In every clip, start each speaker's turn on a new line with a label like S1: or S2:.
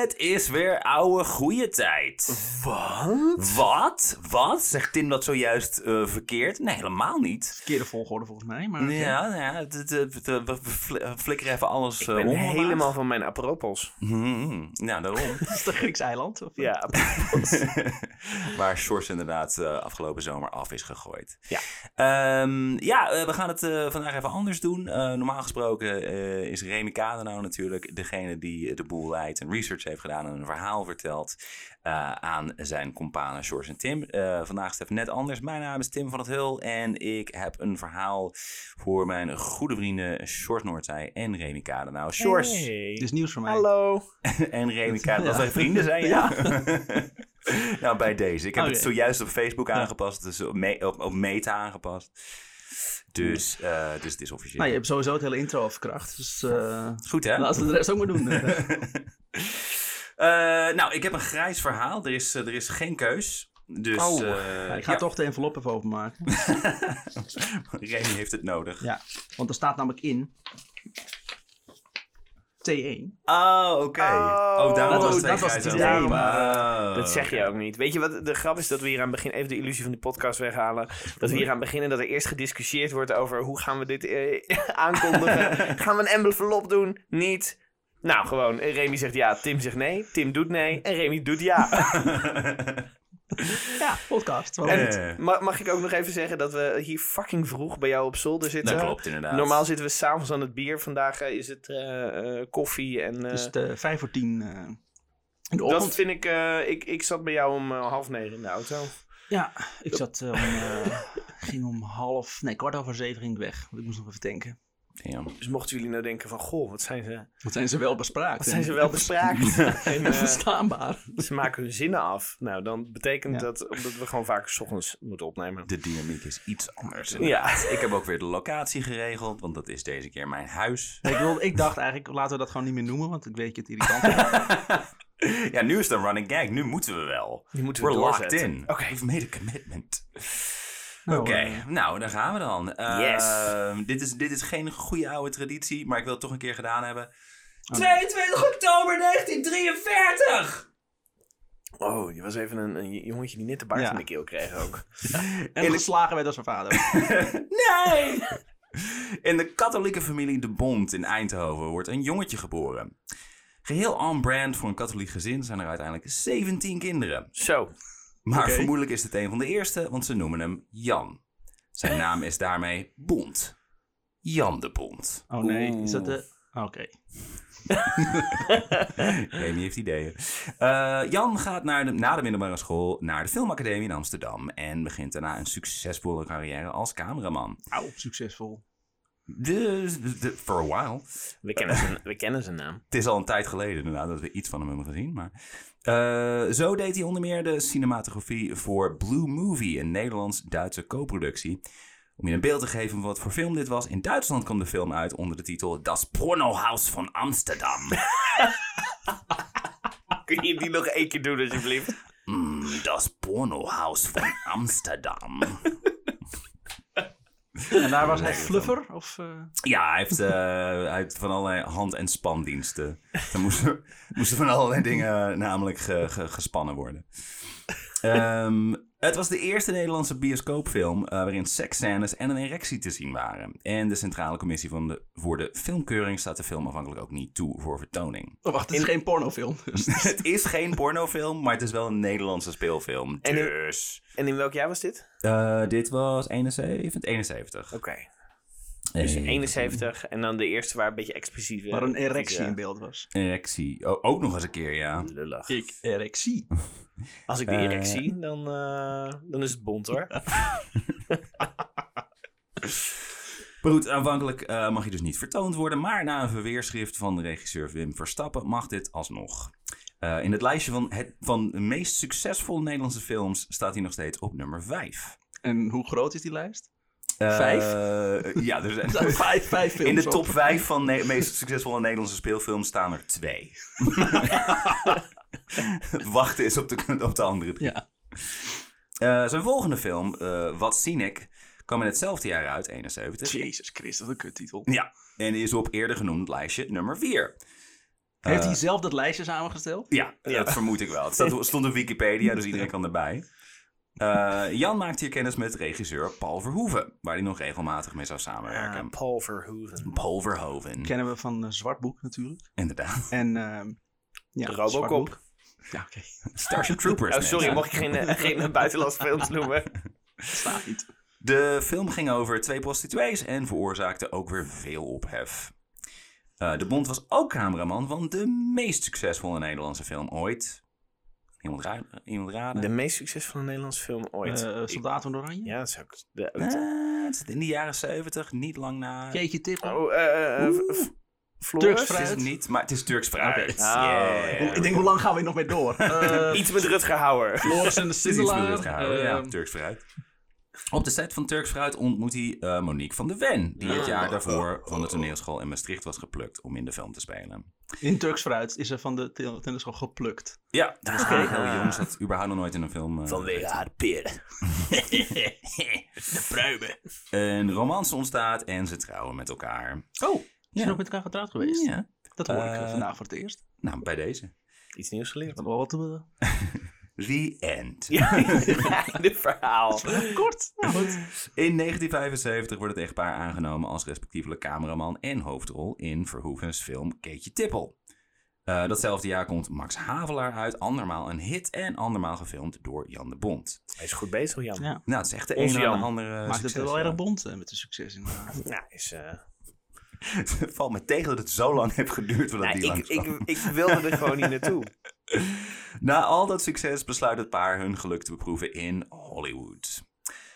S1: Het is weer oude goede tijd.
S2: Wat?
S1: Wat? Wat? Zegt Tim dat zojuist eh, verkeerd? Nee, helemaal niet.
S2: Verkeerde volgorde volgens mij, maar...
S1: Ja, nou ja het- het- het- we- we fl- eh, flikkeren even alles
S3: Ik
S1: eh,
S3: ben
S1: om.
S3: helemaal van mijn apropos.
S1: Hmm, nou, daarom.
S2: Dat is de Grieks eiland? Of...
S3: Ja,
S1: Waar Sjors inderdaad eh, afgelopen zomer af is gegooid.
S3: Ja.
S1: Ehm, ja, eh, we gaan het eh, vandaag even anders doen. Eh, normaal gesproken eh, is Remy Kadenau natuurlijk degene die eh, de boel leidt en research heeft gedaan en een verhaal vertelt eh, aan zijn companen Sjors en Tim. Eh, vandaag is het even net anders. Mijn naam is Tim van het Hul en ik heb een verhaal voor mijn goede vrienden Sjors Noordzij en Remy Kadenau. Sjors!
S2: Dit is Dus nieuws voor mij.
S3: Hallo.
S1: En Remy Kaat,
S2: Ja.
S1: dat wij vrienden zijn, ja. nou, bij deze. Ik heb
S2: Oké.
S1: het zojuist op Facebook aangepast, dus op, me- op, op Meta aangepast. Dus, eh, dus het is officieel.
S2: Nou, je hebt sowieso het hele intro al verkracht, dus eh,
S1: Goed, hè?
S2: laten we de rest ook maar doen.
S1: Eh, nou, ik heb een grijs verhaal. Er is, eh, er is geen keus. Dus
S2: Oh,
S1: eh,
S2: ik ga
S1: ja,
S2: toch de envelop even openmaken,
S1: Remy heeft het nodig.
S2: ja. want er staat namelijk in E, T1.
S1: Oh, oké.
S3: Oh,
S1: Oh, daarom was
S2: dat
S1: Oh.
S2: was-
S1: het
S2: dat was
S1: grijs.
S2: het
S1: Oh,
S2: idee,
S1: wauw.
S3: Dat zeg je ook niet. Weet je wat de grap is? Dat we hier aan het begin even de illusie van die podcast weghalen. Dat we hier aan beginnen dat er eerst gediscussieerd wordt over hoe gaan we dit eh, aankondigen. gaan we een envelop doen? Niet. Nou, gewoon. eh, Remy zegt ja, Tim zegt nee. Tim doet nee en Remy doet ja.
S2: Ja, podcast. waarom niet?
S1: Eh,
S3: Ma- mag ik ook nog even zeggen dat we hier fucking vroeg bij jou op zolder zitten?
S2: eh,
S1: dat klopt inderdaad.
S3: Normaal zitten we s'avonds aan het bier. Vandaag eh, is het eh, eh, koffie en... eh,
S2: Het is de 5 voor 10 eh, in de ochtend.
S3: dat vind ik, eh, ik... Ik zat bij jou om eh, half negen in de auto.
S2: Ja, ik zat eh, om, eh, ging om half, nee, kwart over zeven ging ik weg. Want ik moest nog even denken.
S1: Damn.
S3: Dus mochten jullie nou denken van... Goh, wat zijn ze...
S2: Wat zijn ze wel bespraakt.
S3: Wat zijn ze wel bespraakt? en,
S2: En
S3: eh,
S2: verstaanbaar.
S3: ze maken hun zinnen af. Nou, dan betekent
S2: Ja.
S3: dat omdat we gewoon vaak 's ochtends moeten opnemen.
S1: De dynamiek is iets anders.
S3: Ja.
S1: Ik heb ook weer de locatie geregeld, want dat is deze keer mijn huis.
S2: Ik, wilde, ik dacht eigenlijk, laten we dat gewoon niet meer noemen, want ik weet dat je het irritant vindt.
S1: Ja, nu is het een running gag. Nu moeten we wel.
S3: Die moeten we
S1: We're locked
S3: doorzetten.
S1: in.
S3: Oké.
S1: We've made a commitment.
S2: Nou,
S1: Oké,
S2: eh,
S1: nou, daar gaan we dan. Eh,
S3: Yes.
S1: dit, is, dit is geen goede oude traditie, maar ik wil het toch een keer gedaan hebben. 22 oktober 1943!
S3: Oh, je was even een, een jongetje die net de baard
S2: Ja.
S3: in de keel kreeg ook.
S2: En geslagen werd als zijn vader.
S1: Nee! In de katholieke familie De Bond in Eindhoven wordt een jongetje geboren. Geheel on-brand voor een katholiek gezin zijn er uiteindelijk 17 kinderen.
S3: Zo.
S1: Maar
S2: Oké.
S1: vermoedelijk is dit een van de eerste, want ze noemen hem Jan. Zijn naam is daarmee Bond. Jan de Bond.
S2: Oh nee, is dat de... Oké.
S1: Remy heeft ideeën. Eh, Jan gaat naar de, na de middelbare school naar de filmacademie in Amsterdam. En begint daarna een succesvolle carrière als cameraman.
S2: Auw, succesvol.
S1: Dus, de- for a while.
S3: We kennen zijn, we kennen zijn naam.
S1: Het is al een tijd geleden inderdaad dat we iets van hem hebben gezien. Maar... Eh, zo deed hij onder meer de cinematografie voor Blue Movie, een Nederlands-Duitse co-productie. Om je een beeld te geven van wat voor film dit was, in Duitsland kwam de film uit onder de titel Das Pornohaus van Amsterdam.
S3: Kun je die nog één keer doen, alsjeblieft?
S1: Mm, das Pornohaus van Amsterdam.
S2: En daar was hij fluffer? Of, eh,
S1: Ja, hij heeft, eh, hij heeft van allerlei hand- en spandiensten. Er moesten, moesten van allerlei dingen eh, namelijk ge- ge- gespannen worden. Ehm, het was de eerste Nederlandse bioscoopfilm eh, waarin seksscènes en een erectie te zien waren. En de Centrale Commissie van de, voor de Filmkeuring staat de film afhankelijk ook niet toe voor vertoning.
S2: oh, wacht, het is geen pornofilm. Dus.
S1: het is geen pornofilm, maar het is wel een Nederlandse speelfilm.
S3: En-
S1: Dus...
S3: En in welk jaar was dit?
S1: Eh, dit was 71. 71.
S3: Oké. Dus 71 en dan de eerste waar een beetje expliciet...
S2: Waar een erectie
S3: Ja.
S2: in beeld was.
S1: Erectie. O- ook nog eens een keer, ja.
S3: Lullig.
S2: Ik, erectie.
S3: Als ik de
S1: Eh.
S3: erectie, dan, eh, dan is het bond hoor.
S1: Maar goed, aanvankelijk eh, mag je dus niet vertoond worden. Maar na een verweerschrift van regisseur Wim Verstappen mag dit alsnog. Eh, in het lijstje van, het, van de meest succesvolle Nederlandse films staat hij nog steeds op nummer 5.
S2: En hoe groot is die lijst? Vijf?
S1: eh, Ja, er zijn-
S2: Er zijn vijf, vijf films.
S1: in de
S2: op.
S1: top 5 van de meest succesvolle Nederlandse speelfilms staan er twee. Wachten is op de, op de andere drie.
S2: Ja.
S1: Eh, zijn volgende film, eh, Wat Zien Ik, kwam in hetzelfde jaar uit, 71.
S2: Jezus Christus, wat een kuttitel.
S1: Ja, en is op eerder genoemd lijstje nummer 4.
S2: Heeft hij zelf dat lijstje samengesteld?
S1: Eh, Ja, dat vermoed ik wel. Het staat- stond op Wikipedia, dus iedereen kan erbij. Eh, Jan maakt hier kennis met regisseur Paul Verhoeven, waar hij nog regelmatig mee zou samenwerken.
S3: Paul Verhoeven.
S1: Paul Verhoeven,
S2: Kennen we van eh, Zwartboek natuurlijk.
S1: inderdaad.
S2: En ehm ja,
S3: Robocop.
S2: Zwartboek. Ja, oké.
S1: Starship Troopers.
S3: Oh, sorry,
S1: mensen.
S3: mocht ik geen, eh, geen buitenlandse films noemen.
S2: Staat niet.
S1: De film ging over twee prostituees en veroorzaakte ook weer veel ophef. Eh, de Bond was ook cameraman van de meest succesvolle Nederlandse film ooit. Iemand, ra- iemand raden?
S3: De meest succesvolle Nederlandse film ooit.
S2: Eh Soldaat van Oranje.
S3: Ja, dat zou ik... de-
S1: Eh, het zit in de jaren 70, niet lang na.
S2: Keetje tippen.
S3: Oh, eh, eh, v- v-
S2: Turks
S1: Het is
S3: Floris?
S2: fruit.
S1: niet, maar het is Turks fruit.
S2: Oké.
S1: Yeah.
S3: Oh.
S2: Ik denk, hoe lang gaan we hier nog mee door? Eh,
S3: Iets met Rutger Hauer.
S2: Floris en de
S1: Het is iets met
S2: Sindelaar.
S1: het gehouden, ja,
S2: eh,
S1: Turks fruit. ehm, Op de set van Turks fruit ontmoet hij eh, Monique van de Ven, die het jaar daarvoor van de toneelschool in Maastricht was geplukt om in de film te spelen.
S2: In Turks fruit is er van de tel- tennischool geplukt.
S1: Ja, Ah. dat was heel heel jong, zat überhaupt nog nooit in een film. eh,
S3: haar peren.
S1: de pruimen. Een romance ontstaat en ze trouwen met elkaar.
S2: Oh, is
S1: Ja.
S2: je nog met elkaar getrouwd geweest?
S1: Ja.
S2: Dat hoor ik
S1: Eh,
S2: eh, vandaag voor het eerst.
S1: Nou, bij deze.
S3: Iets nieuws geleerd.
S2: Wat, eh, wat, wat,
S1: The End.
S3: Ja, dit verhaal.
S2: kort. Nou
S1: In 1975 wordt het echtpaar aangenomen als respectievelijk cameraman en hoofdrol in Verhoeven's film Keetje Tippel. Eh, datzelfde jaar komt Max Havelaar uit, andermaal een hit en andermaal gefilmd door Jan de Bond.
S3: Hij is goed bezig, Jan.
S2: Ja.
S1: Nou, het is echt de
S3: Onze
S1: een aan
S3: Jan.
S1: de andere
S2: Maakt het
S1: succes,
S2: wel
S1: ja.
S2: erg bond eh, met de succes inderdaad.
S3: Ja, is... eh,
S1: Het valt me tegen dat het zo lang heeft geduurd voordat
S3: nou,
S1: die
S3: ik,
S1: langskwam.
S3: ik, ik wilde er gewoon niet naartoe.
S1: Na al dat succes besluit het paar hun geluk te beproeven in Hollywood.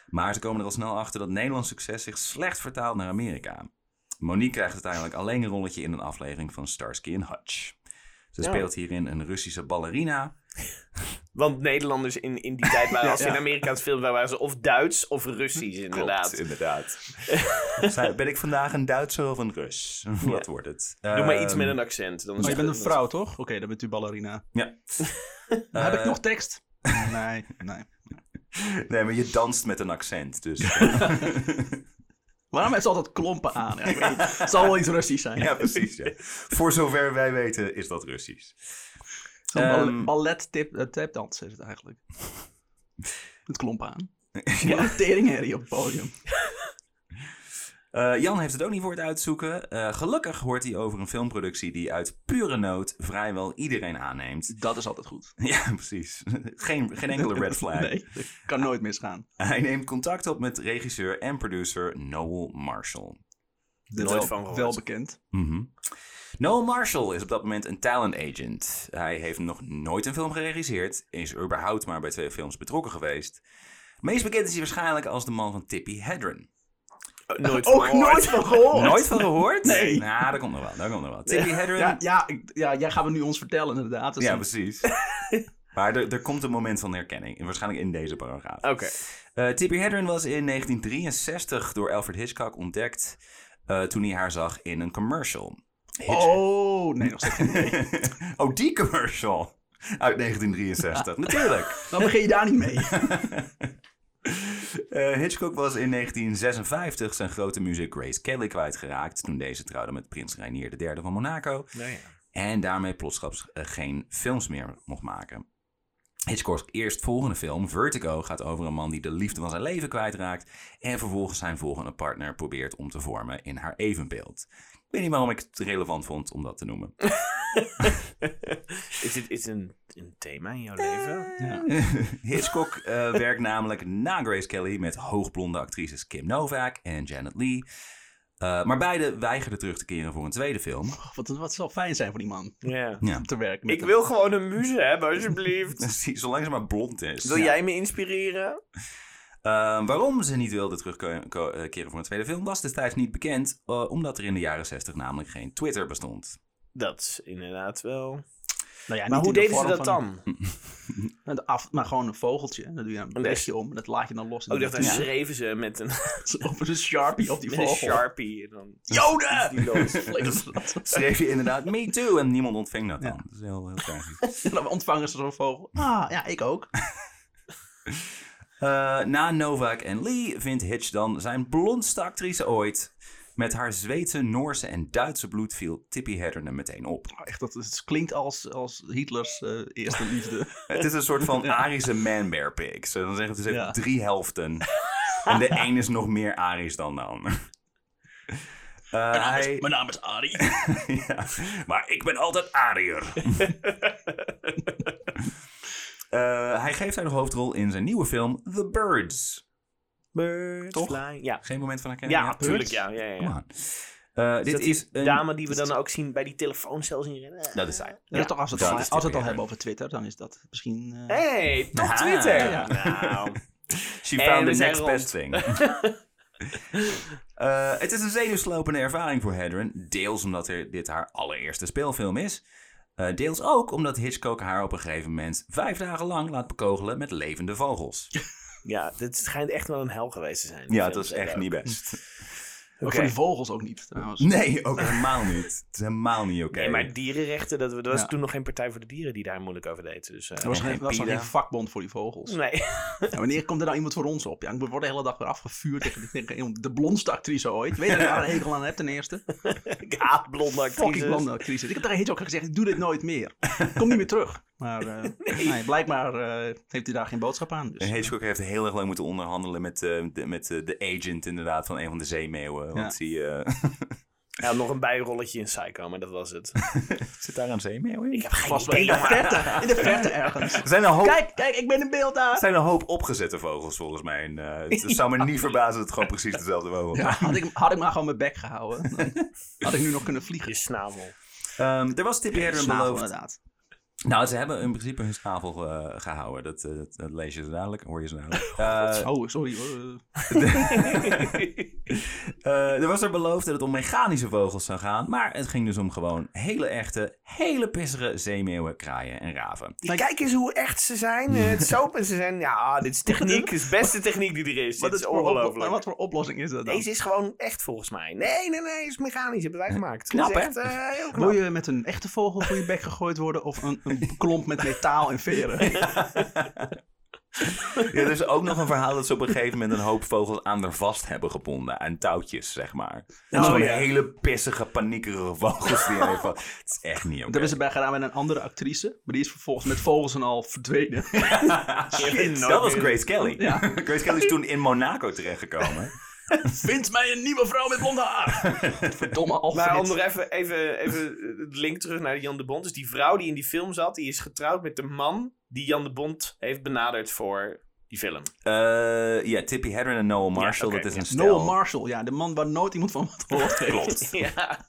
S1: Maar ze komen er al snel achter dat Nederlands succes zich slecht vertaalt naar Amerika. Monique krijgt uiteindelijk alleen een rolletje in een aflevering van Starsky and Hutch. Ze
S3: Ja.
S1: speelt hierin een Russische ballerina.
S3: Want Nederlanders in, in die tijd waren, als ze in Amerikaans film waren, waren ze of Duits of Russisch inderdaad.
S1: Klopt, inderdaad. Zij- ben ik vandaag een Duitser of een Rus? Wat wordt het? Ehm,
S3: Doe maar iets met een accent. Dan
S2: Maar
S3: is
S2: je
S3: het-
S2: bent een vrouw, toch? Oké, dan bent u ballerina.
S1: Ja.
S2: Dan heb ik nog tekst? Nee, nee.
S1: Nee, maar je danst met een accent. Dus.
S2: Waarom heeft ze altijd klompen aan? Ja, ik weet niet. Het zal wel iets Russisch zijn.
S1: ja, precies. ja. Voor zover wij weten is dat Russisch.
S2: Zo'n bal-
S1: Ehm.
S2: ballet tip, eh, tapdans is het eigenlijk. Met klompen aan. Ja. Een teringherrie op het podium.
S1: Eh, Jan heeft het ook niet voor het uitzoeken. Eh, gelukkig hoort hij over een filmproductie die uit pure nood vrijwel iedereen aanneemt.
S2: Dat is altijd goed.
S1: Ja, precies. Geen, geen enkele red flag.
S2: Nee, dat kan nooit misgaan.
S1: Hij neemt contact op met regisseur en producer Noel Marshall.
S3: Nooit
S2: wel,
S3: van gehoord.
S2: Wel bekend.
S1: Mhm. Noel Marshall is op dat moment een talent agent. Hij heeft nog nooit een film geregisseerd, is überhaupt maar bij twee films betrokken geweest. Meest bekend is hij waarschijnlijk als de man van Tippi Hedren.
S3: Nooit
S2: Ook
S3: gehoord.
S2: nooit van gehoord.
S1: Nooit van gehoord?
S2: Oh, Nee.
S1: Nou, daar komt nog wel. Daar komt nog wel. Tippi Hedren.
S2: Ja, ja, ik- ja, jij gaat me nu ons vertellen inderdaad. Dus
S1: Ja,
S2: dan-
S1: precies. maar er, er komt een moment van herkenning. En waarschijnlijk in deze paragraaf.
S3: Oké.
S1: Eh, Tippi Hedren was in 1963 door Alfred Hitchcock ontdekt eh, toen hij haar zag in een commercial.
S2: Oh, nee, nog steeds. niet.
S1: oh, die commercial uit 1963. Natuurlijk.
S2: Dan begin je daar niet mee.
S1: Eh, Hitchcock was in 1956 zijn grote muziek Grace Kelly kwijtgeraakt toen deze trouwde met prins Reinier III van Monaco.
S3: Nou ja.
S1: En daarmee plotsklaps eh, geen films meer mocht maken. Hitchcock's eerstvolgende film, Vertigo, gaat over een man die de liefde van zijn leven kwijtraakt. En vervolgens zijn volgende partner probeert om te vormen in haar evenbeeld. Ik weet niet waarom ik het relevant vond om dat te noemen.
S3: Is dit is een, een thema in jouw leven?
S1: Hitchcock eh, werkt namelijk na Grace Kelly met hoogblonde actrices Kim Novak en Janet Lee. Eh, maar beide weigerden terug te keren voor een tweede film.
S2: Oh, Wat, wat zal fijn zijn voor die man
S3: Ja.
S1: Ja,
S2: om te werken met
S3: Ik
S2: hem.
S3: wil gewoon een muze hebben, alsjeblieft.
S1: Dus zolang ze maar blond is.
S3: Wil
S1: Ja.
S3: jij me inspireren?
S1: Ehm, waarom ze niet wilde terugkeren eh, voor een tweede film was destijds niet bekend, eh, omdat er in de jaren 60 namelijk geen Twitter bestond.
S3: Dat is inderdaad wel.
S2: Nou ja,
S3: Maar hoe
S2: niet in de
S3: deden ze
S2: vorm
S3: dat
S2: van-
S3: dan?
S2: Met af, maar gewoon een vogeltje. Dan doe je een
S3: Een
S2: brekje om en dat laat je dan los.
S3: Oh, ik dacht, daar
S2: ja.
S3: schreven ze met een,
S2: Op een sharpie op die
S3: met een
S2: vogel.
S3: sharpie. En dan
S2: Joden! Dus
S3: die los.
S1: Schreef je inderdaad Me Too en niemand ontving dat dan. Dat is heel, heel tragisch.
S2: En dan ontvangen ze zo'n vogel. Ah, ja, ik ook.
S1: Eh, na Novak en Lee vindt Hitch dan zijn blondste actrice ooit. Met haar Zweedse, Noorse en Duitse bloed viel Tippi Hedren meteen op.
S2: Oh, echt, dat is, het klinkt als, als Hitlers eh, eerste liefde.
S1: Het is een soort van Arische man-bear pig. Zo, Dan zeggen ze, ze heeft
S2: Ja.
S1: drie helften. en de een is nog meer Arisch dan de ander. Eh, hij-
S2: Mijn naam is Ari.
S1: ja, maar ik ben altijd Ariër. Eh, hij geeft haar de hoofdrol in zijn nieuwe film The Birds.
S3: Birds
S1: Toch?
S3: fly. Ja,
S1: Geen moment van herkenning?
S3: ja, natuurlijk.
S1: Birds?
S3: Ja, ja, ja, ja.
S1: Come on. Eh, dit
S3: dat
S1: is een...
S3: dame die we dan ook zien bij die telefooncel zien rennen.
S1: Dat is zij.
S2: Ja, toch, als we het,
S1: dat
S2: al-
S1: is
S2: als
S1: Tippi
S2: we het al
S1: Hedren.
S2: hebben over Twitter, dan is dat misschien... eh,
S3: Hey, toch
S1: Ah.
S3: Twitter!
S1: Ja.
S3: Nou,
S1: She
S3: En
S1: found
S3: we
S1: the
S3: zijn
S1: next
S3: rond.
S1: best thing. Eh, het is een zenuwslopende ervaring voor Hedren. Deels omdat er, dit haar allereerste speelfilm is. Eh, deels ook omdat Hitchcock haar op een gegeven moment vijf dagen lang laat bekogelen met levende vogels.
S3: ja, dit schijnt echt wel een hel geweest te zijn. die
S1: Ja, het
S3: film
S1: was echt
S3: ook.
S1: niet best.
S2: Ook
S3: Oké.
S2: voor die vogels ook niet, trouwens.
S1: Nee, ook helemaal niet. Het is helemaal niet oké.
S3: Nee, maar dierenrechten, dat, we- dat was
S2: Ja.
S3: toen nog geen Partij voor de Dieren die daar moeilijk over deed. Dus, eh,
S2: Er was,
S1: En
S2: geen, er was nog
S1: Pira.
S2: geen vakbond voor die vogels.
S3: nee.
S2: Ja, wanneer komt er nou iemand voor ons op? Ja, ik word de hele dag weer afgevuurd tegen, tegen de blondste actrice ooit. Weet je dat ik daar een hekel aan heb ten eerste?
S3: Ik haat Ah, blonde
S2: Fucking
S3: actrices.
S2: blonde actrice. Ik heb daar heel ook gezegd, ik doe dit nooit meer. Kom niet meer terug. Maar eh, nee, blijkbaar eh, heeft hij daar geen boodschap aan. Dus.
S1: En Hitchcock heeft heel erg lang moeten onderhandelen met, eh, de, met eh, de agent inderdaad van een van de zeemeeuwen. Want die eh,
S3: Hij had nog een bijrolletje in Psycho, maar dat was het.
S1: zit daar een zeemeeuw in.
S3: Ik heb geen
S2: Vast wel in
S3: idee,
S2: de
S3: maar...
S2: verte, in de verte ergens.
S1: Er zijn een hoop
S2: Kijk, kijk, ik ben in beeld
S1: Het
S2: daar.
S1: zijn een hoop opgezette vogels volgens mij. En, eh, het het zou me niet verbazen dat het gewoon precies dezelfde vogel is.
S2: Ja, had, ik, had ik maar gewoon mijn bek gehouden, dan had ik nu nog kunnen
S3: Je
S2: vliegen.
S3: snavel.
S1: Ehm, er was Tippi Hedren
S2: Snavel,
S1: beloofd.
S2: inderdaad.
S1: Nou, ze hebben in principe hun snavel eh, gehouden. Dat, eh, dat, dat lees je zo dadelijk, hoor je zo dadelijk. Eh,
S2: Oh, sorry. hoor.
S1: eh, er was er beloofd dat het om mechanische vogels zou gaan. Maar het ging dus om gewoon hele echte, hele pissere zeemeeuwen, kraaien en raven.
S3: Kijk eens hoe echt ze zijn. eh, Het sopen ze zijn. Ja, ah, dit is techniek. Dit is de beste techniek die er is.
S2: Wat
S3: Dit is
S2: voor oplo- maar
S3: ongelooflijk.
S2: wat voor oplossing is dat dan?
S3: Deze is gewoon echt volgens mij. Nee, nee, nee. is mechanisch. Hebben wij gemaakt.
S1: Knap,
S3: Dit is echt,
S1: hè?
S3: eh, heel knap.
S2: Wil je met een echte vogel voor je bek gegooid worden of een, een klomp met metaal en veren?
S1: Ja, er is ook nog een verhaal dat ze op een gegeven moment een hoop vogels aan haar vast hebben gebonden. Aan touwtjes, zeg maar. Dat is
S3: Oh,
S1: gewoon
S3: ja.
S1: hele pissige, paniekerige vogels die hij heeft. gehad. Het is echt niet oké.
S2: Dat hebben ze bij gedaan met een andere actrice, maar die is vervolgens met vogels en al verdwenen.
S3: Shit,
S1: Dat was Grace Kelly.
S2: Ja.
S1: Grace Kelly is toen in Monaco terechtgekomen.
S2: Vind mij een nieuwe vrouw met blond haar! Verdomme Alfred.
S3: Maar om nog even, even, even het link terug naar Jan de Bond. Dus die vrouw die in die film zat, die is getrouwd met de man die Jan de Bond heeft benaderd voor die film.
S1: Eh, ja, Tippi Hedren en Noel Marshall.
S3: Ja, oké,
S1: dat is
S3: ja.
S1: een stel.
S2: Noel Marshall, ja, de man waar nooit iemand van wat gehoord heeft.
S1: Klopt.
S3: Ja.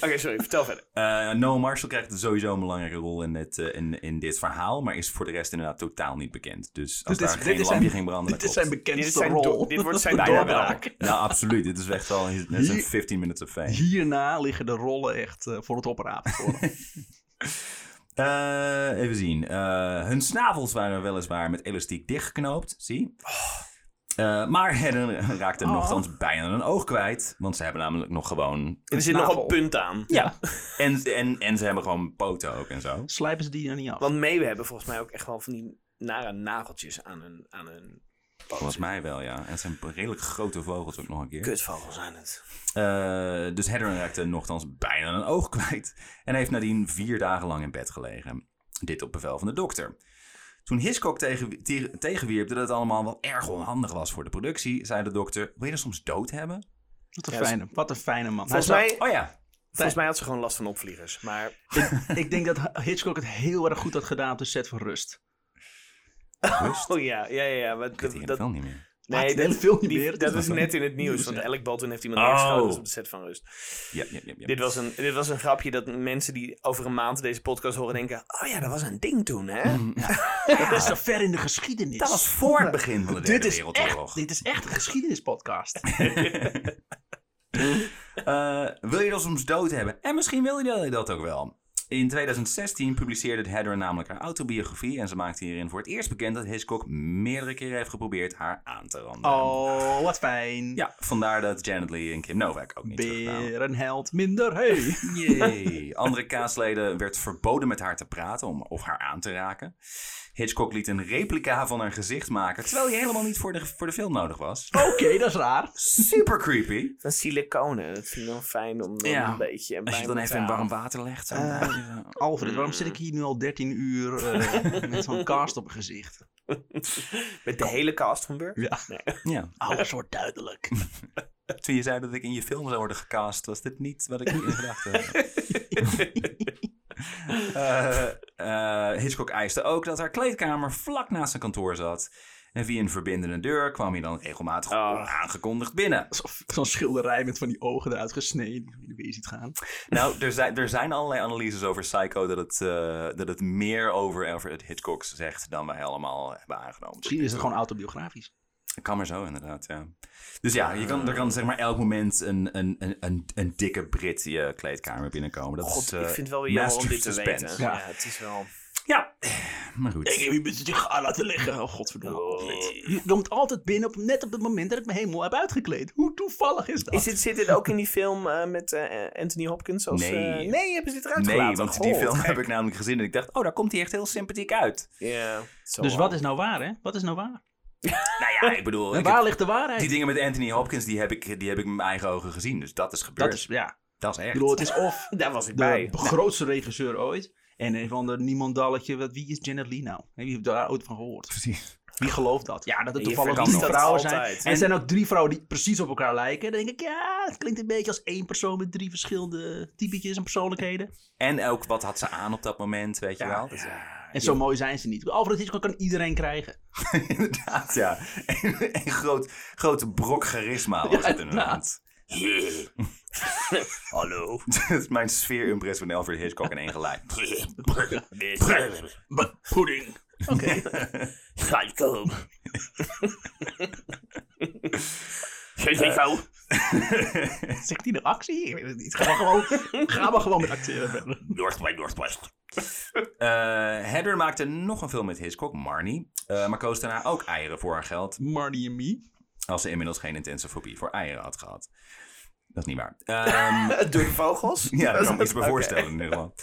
S3: Oké, sorry. Vertel verder.
S1: Eh, Noel Marshall krijgt sowieso een belangrijke rol in, het, eh, in, in dit verhaal. Maar is voor de rest inderdaad totaal niet bekend. Dus als
S2: Dus dit,
S1: daar
S2: is-
S1: geen
S2: dit, is
S1: lampje
S2: zijn,
S1: ging branden,
S2: dit
S1: dan
S2: is
S1: klopt
S2: zijn
S1: het.
S2: bekendste
S3: Dit is zijn
S2: rol.
S3: do- dit wordt zijn
S1: Bijna
S3: doorbraak.
S1: wel. Nou, absoluut. Dit is echt wel dit is een 15 minutes of fame.
S2: Hierna liggen de rollen echt eh, voor het oprapen. voor hem.
S1: Eh, even zien. Eh, hun snavels waren weliswaar met elastiek dichtgeknoopt, zie. Eh, maar Hedden raakte nogthans bijna een oog kwijt. Want ze hebben namelijk nog gewoon...
S3: Er zit nog
S2: snavel.
S3: een punt aan.
S1: Ja. En, en, en ze hebben gewoon poten ook en zo.
S2: Slijpen ze die dan niet af?
S3: Want meeuwen hebben volgens mij ook echt wel van die nare nageltjes aan hun... Aan hun
S1: Volgens mij wel, ja. En het zijn redelijk grote vogels ook nog een keer.
S3: Kutvogels aan het.
S1: Eh, dus Hedren raakte nogthans bijna een oog kwijt. En heeft nadien vier dagen lang in bed gelegen. Dit op bevel van de dokter. Toen Hitchcock tegen, te- tegenwierp dat het allemaal wel erg onhandig was voor de productie, zei de dokter: Wil je er soms dood hebben?
S2: Wat een
S3: Ja,
S2: fijne, wat een fijne man.
S3: Volgens
S2: Hij
S3: mij,
S1: Oh ja.
S3: volgens mij had ze gewoon last van opvliegers. Maar
S2: zou- ik denk dat Hitchcock het heel erg goed had gedaan op de set van Rust.
S1: Rust.
S3: Oh ja, ja, ja. ja maar
S1: Ik weet
S3: dat,
S1: het
S3: dat,
S1: wel niet meer.
S2: Maakt
S3: nee,
S2: het
S3: dat,
S2: hele film niet
S3: die-
S2: meer. Het
S3: dat
S2: is
S3: was
S2: nog
S3: net
S2: wel-
S3: in het nieuws. Want
S2: Ja.
S3: Alec Baldwin heeft iemand
S1: Oh.
S3: neergeschoten. Dat is op de set van Rust.
S1: Ja, ja, ja, ja.
S3: Dit was, een, dit was een grapje dat mensen die over een maand deze podcast horen denken... Oh ja, dat was een ding toen, hè?
S1: Mhm.
S2: Dat is zo ver in de geschiedenis.
S1: Dat was voor het begin van de
S2: dit
S1: Derde
S2: is, echt,
S1: Wereldoorlog.
S2: dit is echt een geschiedenispodcast.
S1: Eh, wil je dat soms dood hebben? En misschien wil je dat ook wel. In 2016 publiceerde Heather namelijk haar autobiografie en ze maakte hierin voor het eerst bekend dat Hitchcock meerdere keren heeft geprobeerd haar aan te randen.
S2: Oh, wat fijn.
S1: Ja, vandaar dat Janet Lee en Kim Novak ook niet terugkwamen.
S2: Weer een held minder, hey.
S1: Jee. Andere kaasleden werd verboden met haar te praten om, of haar aan te raken. Hitchcock liet een replica van haar gezicht maken, terwijl die helemaal niet voor de, voor de film nodig was.
S2: Oké, dat is raar.
S1: Super creepy.
S3: Van siliconen. Dat vind ik dan fijn om dan
S1: Ja.
S3: een beetje. een
S1: Als je
S3: bij
S1: dan
S3: me
S1: even
S3: te
S1: in warm
S3: houden.
S1: water legt. zo.
S2: Eh. Alfred, waarom zit ik
S1: Mm.
S2: hier nu al 13 uur eh, met zo'n cast op mijn gezicht?
S3: Met de hele cast van Burger.
S2: Ja.
S1: ja.
S2: Alles wordt duidelijk.
S1: Toen je zei dat ik in je film zou worden gecast, was dit niet wat ik in gedachten had. Eh, eh, Hitchcock eiste ook dat haar kleedkamer vlak naast zijn kantoor zat. En via een verbindende deur kwam hij dan regelmatig
S3: Ah.
S1: aangekondigd binnen.
S2: Alsof Zo'n schilderij met van die ogen eruit gesneden. die je weer ziet gaan.
S1: Nou, er zijn, er zijn allerlei analyses over Psycho dat het, eh, dat het meer over, over het Hitchcock zegt dan wij allemaal hebben aangenomen.
S2: Misschien is het gewoon autobiografisch.
S1: Kan maar zo, inderdaad, ja. Dus ja, je kan, er kan zeg maar elk moment een, een, een, een, een dikke Brit je kleedkamer binnenkomen. Dat is,
S3: God,
S1: eh,
S3: ik vind het wel weer jammer om
S1: master
S3: dit te
S1: suspense.
S3: weten.
S2: Ja.
S3: Ja, het is wel...
S1: Ja, maar goed.
S2: heb je met je gaar laten liggen. Oh, godverdomme.
S3: Oh.
S2: Alfred. Je komt altijd binnen op, net op het moment dat ik me helemaal heb uitgekleed. Hoe toevallig is dat?
S3: Is dit, zit dit ook in die film eh, met eh, Anthony Hopkins? Als,
S1: Nee.
S3: eh, nee, hebben ze dit eruit
S1: Nee,
S3: gelaten? Oh.
S1: want die
S3: God.
S1: film heb ik namelijk gezien en ik dacht, oh, daar komt hij echt heel sympathiek uit.
S3: Ja. zo
S2: dus
S3: wel.
S2: wat is nou waar, hè? Wat is nou waar?
S1: Nou ja, ik bedoel,
S2: En
S1: ik
S2: waar
S1: heb-
S2: ligt de waarheid?
S1: die dingen met Anthony Hopkins, die heb, ik, die heb ik met mijn eigen ogen gezien. Dus dat is gebeurd.
S2: dat is, ja. Ik
S1: echt.
S2: bedoel, het is of
S3: Daar was ik
S2: de
S3: bij.
S2: grootste regisseur ooit. En een van de niemandalletje. Wat, wie is Janet Lee nou? Wie heeft daar ooit van gehoord?
S1: Precies.
S2: Wie gelooft dat? Ja, dat
S3: Je
S2: het toevallig
S3: verkoopt
S2: drie
S3: dat
S2: vrouwen zijn.
S3: altijd.
S2: En er zijn ook drie vrouwen die precies op elkaar lijken. Dan denk ik, ja, het klinkt een beetje als één persoon met drie verschillende typetjes en persoonlijkheden.
S1: En ook, wat had ze aan op dat moment, weet je
S2: Ja,
S1: wel? Dus, ja.
S2: En zo mooi zijn ze niet. Alfred Hitchcock kan iedereen krijgen.
S1: Inderdaad, ja. En, en groot, grote brok charisma was
S2: Ja,
S1: het inderdaad.
S3: Hallo.
S1: Dat is mijn sfeerimpress van Alfred Hitchcock in één gelijk.
S2: Pudding. Oké.
S3: Psycho.
S2: Zegt hij de actie? Ik weet het niet. Ga maar gewoon, ga maar gewoon met acteren verder.
S1: North by Northwest. Heather Eh, maakte nog een film met Hitchcock, Marnie. eh, maar koos daarna ook eieren voor haar geld.
S2: Marnie en me.
S1: Als ze inmiddels geen intense fobie voor eieren had gehad. Dat is niet waar. Ehm,
S3: Door de vogels?
S1: ja, dat kan ik me iets bij
S3: Oké.
S1: voorstellen in ieder geval.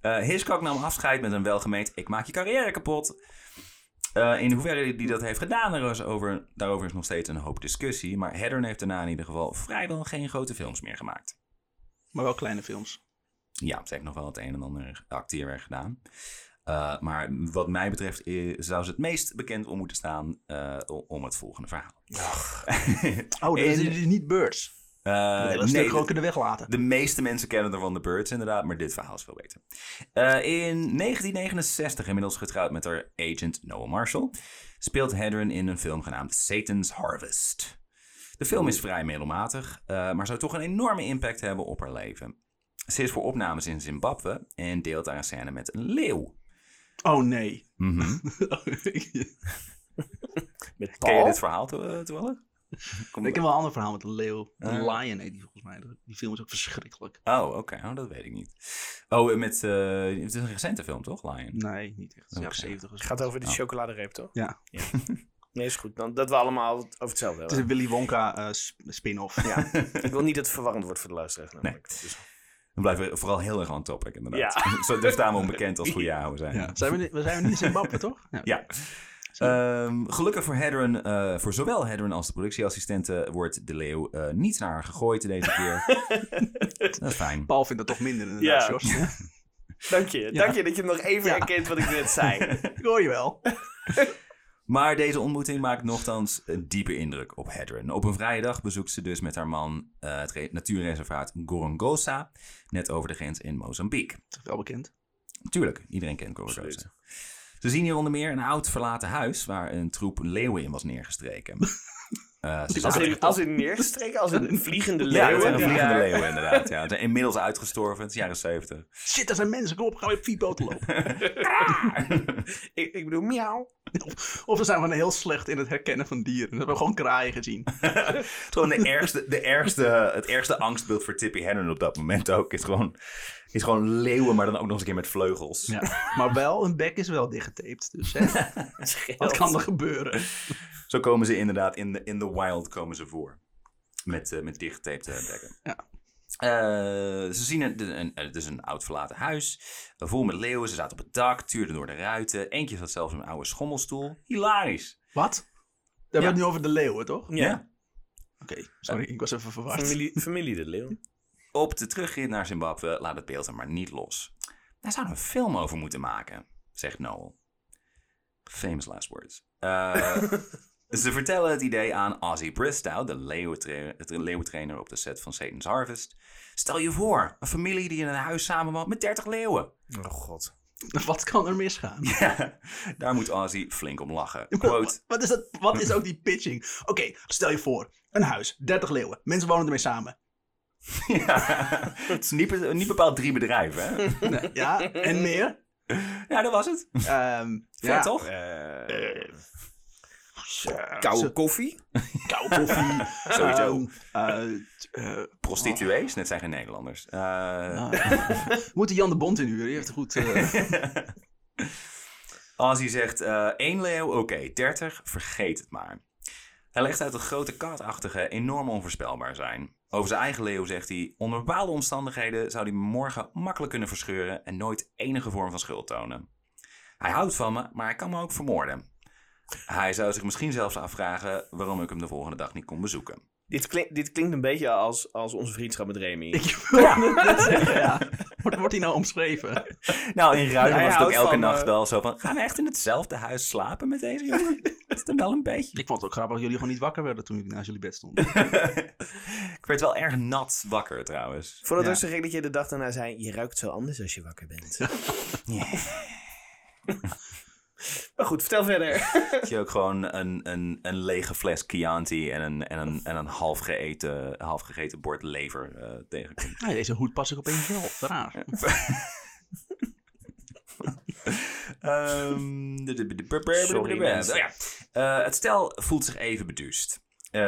S1: Eh, Hitchcock nam afscheid met een welgemeend ik maak je carrière kapot. Eh, in hoeverre hij dat heeft gedaan, daar is over, daarover is nog steeds een hoop discussie. Maar Heather heeft daarna in ieder geval vrijwel geen grote films meer gemaakt.
S2: Maar wel kleine films.
S1: Ja, ze heeft nog wel het een en ander acteerwerk gedaan. Eh, maar wat mij betreft eh, zou ze het meest bekend om moeten staan eh, o- om het volgende verhaal.
S2: Oh,
S1: En-
S2: dit is, dit is niet Birds.
S1: Eh,
S2: Dat hele
S1: nee,
S2: stuk
S1: de-
S2: gewoon kunnen weglaten.
S1: de meeste mensen kennen er van The Birds inderdaad, maar dit verhaal is veel beter. Eh, in 1969, inmiddels getrouwd met haar agent Noah Marshall, speelt Hedren in een film genaamd Satan's Harvest. De film is vrij middelmatig, eh, maar zou toch een enorme impact hebben op haar leven. Ze is voor opnames in Zimbabwe en deelt daar een scène met een leeuw.
S2: Oh nee.
S1: Mhm.
S3: Met
S1: Ken je
S3: Paul?
S1: dit verhaal to- eh, toevallig? Kom
S2: Ik heb wel een ander verhaal met een leeuw. Een
S1: Ah.
S2: lion heet die volgens mij. Die film is ook verschrikkelijk.
S1: Oh, oké, nou, dat weet ik niet. Oh, met, eh, het is een recente film toch, Lion?
S2: Nee, niet echt. Het is
S1: Oké.
S2: jaren 70 of
S3: Het
S2: zo.
S3: gaat over die
S1: Oh.
S3: chocoladereep, toch?
S2: Ja.
S3: Nee, is goed. Dan, dat we allemaal over hetzelfde
S2: Het is
S3: hebben.
S2: een Willy Wonka eh, sp- spin-off. Ja.
S3: Ik wil niet dat het verwarrend wordt voor de luisteraars. namelijk. Dus-
S1: We blijven vooral heel erg on topic, inderdaad.
S3: Ja.
S1: Zo, daar staan we onbekend als goede ouwe zijn. Ja.
S2: Zijn we, we zijn nu in Zimbabwe, toch?
S1: Ja. Ehm, gelukkig voor Hedren, eh, voor zowel Hedren als de productieassistenten, wordt de leeuw eh, niet naar haar gegooid deze keer. dat is fijn.
S2: Paul vindt dat toch minder inderdaad,
S3: Ja.
S2: Jos.
S3: Dank je. Dank je dat je nog even herkent wat ik net zei.
S2: Ik hoor je wel.
S1: Maar deze ontmoeting maakt nogthans een diepe indruk op Hedren. Op een vrije dag bezoekt ze dus met haar man eh, het re- natuurreservaat Gorongosa, net over de grens in Mozambique.
S2: Wel bekend.
S1: Tuurlijk, iedereen kent Gorgonzola. Ze zien hier onder meer een oud verlaten huis waar een troep leeuwen in was neergestreken. eh,
S2: is
S3: Als
S1: zitten-
S3: in, als in neergestreken, als een vliegende
S1: ja, het zijn
S3: leeuwen.
S1: een
S3: die
S1: vliegende
S3: daar-
S1: leeuwen inderdaad. Ja. Ze zijn inmiddels uitgestorven, het is jaren zeventig.
S2: Shit, daar zijn mensen. Kom op, gaan we op fietboten lopen.
S3: Ik, ik bedoel, miauw.
S2: of we zijn we heel slecht in het herkennen van dieren. We hebben gewoon kraaien gezien.
S1: Het is gewoon de ergste, de ergste, het ergste angstbeeld voor Tippy Hennen op dat moment ook. Is gewoon, is gewoon leeuwen, maar dan ook nog eens een keer met vleugels.
S2: Ja. Maar wel, een bek is wel dichtgetaped. Dus hè, wat kan er gebeuren?
S1: Zo komen ze inderdaad in de in the wild komen ze voor. Met, eh met dichtgetapte dekken.
S2: Ja.
S1: Eh, ze zien een, een, een- het is een oud verlaten huis. eh, Vol met leeuwen. Ze zaten op het dak, tuurden door de ruiten. Eentje zat zelfs op een oude schommelstoel. Hilarisch.
S2: Wat? We hebben het nu over de leeuwen, toch? Oké,
S3: Ja.
S2: sorry, ik was even verward.
S3: Familie, familie de leeuw.
S1: Op de terugrit naar Zimbabwe laat het beeld hem maar niet los. Daar zouden we een film over moeten maken, zegt Noel. Famous last words. Eh, ze vertellen het idee aan Ozzy Bristow, de leeuwentra- de leeuwentrainer op de set van Satan's Harvest. Stel je voor, een familie die in een huis samenwoont met 30 leeuwen.
S3: Oh god.
S2: Wat kan er misgaan?
S1: Daar moet Ozzy flink om lachen. Quote,
S2: Wat is, dat, wat is ook die pitching? Oké, stel je voor. Een huis, 30 leeuwen. Mensen wonen ermee samen.
S1: ja, het is niet, be- niet bepaald drie bedrijven, hè?
S2: Nee, ja, en meer?
S1: Ja, dat was het.
S2: Ehm
S1: Vet,
S2: ja.
S1: toch?
S2: Eh, ja,
S3: Koude
S2: zo-
S3: koffie?
S2: koude koffie.
S1: Sowieso.
S2: Ehm, eh, t- eh,
S1: Prostituees, net zijn geen Nederlanders. Eh,
S2: ah. We moeten Jan de Bond inhuren. Die heeft een goed... eh,
S1: Ozzy zegt, eh één leeuw, oké, 30, vergeet het maar. Hij legt uit dat grote katachtige enorm onvoorspelbaar zijn. Over zijn eigen leeuw zegt hij, onder bepaalde omstandigheden zou hij me morgen makkelijk kunnen verscheuren en nooit enige vorm van schuld tonen. Hij houdt van me, maar hij kan me ook vermoorden. Hij zou zich misschien zelfs afvragen waarom ik hem de volgende dag niet kon bezoeken.
S3: Dit, klink, dit klinkt een beetje als, als onze vriendschap met Remy.
S2: ik wil het net zeggen, ja. Wordt, wordt die nou omschreven?
S1: Nou, in ruil
S3: Hij
S1: was het ook
S3: houdt
S1: elke
S3: van me.
S1: nacht wel zo van, gaan we echt in hetzelfde huis slapen met deze jongen? Dat is dan wel een beetje...
S2: Ik vond het ook grappig dat jullie gewoon niet wakker werden toen jullie naast jullie bed stonden.
S1: ik werd wel erg nat wakker trouwens.
S3: Vooral
S2: Ja.
S3: rustig gek dat je de dag daarna zei, je ruikt zo anders als je wakker bent. maar goed, vertel verder.
S1: Dat je ook gewoon een, een, een lege fles Chianti en een, en een, en een half, geëten, half gegeten bord lever eh, tegenkomt.
S2: Nee, deze hoed pas ik opeens wel. Raar.
S1: Ehm, de- de- de- de- de- de-
S3: Sorry,
S1: de- de-
S3: mensen.
S1: Oh ja. Eh, het stel voelt zich even beduust. Eh,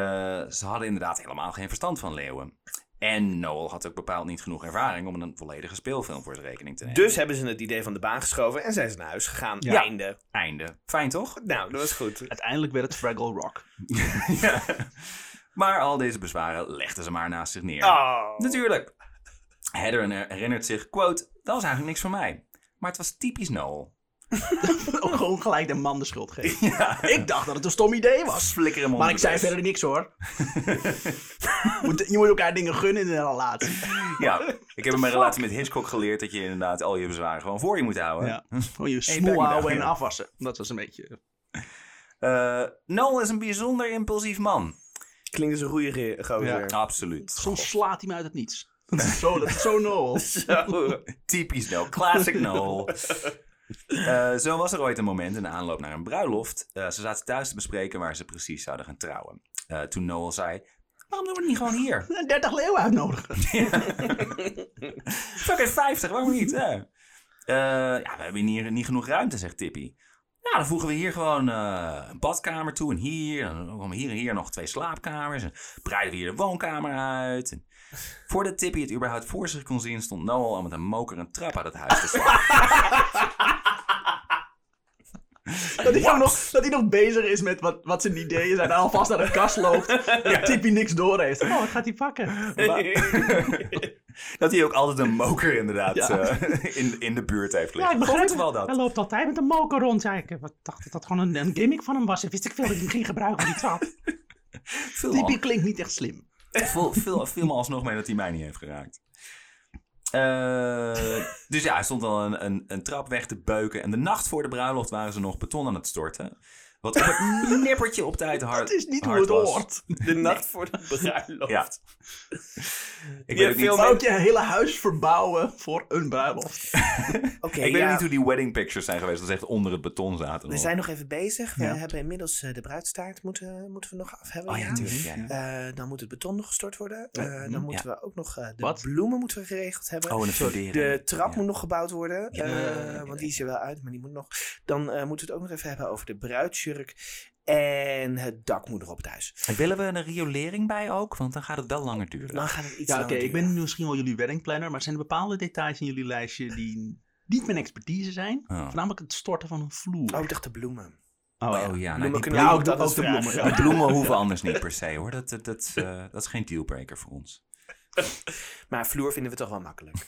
S1: ze hadden inderdaad helemaal geen verstand van leeuwen. En Noel had ook bepaald niet genoeg ervaring om een volledige speelfilm voor zijn rekening te nemen.
S3: Dus hebben ze het idee van de baan geschoven en zijn ze naar huis gegaan.
S2: Ja.
S3: Einde.
S1: Einde. Fijn toch?
S3: Nou, dat was goed.
S2: Uiteindelijk werd het Fraggle Rock.
S1: ja. Maar al deze bezwaren legden ze maar naast zich neer.
S3: Oh.
S1: Natuurlijk. Heather herinnert zich, quote, dat was eigenlijk niks voor mij. Maar het was typisch Noel.
S2: Ook gewoon gelijk de man de schuld geven.
S1: Ja,
S2: Ik dacht dat het een stom idee was.
S1: flikker hem
S2: Maar ik zei verder niks hoor. Moet- je moet elkaar dingen gunnen in een relatie.
S1: Ja, ik heb in mijn relatie met Hitchcock geleerd dat je inderdaad al je bezwaren gewoon voor je moet houden.
S2: Ja. Gewoon je
S1: dag,
S2: smoel houden
S1: ja.
S2: en afwassen. Dat was een beetje...
S1: Eh, Noel is een bijzonder impulsief man.
S3: Klinkt als een goede ge- gozer.
S1: Absoluut.
S2: Soms slaat hij me uit het niets. Zo, dat is zo Noel.
S3: Zo.
S1: Typisch Noel. Classic Noel. Eh, zo was er ooit een moment in de aanloop naar een bruiloft. Eh, ze zaten thuis te bespreken waar ze precies zouden gaan trouwen. Eh, toen Noel zei, waarom doen we het niet gewoon hier?
S2: Een 30 leeuwen uitnodigen.
S1: Fuck it, 50, waarom niet? Ja. Eh, ja, we hebben hier niet genoeg ruimte, zegt Tippy. Nou, dan voegen we hier gewoon eh, een badkamer toe en hier. En dan komen hier en hier nog twee slaapkamers. En breiden we hier de woonkamer uit. En voordat Tippy het überhaupt voor zich kon zien, stond Noel al met een moker een trap uit het huis te slaan.
S2: Dat hij, ook nog, dat hij nog bezig is met wat, wat zijn ideeën zijn. En alvast naar de kast loopt. Dat Tippy niks door heeft. Oh, wat gaat hij pakken?
S1: dat hij ook altijd een moker inderdaad
S2: Ja.
S1: eh, in, in de buurt heeft liggen.
S4: het. Hij loopt altijd met een moker rond. Ja, ik eh, wat dacht dat dat gewoon een, een gimmick van hem was. Ik wist ik veel dat ik hem ging gebruiken, die trap.
S1: Veel
S2: Tippy klinkt niet echt slim.
S1: Veel, veel, viel me alsnog mee dat hij mij niet heeft geraakt. Eh, dus ja, er stond al een, een, een trap weg te beuken. En de nacht voor de bruiloft waren ze nog beton aan het storten. Wat op het nippertje op tijd hard
S2: Dat is niet hoe
S1: hard
S2: het
S1: was.
S2: hoort.
S3: De nacht voor de bruiloft.
S1: Ja. Ik
S3: Ja,
S1: weet, ook niet,
S3: veel
S2: Maar ook je hele huis verbouwen voor een bruiloft.
S3: Oké,
S1: ik weet
S3: ja,
S1: ook niet hoe die wedding pictures zijn geweest. Dat ze echt onder het beton zaten.
S3: We zijn nog even bezig. We
S2: Ja.
S3: hebben inmiddels eh, de bruidstaart moeten, moeten we nog af hebben.
S1: Oh ja,
S3: ja.
S1: natuurlijk. Ja, ja.
S3: Eh, dan moet het beton nog gestort worden. Eh,
S2: mhm,
S3: dan moeten we ook nog eh, de
S2: Wat?
S3: bloemen moeten we geregeld hebben.
S1: Oh, en een fundering.
S3: De trap
S1: Ja.
S3: moet nog gebouwd worden.
S1: Ja.
S3: eh, want die is er wel uit, maar die moet nog. Dan eh, moeten we het ook nog even hebben over de bruidsjurk. En het dak moet erop thuis.
S1: En willen we een riolering bij ook? Want dan gaat het wel langer duren.
S3: Dan gaat het iets
S2: Ja, oké,
S3: langer
S2: ik
S3: duren.
S2: ben misschien wel jullie weddingplanner, maar zijn er bepaalde details in jullie lijstje die niet mijn expertise zijn?
S1: Oh.
S2: Voornamelijk het storten van een vloer.
S3: Oh, ik dacht de bloemen.
S1: Oh ja, nou,
S3: Bloemen
S1: die
S3: kunnen
S1: bloemen-
S3: we
S2: ja,
S3: ook
S2: ook de-
S3: dat
S2: ook de bloemen, ja.
S1: de bloemen hoeven anders niet per se hoor. Dat, dat, dat, eh, dat is geen dealbreaker voor ons.
S3: Maar vloer vinden we toch wel makkelijk.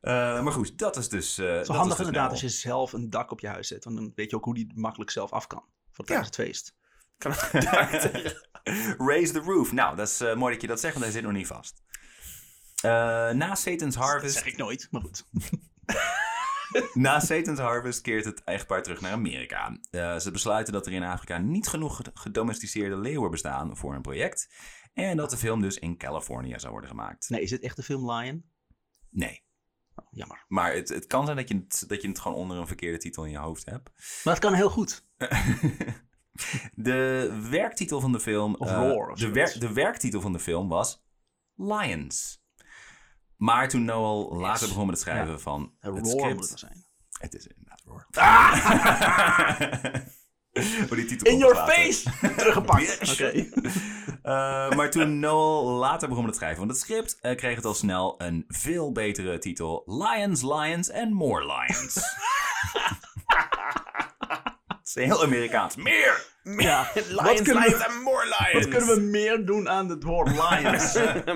S1: Eh, maar goed, dat is dus. eh,
S2: Het
S1: dat
S2: is wel handig
S1: is dus
S2: inderdaad
S1: nou-
S2: als je zelf een dak op je huis zet, want dan weet je ook hoe die makkelijk zelf af kan.
S3: Ja.
S2: Voor tijdens het feest.
S3: Kan het dak tegen-
S1: Raise the roof. Nou, dat is eh, mooi dat je dat zegt, want hij zit nog niet vast. Eh, na Satan's
S2: Dat
S1: Harvest.
S2: zeg ik nooit, maar goed.
S1: Na Satan's Harvest keert het echtpaar terug naar Amerika. Eh, ze besluiten dat er in Afrika niet genoeg ged- gedomesticeerde leeuwen bestaan voor hun project. En dat de film dus in Californië zou worden gemaakt.
S2: Nee, is dit echt de film Lion?
S1: Nee.
S2: Oh, jammer.
S1: Maar het, het kan zijn dat je, het, dat je het gewoon onder een verkeerde titel in je hoofd hebt.
S2: Maar het kan heel goed.
S1: de werktitel van de film.
S2: Of
S1: eh,
S2: Roar of
S1: de,
S2: zoiets.
S1: wer- de werktitel van de film was Lions. Maar toen Noel later begon met het schrijven van
S2: Een
S1: het
S2: roar moet het
S1: script.
S2: wel zijn. Ah!
S1: Het is inderdaad Roar. Maar die titel
S2: In
S1: komt
S2: your
S1: later.
S2: face! Teruggepakt. Oké.
S1: Eh, maar toen Noel later begon met het schrijven van het script, eh, kreeg het al snel een veel betere titel: Lions, Lions and More Lions. Het is heel Amerikaans. Meer!
S2: Ja.
S3: Lions,
S2: kunnen we-
S3: lions and more lions.
S2: Wat kunnen we meer doen aan het woord lions?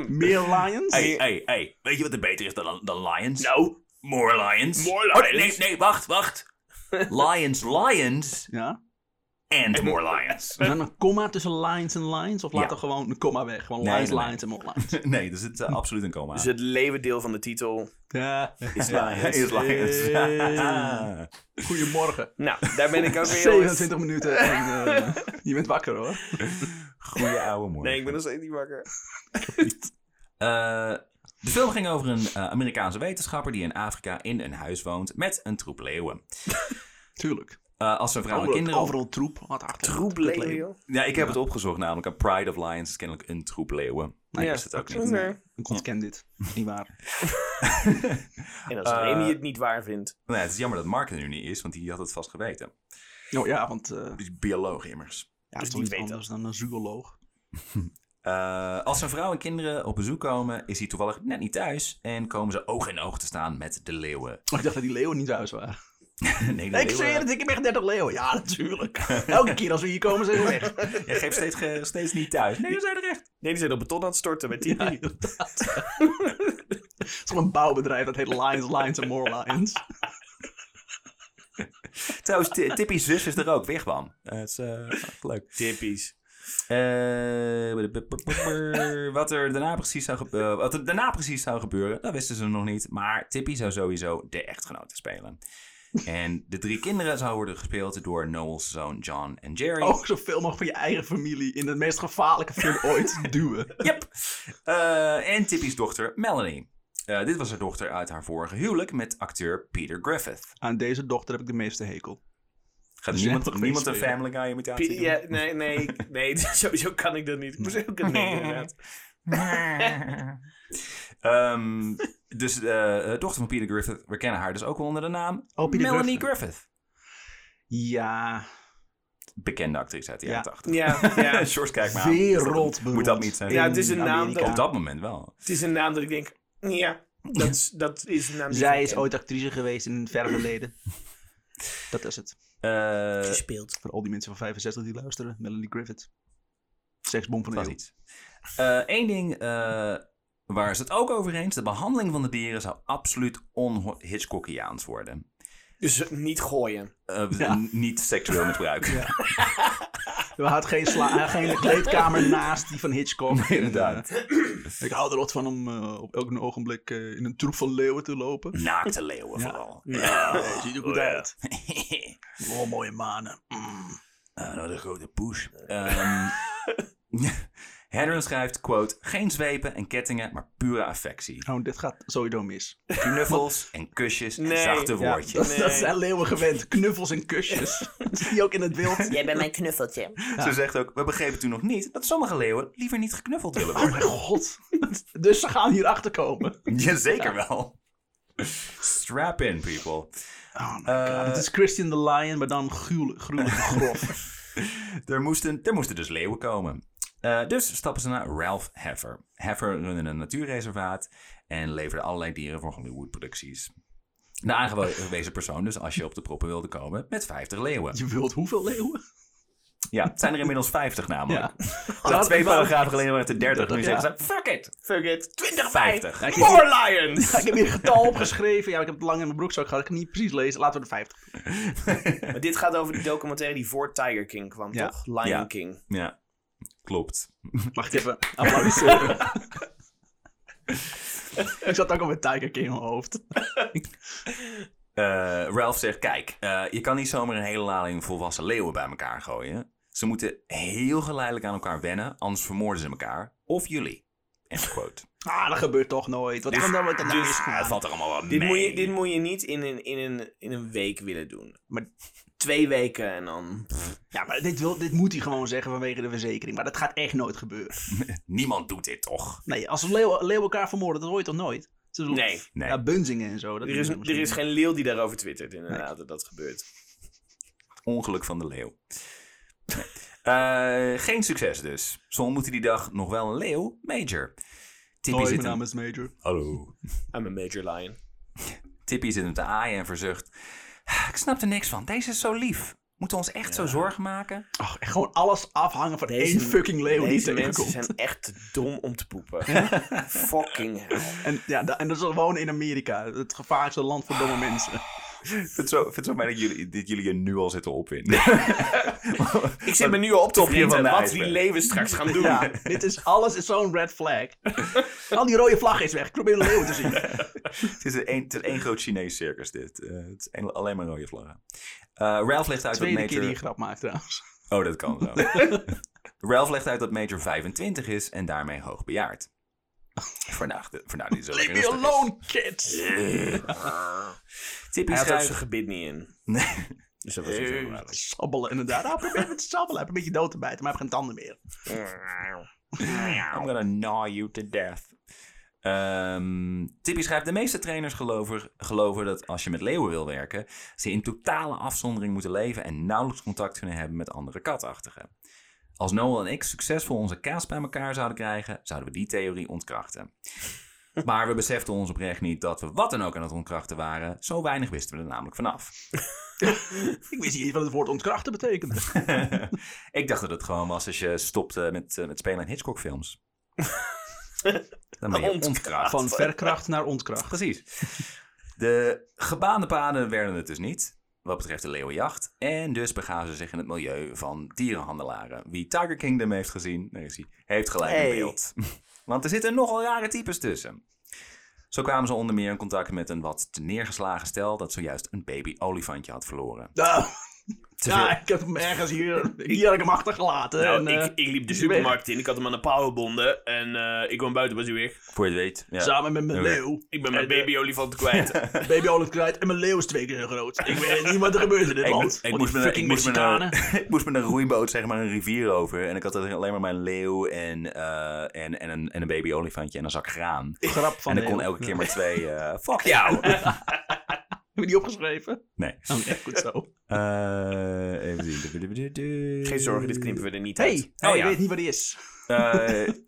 S2: meer lions?
S1: Hey, hey, hey. Weet je wat er beter is dan, dan Lions?
S3: Nou,
S1: More Lions.
S3: More
S1: Oh, nee, nee,
S3: lions.
S1: nee, wacht, wacht. Lions, Lions
S2: Ja.
S1: and More Lions.
S2: En dan een komma tussen lions en lions? Of
S1: Ja.
S2: laten we gewoon een komma weg? Gewoon
S1: Nee,
S2: lions,
S1: nee, nee.
S2: lions en more lions.
S1: Nee, er zit eh, absoluut een coma.
S3: dus het leeuwendeel van de titel.
S2: Ja.
S1: is Lions. Is
S2: Hey.
S1: Lions.
S2: Goedemorgen.
S3: Nou, daar ben ik ook weer. jongens.
S2: 27 minuten en eh, je bent wakker hoor.
S1: Goeie ouwe morgen.
S3: Nee, ik ben nog steeds niet wakker.
S1: Eh, de film ging over een eh, Amerikaanse wetenschapper die in Afrika in een huis woont met een troep leeuwen.
S2: Tuurlijk.
S1: Eh, als zijn vrouw en
S2: Overal,
S1: kinderen.
S2: overal troep. Wat achter.
S3: Troep leeuwen, joh.
S1: Ja, ik heb het opgezocht namelijk. Een Pride of Lions is kennelijk een troep leeuwen. Maar
S3: Ja,
S1: is het ook niet.
S3: oké.
S2: Ik ontken dit. Niet waar.
S3: En als
S1: Eh,
S3: Remy het niet waar vindt.
S1: Nou, ja, het is jammer dat Mark er nu niet is, want die had het vast geweten.
S2: Oh ja, want eh, ja,
S1: Die is bioloog immers.
S2: dat is
S3: die
S2: toch iets
S3: weet dat.
S2: anders dan een zooloog.
S1: Eh, als zijn vrouw en kinderen op bezoek komen, is hij toevallig net niet thuis. En komen ze oog in oog te staan met de leeuwen.
S2: Maar Oh, ik dacht dat die leeuwen niet thuis waren.
S1: nee, de
S2: ik
S1: leeuwen-
S2: zweer het, ik heb echt 30 leeuwen. Ja, natuurlijk. Elke keer als we hier komen zijn we weg.
S1: Jij geeft steeds, ge- steeds niet thuis. Nee, we zijn er echt.
S3: Nee, die zijn op beton aan het storten met die.
S2: Ja, inderdaad. Het is gewoon een bouwbedrijf dat heet Lions, Lions en More Lions.
S1: Trouwens, Ti- Tippy's zus is er ook, Wigwam. Eh, Het is eh, echt leuk.
S3: Typisch.
S1: Eh, wat er daarna precies zou gebeuren, wat er daarna precies zou gebeuren, dat wisten ze nog niet. Maar Tippy zou sowieso de echtgenote spelen. En de drie kinderen zouden worden gespeeld door Noel's zoon John en Jerry.
S2: Ook zoveel mogelijk van je eigen familie in de meest gevaarlijke film ooit duwen.
S1: Yep. Eh, en Tippy's dochter Melanie. Eh, dit was haar dochter uit haar vorige huwelijk met acteur Peter Griffith.
S2: Aan deze dochter heb ik de meeste hekel.
S1: Gaat
S2: Dus jij
S1: niemand,
S2: hebt toch
S1: niemand een
S2: meespelen?
S1: Family Guy imitatie doen?
S3: Ja, nee, nee, nee, sowieso kan ik dat niet. Ik moest ook een nee inderdaad.
S1: Ehm, dus de dochter van Peter Griffith, we kennen haar dus ook wel onder de naam
S2: Oh, Peter
S1: Melanie
S2: Griffith.
S1: Griffith.
S2: Ja,
S1: Bekende actrice uit de jaren
S2: Ja.
S1: 80.
S3: Ja, ja,
S1: George, kijk maar. aan.
S2: wereldberoemd.
S1: Moet dat niet zijn?
S3: Ja, het is een naam
S2: Amerika.
S3: dat-
S1: Op dat moment wel.
S3: het is een naam dat ik denk, ja, dat is, dat is een naam die
S2: Zij
S3: ik
S2: is
S3: ken.
S2: ooit actrice geweest in het verre verleden. Dat is het.
S1: Eh,
S3: gespeeld.
S2: Voor al die mensen van 65 die luisteren. Melanie Griffith. Seksbom van
S1: Dat was
S2: de
S1: iets. Eén ding eh, waar ze het ook over eens. De behandeling van de dieren zou absoluut on-Hitchcockiaans worden.
S3: Dus niet gooien.
S1: Eh,
S2: Ja.
S1: n- Niet seksueel misbruik.
S2: We hadden geen, sla- eh, geen kleedkamer naast die van Hitchcock.
S1: Inderdaad.
S2: Ik hou er wat van om eh, op elk ogenblik eh, in een troep van leeuwen te lopen.
S1: Naakte leeuwen vooral.
S2: Eh, ziet er goed
S1: Oh, Ja.
S2: uit. Oh, mooie manen. Mm.
S1: Ah, nou, de grote poes. Ehm Heron schrijft, quote, geen zwepen en kettingen, maar pure affectie.
S2: Nou, dit gaat sowieso mis.
S1: Knuffels en kusjes en
S3: Nee,
S1: zachte
S3: ja.
S1: woordjes.
S3: Nee.
S2: Dat zijn leeuwen gewend. Knuffels en kusjes. Dat zie je ook in het wild.
S5: Jij bent mijn knuffeltje.
S1: Ze zegt ook, we begrepen toen nog niet dat sommige leeuwen liever niet geknuffeld willen worden.
S2: Oh Mijn god. Dus ze gaan hier achter komen.
S1: Jazeker wel. Strap in, people.
S2: Oh my
S1: Eh,
S2: god. Het is Christian the Lion, maar dan gruwelijk, gruwelijk grof.
S1: Er moesten, er moesten dus leeuwen komen. Eh, dus stappen ze naar Ralph Heffer. Heffer runde een natuurreservaat en leverde allerlei dieren voor Hollywood-producties. De aangewezen persoon dus als je op de proppen wilde komen met 50 leeuwen.
S2: Je wilt hoeveel leeuwen?
S1: Oh, Ja, het zijn er inmiddels 50 namelijk.
S2: Ja.
S1: Dat
S2: Dat
S1: twee
S2: is wel-
S1: paragrafen geleden waren het er 30. Nu
S2: Ja.
S1: zeggen ze, fuck it,
S3: Fuck it. 20
S1: 50.
S3: More lions!
S2: Ik heb hier een getal opgeschreven. Ja, ik heb het lang in mijn broekzak gehad. Ik kan het niet precies lezen. Laten we de 50.
S3: Maar dit gaat over die documentaire die voor Tiger King kwam,
S2: Ja.
S3: toch? Lion
S1: Ja.
S3: King.
S1: Ja, klopt.
S2: Mag ik even applaudisseren? ik zat ook al met Tiger King in mijn hoofd.
S1: Eh, Ralph zegt, kijk, eh, je kan niet zomaar een hele lading volwassen leeuwen bij elkaar gooien. Ze moeten heel geleidelijk aan elkaar wennen, anders vermoorden ze elkaar. Of jullie. End quote.
S2: Ah, dat gebeurt toch nooit. Wat kan dan met de nou
S1: Dus
S2: misgaan?
S1: het valt er allemaal wel mee.
S3: Dit, moet je, dit moet je niet in een, in, een, in een week willen doen.
S2: Maar-
S3: twee weken en dan...
S2: Ja, maar dit, wil, dit moet hij gewoon zeggen vanwege de verzekering. Maar dat gaat echt nooit gebeuren.
S1: Niemand doet dit toch?
S2: Nee, als leeuwen, leeuwen elkaar vermoorden, dat hoor je toch nooit? Ze doen-
S3: Nee.
S1: Nee.
S2: Ja, bunzingen en zo. Dat
S3: Er is,
S2: doen ze
S3: er is
S2: misschien.
S3: geen leeuw die daarover twittert, inderdaad, dat dat gebeurt.
S1: Ongeluk van de leeuw. Nee. Eh, geen succes dus. Ze ontmoeten die dag nog wel een leeuw, Major. Tippy
S2: Hoi,
S1: zit
S2: mijn
S1: hem-
S2: naam is Major.
S1: Hallo.
S3: I'm a major lion.
S1: Tippy zit hem te aaien en verzucht. Ah, Ik snap er niks van. Deze is zo lief. Moeten we ons echt zo zorgen maken?
S2: Ach, echt gewoon alles afhangen van één fucking leeuw die
S3: Deze
S2: tegenkomt.
S3: mensen zijn echt te dom om te poepen. Fucking hell.
S2: En, ja, da- en dat is gewoon in Amerika. Het gevaarlijkste land voor domme mensen.
S1: Ik vind het zo, vind het zo fijn dat jullie, dit jullie je nu al zitten opwinden.
S3: Ik zit me nu al op te
S1: Topje van
S3: vreten
S1: de
S3: wat
S1: ijsberg.
S3: die leeuwen straks gaan doen.
S2: Ja, dit is alles is zo'n red flag. Al die rode vlag is weg. Ik probeer een leeuw te zien.
S1: het, is een, het is één groot Chinees circus dit. Eh, het is een- alleen maar rode vlaggen. Eh, Ralph legt uit
S2: Tweede
S1: dat
S2: keer
S1: Major...
S2: die je grap maakt trouwens.
S1: Oh, dat kan zo. Ralph legt uit dat Major 25 is en daarmee hoogbejaard. Vandaag, de- vandaag nou, die zo
S2: Leave me
S1: rustig is.
S2: alone, kids!
S1: Tippy
S3: Hij had ook zijn
S1: schrijft...
S3: gebit niet in.
S1: Nee.
S3: Dus dat was niet zo belangrijk.
S2: Sabbelen, inderdaad. Ah, probeer met te sabbelen. Hij heeft een beetje dood te bijten, maar hij heeft geen tanden meer.
S1: I'm gonna gnaw you to death. Ehm, Tippy schrijft, de meeste trainers geloven, geloven dat als je met leeuwen wil werken, ze in totale afzondering moeten leven en nauwelijks contact kunnen hebben met andere katachtigen. Als Noel en ik succesvol onze kaas bij elkaar zouden krijgen, zouden we die theorie ontkrachten. Maar we beseften ons oprecht niet dat we wat dan ook aan het ontkrachten waren. Zo weinig wisten we er namelijk vanaf.
S2: Ik wist niet eens wat het woord ontkrachten betekende.
S1: ik dacht dat het gewoon was als je stopte met, eh, met spelen in Hitchcock films. Dan ben je
S3: Ontkracht.
S1: ontkracht.
S2: Van verkracht naar ontkracht.
S1: Precies. De gebaande paden werden het dus niet, wat betreft de leeuwenjacht. En dus begaven ze zich in het milieu van dierenhandelaren. Wie Tiger Kingdom heeft gezien, daar is hij, heeft gelijk
S3: Hey.
S1: een beeld. Want er zitten nogal rare types tussen. Zo kwamen ze onder meer in contact met een wat te neergeslagen stel dat zojuist een baby olifantje had verloren.
S2: Nou,
S1: Te veel-
S2: ja, ik heb hem ergens hier... Hier had ik hem achtergelaten.
S3: Nou,
S2: en, eh,
S3: ik, ik liep de
S2: is hij weg.
S3: supermarkt in, ik had hem aan de powerbonden en eh, ik kwam buiten, was hij weg.
S1: Voor je het weet. Ja.
S2: Samen met mijn
S1: Oké.
S2: leeuw.
S3: Ik ben mijn
S2: En, eh,
S3: baby-olifant kwijt.
S2: Baby Olaf kwijt en mijn leeuw is twee keer zo groot. Ik weet niet wat er gebeurt in dit land.
S1: Ik
S2: Want
S1: moest, met, ik,
S2: die fucking
S1: moest met
S2: Mexicanen.
S1: een, ik moest met een roeiboot zeg maar een rivier over. En ik had alleen maar mijn leeuw en, eh, en, en, een, en een baby olifantje en een zak graan.
S2: Grap van
S1: en ik kon
S2: leeuw.
S1: elke keer maar twee. eh, fuck jou!
S2: Heb je die opgeschreven?
S1: Nee.
S2: Oké, goed zo.
S1: Eh, even zien.
S3: Geen zorgen, dit knippen we er niet
S2: Hey,
S3: uit.
S1: ja.
S2: oh, je weet niet wat die is.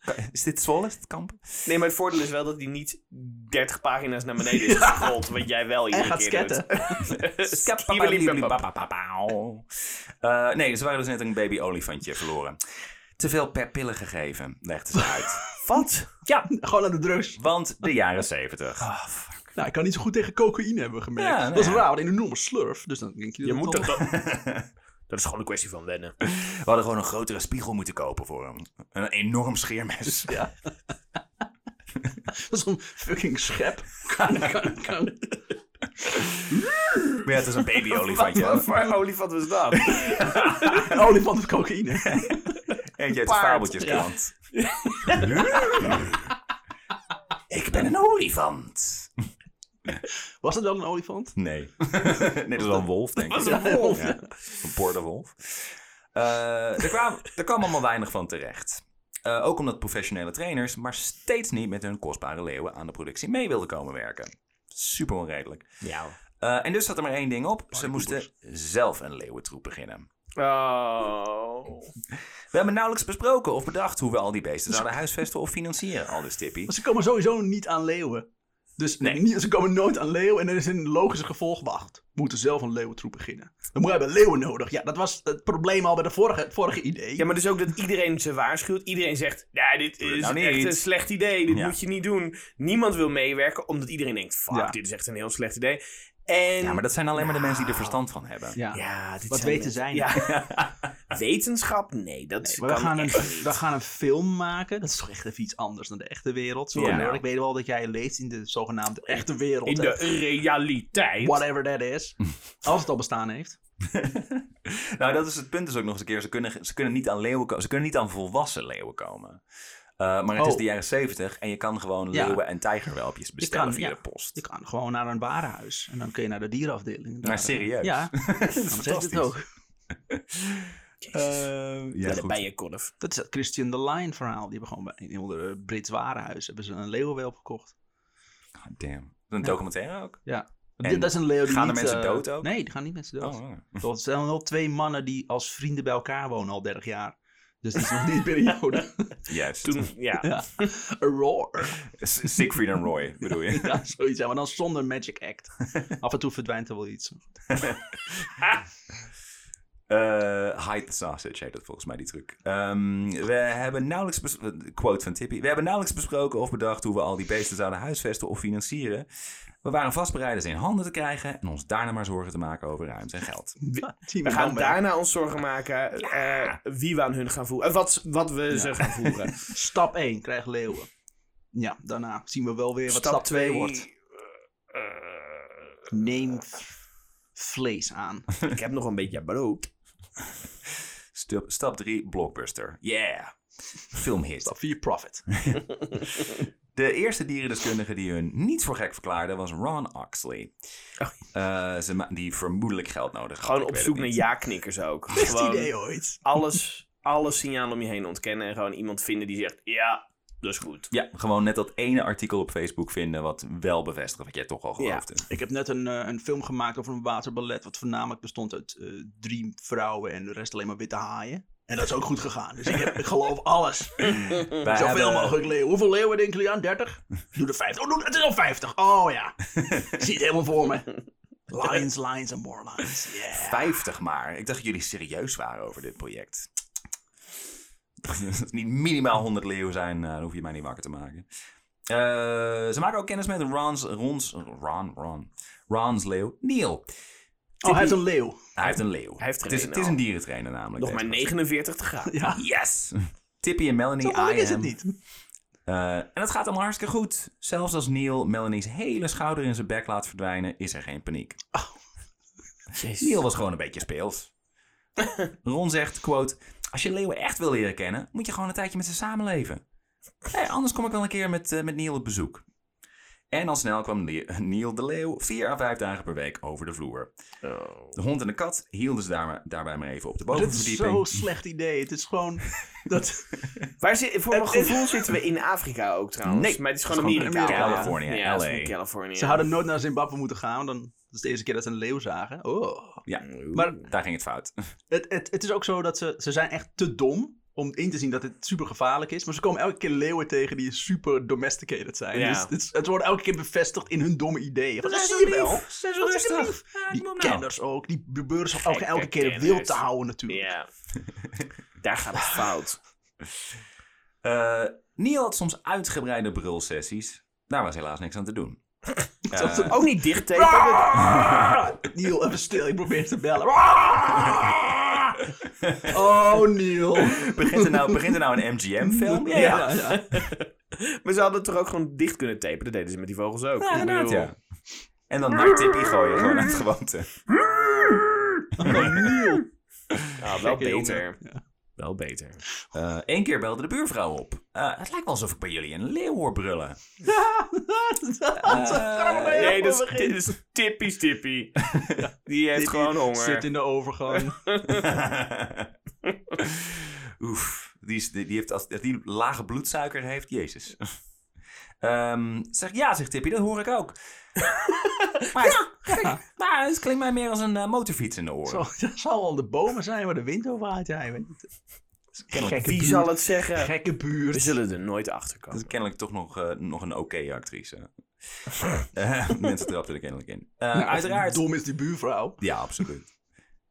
S1: Eh, is dit Zwolle? Is dit kamp?
S3: Nee, maar het voordeel is wel dat hij niet 30 pagina's naar beneden is gerold, wat jij wel
S2: Hij
S3: iedere
S2: gaat
S3: keer doet.
S2: sketten.
S3: Skibberlibberlibberlab.
S1: Eh, nee, ze waren dus net een baby olifantje verloren. Te veel per pillen gegeven, legde ze uit.
S3: Wat?
S1: ja,
S2: Gewoon aan de drugs.
S1: want de jaren zeventig.
S2: Nou, ik kan niet zo goed tegen cocaïne hebben we gemerkt.
S1: Ja, nou
S2: dat is
S1: ja.
S2: raar, want in een normaal slurf. Dus dan denk je...
S3: Je moet
S2: dat
S3: toch...
S2: het
S3: dat- Dat is gewoon een kwestie van wennen.
S1: We hadden gewoon een grotere spiegel moeten kopen voor hem. Een enorm scheermes.
S2: Ja. Zo'n fucking schep. Kan, kan, kan.
S1: Maar ja, het is een baby-olifantje.
S3: Wat voor olifant was dat?
S2: Een olifant of cocaïne.
S1: Eentje uit de
S3: paard.
S1: fabeltjeskrant. Ik ben een olifant.
S2: Was het wel een olifant?
S1: Nee. nee, dat is wel een wolf, denk ik.
S2: een wolf, ja.
S1: Een bordenwolf. Eh er, kwam, er kwam allemaal weinig van terecht. Eh, ook omdat professionele trainers maar steeds niet met hun kostbare leeuwen aan de productie mee wilden komen werken. Super onredelijk.
S3: Ja.
S1: Eh, en dus zat er maar één ding op. Ze moesten zelf een leeuwentroep beginnen.
S3: Oh.
S1: We hebben nauwelijks besproken of bedacht hoe we al die beesten zouden huisvesten of financieren, al dus Tippy.
S2: Maar ze komen sowieso niet aan leeuwen. Dus
S1: Nee.
S2: niet, ze komen nooit aan leeuwen en er is een logische gevolg. Wacht, we moeten zelf een leeuwentroep beginnen. Dan moeten we hebben leeuwen nodig. Ja, dat was het probleem al bij de vorige, het vorige idee.
S3: Ja, maar dus ook dat iedereen ze waarschuwt. Iedereen zegt, nou, dit
S1: het
S3: is
S1: nou
S3: echt
S1: niet."
S3: een slecht idee. Dit
S1: Ja.
S3: moet je niet doen. Niemand wil meewerken, omdat iedereen denkt, fuck,
S2: Ja.
S3: dit is echt een heel slecht idee. En...
S1: Ja, maar dat zijn alleen maar de mensen die er verstand van hebben.
S2: ja.
S3: Ja, dit
S2: Wat
S3: zijn
S2: weten
S3: mensen-
S2: zij
S3: Ja. Wetenschap? Nee, dat
S2: Maar we
S3: kan
S2: gaan, een,
S3: echt niet.
S2: we gaan een film maken. Dat is toch echt even iets anders dan de echte wereld. Sorry
S3: Ja.
S2: hoor, ik weet wel dat jij leeft in de zogenaamde echte wereld.
S3: In de
S2: hè.
S3: realiteit.
S2: Whatever that is. Als het al bestaan heeft.
S1: Nou, dat is het punt dus ook nog eens een keer. Ze kunnen, ze kunnen niet aan leeuwen komen. Ze kunnen niet aan volwassen leeuwen komen. Eh, maar het is
S2: Oh.
S1: de jaren zeventig en je kan gewoon
S2: Ja.
S1: leeuwen en tijgerwelpjes bestellen
S2: kan,
S1: via
S2: ja.
S1: de post.
S2: Je kan gewoon naar een warenhuis. En dan kun je naar de dierenafdeling.
S1: Maar
S2: Daar-
S1: serieus.
S2: Ja,
S1: dat is
S2: dan zegt
S1: fantastisch.
S2: het ook.
S1: Eh, ja,
S3: Ja,
S1: goed.
S3: de bijenkorf.
S2: Dat is dat Christian de Lion verhaal. Die hebben gewoon bij een heel ander Brits warenhuis hebben ze een leeuwenwelp gekocht.
S1: God damn. Een documentaire ook? En
S2: Dat is een leeuw die
S1: gaan er
S2: niet,
S1: mensen
S2: eh,
S1: dood ook?
S2: Nee, die gaan niet mensen dood.
S1: Oh, ja.
S2: Dat zijn wel twee mannen die als vrienden bij elkaar wonen al 30 jaar. Dus dat is nog die periode.
S1: Juist.
S3: Toen, ja.
S2: ja. Roar.
S1: S- Siegfried en Roy, bedoel je?
S2: Ja, zoiets. ja, Maar dan zonder Magic Act. Af en toe verdwijnt er wel iets.
S1: Eh, hide the sausage heet dat volgens mij, die truc. Ehm, we hebben nauwelijks... bes- Quote van Tippy. We hebben nauwelijks besproken of bedacht hoe we al die beesten zouden huisvesten of financieren. We waren vastbereid ze in handen te krijgen en ons daarna maar zorgen te maken over ruimte en geld.
S3: We gaan daarna ons zorgen maken eh, wie we aan hun gaan voeren. Eh, wat, wat we ze gaan voeren.
S2: Stap 1, krijg leeuwen. Ja, daarna zien we wel weer wat stap, 2
S3: twee
S2: wordt.
S3: eh, eh,
S2: Neem vlees aan.
S3: ik heb nog een beetje brood.
S1: Stap, stap 3, blockbuster. Yeah! Filmhit.
S2: Stap 4, profit.
S1: De eerste dierendeskundige die hun niet voor gek verklaarde was Ron Oxley.
S3: Oh.
S1: Eh, ze ma- die vermoedelijk geld nodig had.
S3: Gewoon
S1: ik
S3: op
S1: weet
S3: zoek
S1: het
S3: naar
S1: niet.
S3: ja-knikkers ook.
S2: Best
S3: Gewoon
S2: idee ooit.
S3: alles, alles signalen om je heen ontkennen. En gewoon iemand vinden die zegt, ja, dat is goed.
S1: Ja, gewoon net dat ene artikel op Facebook vinden wat wel bevestigt wat jij toch al geloofde.
S2: Ik heb net een, eh, een film gemaakt over een waterballet. wat voornamelijk bestond uit eh, drie vrouwen en de rest alleen maar witte haaien. En dat is ook goed gegaan. Dus ik, heb, ik geloof alles.
S3: Mm.
S1: Wij
S2: Zoveel
S1: hebben-
S2: mogelijk leeuwen. Hoeveel leeuwen denken jullie aan? 30? Doe er 50. Oh, doe, het is al 50. Oh ja. Ik zie het helemaal voor me. Lions, lions and more lions. Yeah.
S1: 50 maar. Ik dacht dat jullie serieus waren over dit project. Als het niet minimaal 100 leeuwen zijn, eh, dan hoef je mij niet wakker te maken. Eh, ze maken ook kennis met Ron's, Ron's, Ron, Ron, Ron's leeuw, Neil.
S2: Oh, hij heeft een leeuw.
S1: Hij heeft een leeuw.
S3: Hij heeft er
S1: het, is,
S3: een
S1: het is
S3: al.
S1: een dierentrainer namelijk.
S3: Nog
S1: deze
S3: maar
S1: gast.
S3: 49 te gaan.
S2: Ja.
S1: Yes! Tippy en Melanie,
S2: Zo moeilijk
S1: I
S2: is het
S1: am.
S2: niet.
S1: Eh, en het gaat allemaal hartstikke goed. Zelfs als Neil Melanie's hele schouder in zijn bek laat verdwijnen, is er geen paniek.
S2: Oh,
S1: Neil was gewoon een beetje speels. Ron zegt, quote, als je leeuwen echt wil leren kennen, moet je gewoon een tijdje met ze samenleven. Hé, anders kom ik wel een keer met, eh, met Neil op bezoek. En al snel kwam Le- Neil de leeuw vier à vijf dagen per week over de vloer. De hond en de kat hielden ze daar maar- daarbij maar even op de
S2: Oh. Dit is
S1: bovenverdieping.
S2: zo'n slecht idee. Het is gewoon dat...
S3: Waar zit, voor mijn
S2: Het is-
S3: gevoel zitten we in Afrika ook trouwens.
S1: Nee,
S3: maar het is
S1: het is
S3: gewoon
S1: gewoon
S3: Amerika.
S1: Amerika,
S3: Ja.
S1: California,
S3: ja, het is
S1: LA.
S3: gewoon California.
S2: Ze hadden nooit naar Zimbabwe moeten gaan. want Dan, dat is de eerste keer dat ze een leeuw zagen. Oh.
S1: Ja,
S2: Maar
S1: daar ging het fout.
S2: Het, het, het is ook zo dat ze, ze zijn echt te dom om in te zien dat dit super gevaarlijk is. Maar ze komen elke keer leeuwen tegen die super domesticated zijn.
S3: Ja.
S2: Dus het, is- het wordt elke keer bevestigd in hun domme ideeën. Van, Dat zie je wel.
S1: Zijn
S2: Dat is lief. Die kenners ook. Die beuren zich ook elke keer
S3: kenners.
S2: wild te houden natuurlijk.
S3: Ja. Daar gaat het fout.
S1: Eh, Neil had soms uitgebreide brulsessies. Daar was helaas niks aan te doen.
S2: Dat ze-
S3: Ook niet dicht tapen.
S2: Neil, even stil. Ik probeer te bellen. Oh, Neil.
S1: Begint er nou, begint er nou een MGM-film? Ja, ja.
S2: ja.
S3: Maar ze hadden het toch ook gewoon dicht kunnen tapen? Dat deden ze met die vogels ook.
S1: Ja,
S3: Ik
S1: inderdaad,
S3: bedoel,
S1: ja. En dan naar Tippy gooien, gewoon uit gewoonte.
S3: ja, ah, wel
S2: Gekke
S3: beter. Wel beter.
S1: Eén Eh, keer belde de buurvrouw op. Eh, het lijkt wel alsof ik bij jullie een leeuw hoor brullen.
S2: grappig.
S3: Eh, Nee, dat is, dit is tippie tippie. Die heeft gewoon honger.
S2: Zit in de overgang.
S1: Oef, die, is, die, die heeft, als als die lage bloedsuiker heeft, jezus. Ehm, zeg, ja, zegt Tippy, dat hoor ik ook. maar, ja, gek. maar het klinkt mij meer als een eh, motorfiets in de oren.
S2: Zo, dat zal wel de bomen zijn waar de wind over waait. Ja, je weet niet.
S1: Kennelijk,
S3: Wie zal het zeggen?
S2: Gekke
S3: We
S2: buurt.
S3: zullen er nooit achter
S1: dat is
S3: komen.
S1: kennelijk toch nog, eh, nog een oké actrice. Eh, mensen trapten er kennelijk in. Eh, uiteraard.
S2: Dom is die buurvrouw.
S1: Ja, absoluut.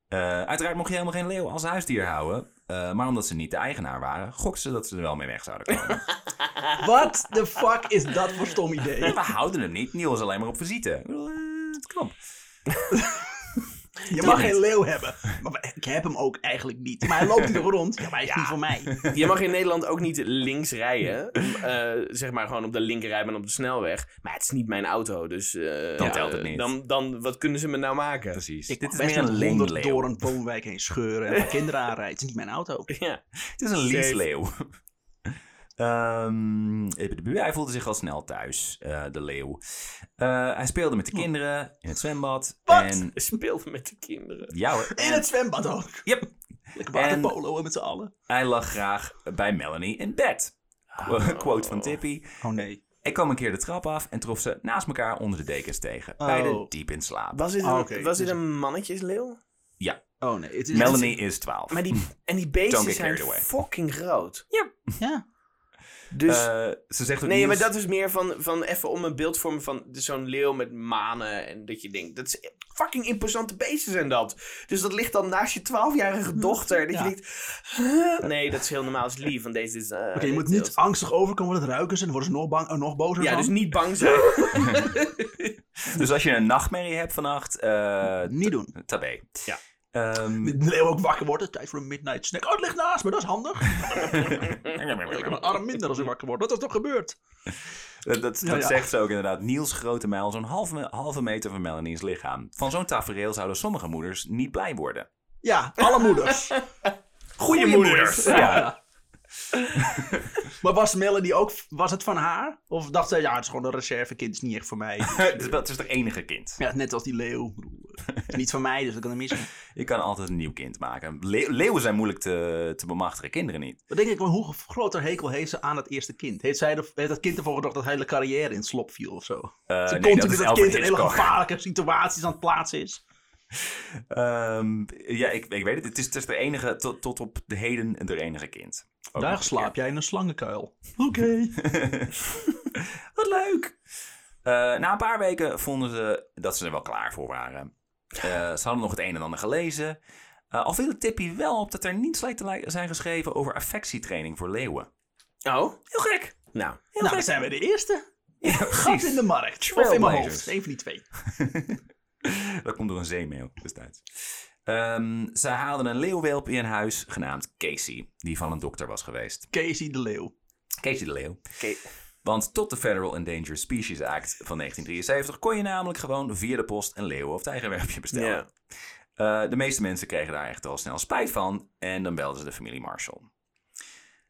S1: Eh, uiteraard mocht je helemaal geen leeuw als huisdier houden. eh, maar omdat ze niet de eigenaar waren, gokten ze dat ze er wel mee weg zouden komen.
S2: What the fuck is dat voor stom idee?
S1: We houden hem niet. Niel is alleen maar op visite. Ik bedoel, eh, het klopt.
S2: Je mag geen leeuw hebben. Maar ik heb hem ook eigenlijk niet. Maar hij loopt hier rond. Ja, maar hij is niet voor mij.
S3: Je mag in Nederland ook niet links rijden. Eh, zeg maar gewoon op de linkerrijbaan op de snelweg. Maar het is niet mijn auto, dus... eh,
S1: Dan telt het
S3: eh,
S1: niet.
S3: Dan, dan, wat kunnen ze me nou maken?
S1: Precies.
S2: Ik
S1: Dit is
S2: best
S1: meer een
S2: met honderd
S1: leemleeuw.
S2: door een woonwijk heen scheuren en mijn kinderen aanrijden. Het is niet mijn auto.
S3: Ja.
S1: Het is een leesleeuw. Ehm de buur, hij voelde zich al snel thuis, eh, de leeuw. Eh, hij speelde met de kinderen in het zwembad.
S2: Hm. Wat?
S1: En,
S3: Speel met de kinderen.
S1: ja hoor.
S2: In het zwembad ook.
S1: Yep.
S2: Lekker
S1: En-
S2: waterpolo met z'n allen.
S1: Hij lag graag bij Melanie in bed. Qu- Quote van Tippy.
S2: Oh nee.
S1: Ik kwam een keer de trap af en trof ze naast elkaar onder de dekens tegen.
S3: Oh.
S1: Beiden diep in slaap.
S3: Was dit een,
S2: Ah, oké.
S3: was dit
S2: Dus-
S3: een mannetjesleeuw?
S1: Ja,
S2: Oh nee. Het is
S1: Melanie is 12.
S3: Maar die, en die
S1: Don't
S3: beesten
S1: get
S3: zijn
S1: carried away.
S3: fucking groot.
S2: Ja.
S3: Dus...
S1: Eh, ze zegt ook
S3: Nee, maar
S1: nieuws-
S3: dat is meer van, van even om een beeld te vormen van zo'n leeuw met manen. En dat je denkt, dat is fucking imposante beesten zijn dat. Dus dat ligt dan naast je twaalfjarige dochter. Dat
S2: Mhm. Ja.
S3: je denkt, huh? nee, dat is heel normaal. Dat is lief, want deze is... eh,
S2: Oké, je moet
S3: dit
S2: niet
S3: is-
S2: angstig overkomen, dat ruiken ze en dan worden ze nog, bang, eh, nog bozer
S3: Ja,
S2: van.
S3: dus niet bang zijn.
S1: Dus als je een nachtmerrie hebt vannacht, eh
S2: Niet doen.
S1: tabé.
S3: Ja.
S1: Ehm,
S2: De leeuw ook wakker wordt, het is tijd voor een midnight snack. Oh, het ligt naast me, dat is handig. Ik heb een arm minder als ik wakker word. Wat is toch gebeurd?
S1: dat dat,
S2: Ja,
S1: dat
S2: ja.
S1: zegt ze ook inderdaad. Niels grote mijl, zo'n halve, halve meter van Melanie's lichaam. Van zo'n tafereel zouden sommige moeders niet blij worden.
S2: Ja, alle moeders.
S3: Goeie moeders.
S1: Ja.
S2: maar was Melanie ook, was het van haar? Of dacht zij, ja, het is gewoon een reservekind, het is niet echt voor mij.
S1: het, Dus is, wel- het is toch enige kind.
S2: Ja, net als die leeuw. Ik bedoel, Het is niet van mij, dus dat kan er mis. zijn.
S1: Je kan altijd een nieuw kind maken. Le- leeuwen zijn moeilijk te, te bemachtigen, kinderen niet.
S2: Dan denk ik, maar hoe groter hekel heeft ze aan het eerste kind? Heeft, zij de, heeft dat kind ervoor gedorven dat haar hele carrière in het slop viel of zo?
S1: Eh,
S2: ze
S1: nee,
S2: continu
S1: dat is
S2: dat,
S1: Alfred
S2: kind in hele
S1: Hitchcock.
S2: gevaarlijke situaties aan het plaatsen is.
S1: Ehm, ja, ik, ik weet het. Het is, het is de enige, tot, tot op de heden, de enige kind. Ook nog
S2: Daar
S1: een
S2: slaap jij in een slangenkuil. Oké.
S1: Wat leuk! Eh, na een paar weken vonden ze dat ze er wel klaar voor waren. Eh, ze hadden nog het een en ander gelezen. Eh, al viel het tipje wel op dat er niets lijkt te li- zijn geschreven over affectietraining voor leeuwen.
S3: Oh,
S1: Heel gek!
S3: nou.
S2: nou, dan zijn we de eerste.
S1: Ja,
S2: Gat in de markt. Of in mijn
S1: Trailblazers.
S2: hoofd. Eén van die twee.
S1: Dat komt door een zeemeel destijds. Ehm, ze haalden een leeuwwelp in huis genaamd Casey, die van een dokter was geweest.
S2: Casey de Leeuw.
S1: Casey de Leeuw.
S3: Oké.
S1: Want tot de Federal Endangered Species Act van 1973 kon je namelijk gewoon via de post een leeuw- of tijgerwerpje bestellen.
S3: Ja.
S1: Eh, de meeste mensen kregen daar echt al snel spijt van en dan belden ze de familie Marshall.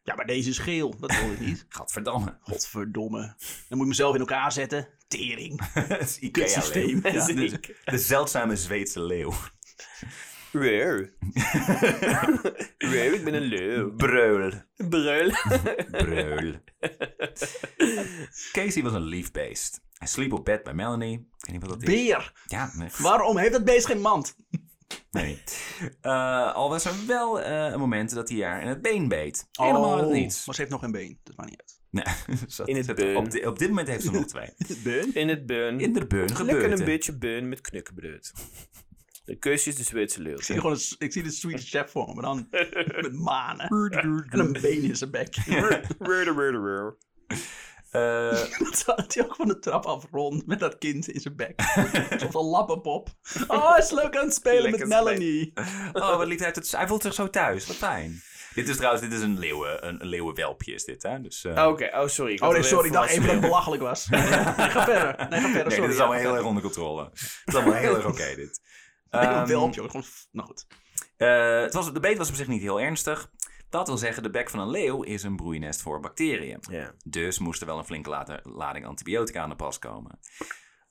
S2: Ja, maar deze is geel. Dat wil ik niet.
S1: Gadverdamme.
S2: Godverdomme. Dan moet ik mezelf in elkaar zetten. Tering.
S1: Het is
S2: Kutsysteem.
S1: Ikea-leeuw.
S2: Ja.
S1: De, de zeldzame Zweedse leeuw.
S3: Leeuw. Leeuw, ik ben een leeuw.
S1: Breul.
S3: Breul.
S1: Breul. Casey was een lief beest. Hij sliep op bed bij Melanie. Ik weet niet wat dat is.
S2: Beer.
S1: Ja, nee.
S2: Waarom heeft dat beest geen mand?
S1: Nee. Eh, al was er wel eh, een moment dat hij haar in het been beet. Helemaal uit het niets.
S2: Oh. Maar ze heeft nog geen been. Dat maakt niet uit.
S1: Nee, zat-
S3: Oh. In het
S1: zat-
S3: beun.
S1: Op, di- op dit moment heeft ze nog twee.
S2: Been?
S3: In het beun.
S1: In de beun
S3: Lekker
S1: gebeurt
S3: een
S1: het.
S3: beetje beun met knukkenbreud. De kusjes de Zweedse leeuw.
S2: Ik zie, gewoon een, s- ik zie de Swedish chef voor me. Maar dan met manen. En een been in zijn bek.
S3: Rrr, rrr, rrr, rrr.
S1: Eh,
S4: Dat zat hij ook van de trap af rond met dat kind in zijn bek. Zoals een lappenpop. Oh, hij is leuk aan het spelen
S3: Lekker
S4: met Melanie.
S1: oh, wat lief hij het. Hij voelt zich zo thuis. Wat fijn. Dit is trouwens dit is een, leeuwen, een, een leeuwenwelpje, is dit. Hè? Dus, eh,
S3: Oké, oh sorry. ik
S2: Oh
S3: had
S2: nee,
S3: al
S2: sorry, ik
S3: verwacht-
S2: dacht even dat het belachelijk was. nee, ga verder. Nee, ga verder,
S1: nee,
S2: sorry.
S1: dit is allemaal heel erg onder controle. Het is allemaal heel erg oké, dit.
S2: Een
S1: Ehm,
S2: welpje, gewoon... f- Nou goed.
S1: eh, het was, de beet was op zich niet heel ernstig. Dat wil zeggen, de bek van een leeuw is een broeinest voor bacteriën.
S3: Ja.
S1: Dus moest er wel een flinke late- lading antibiotica aan de pas komen.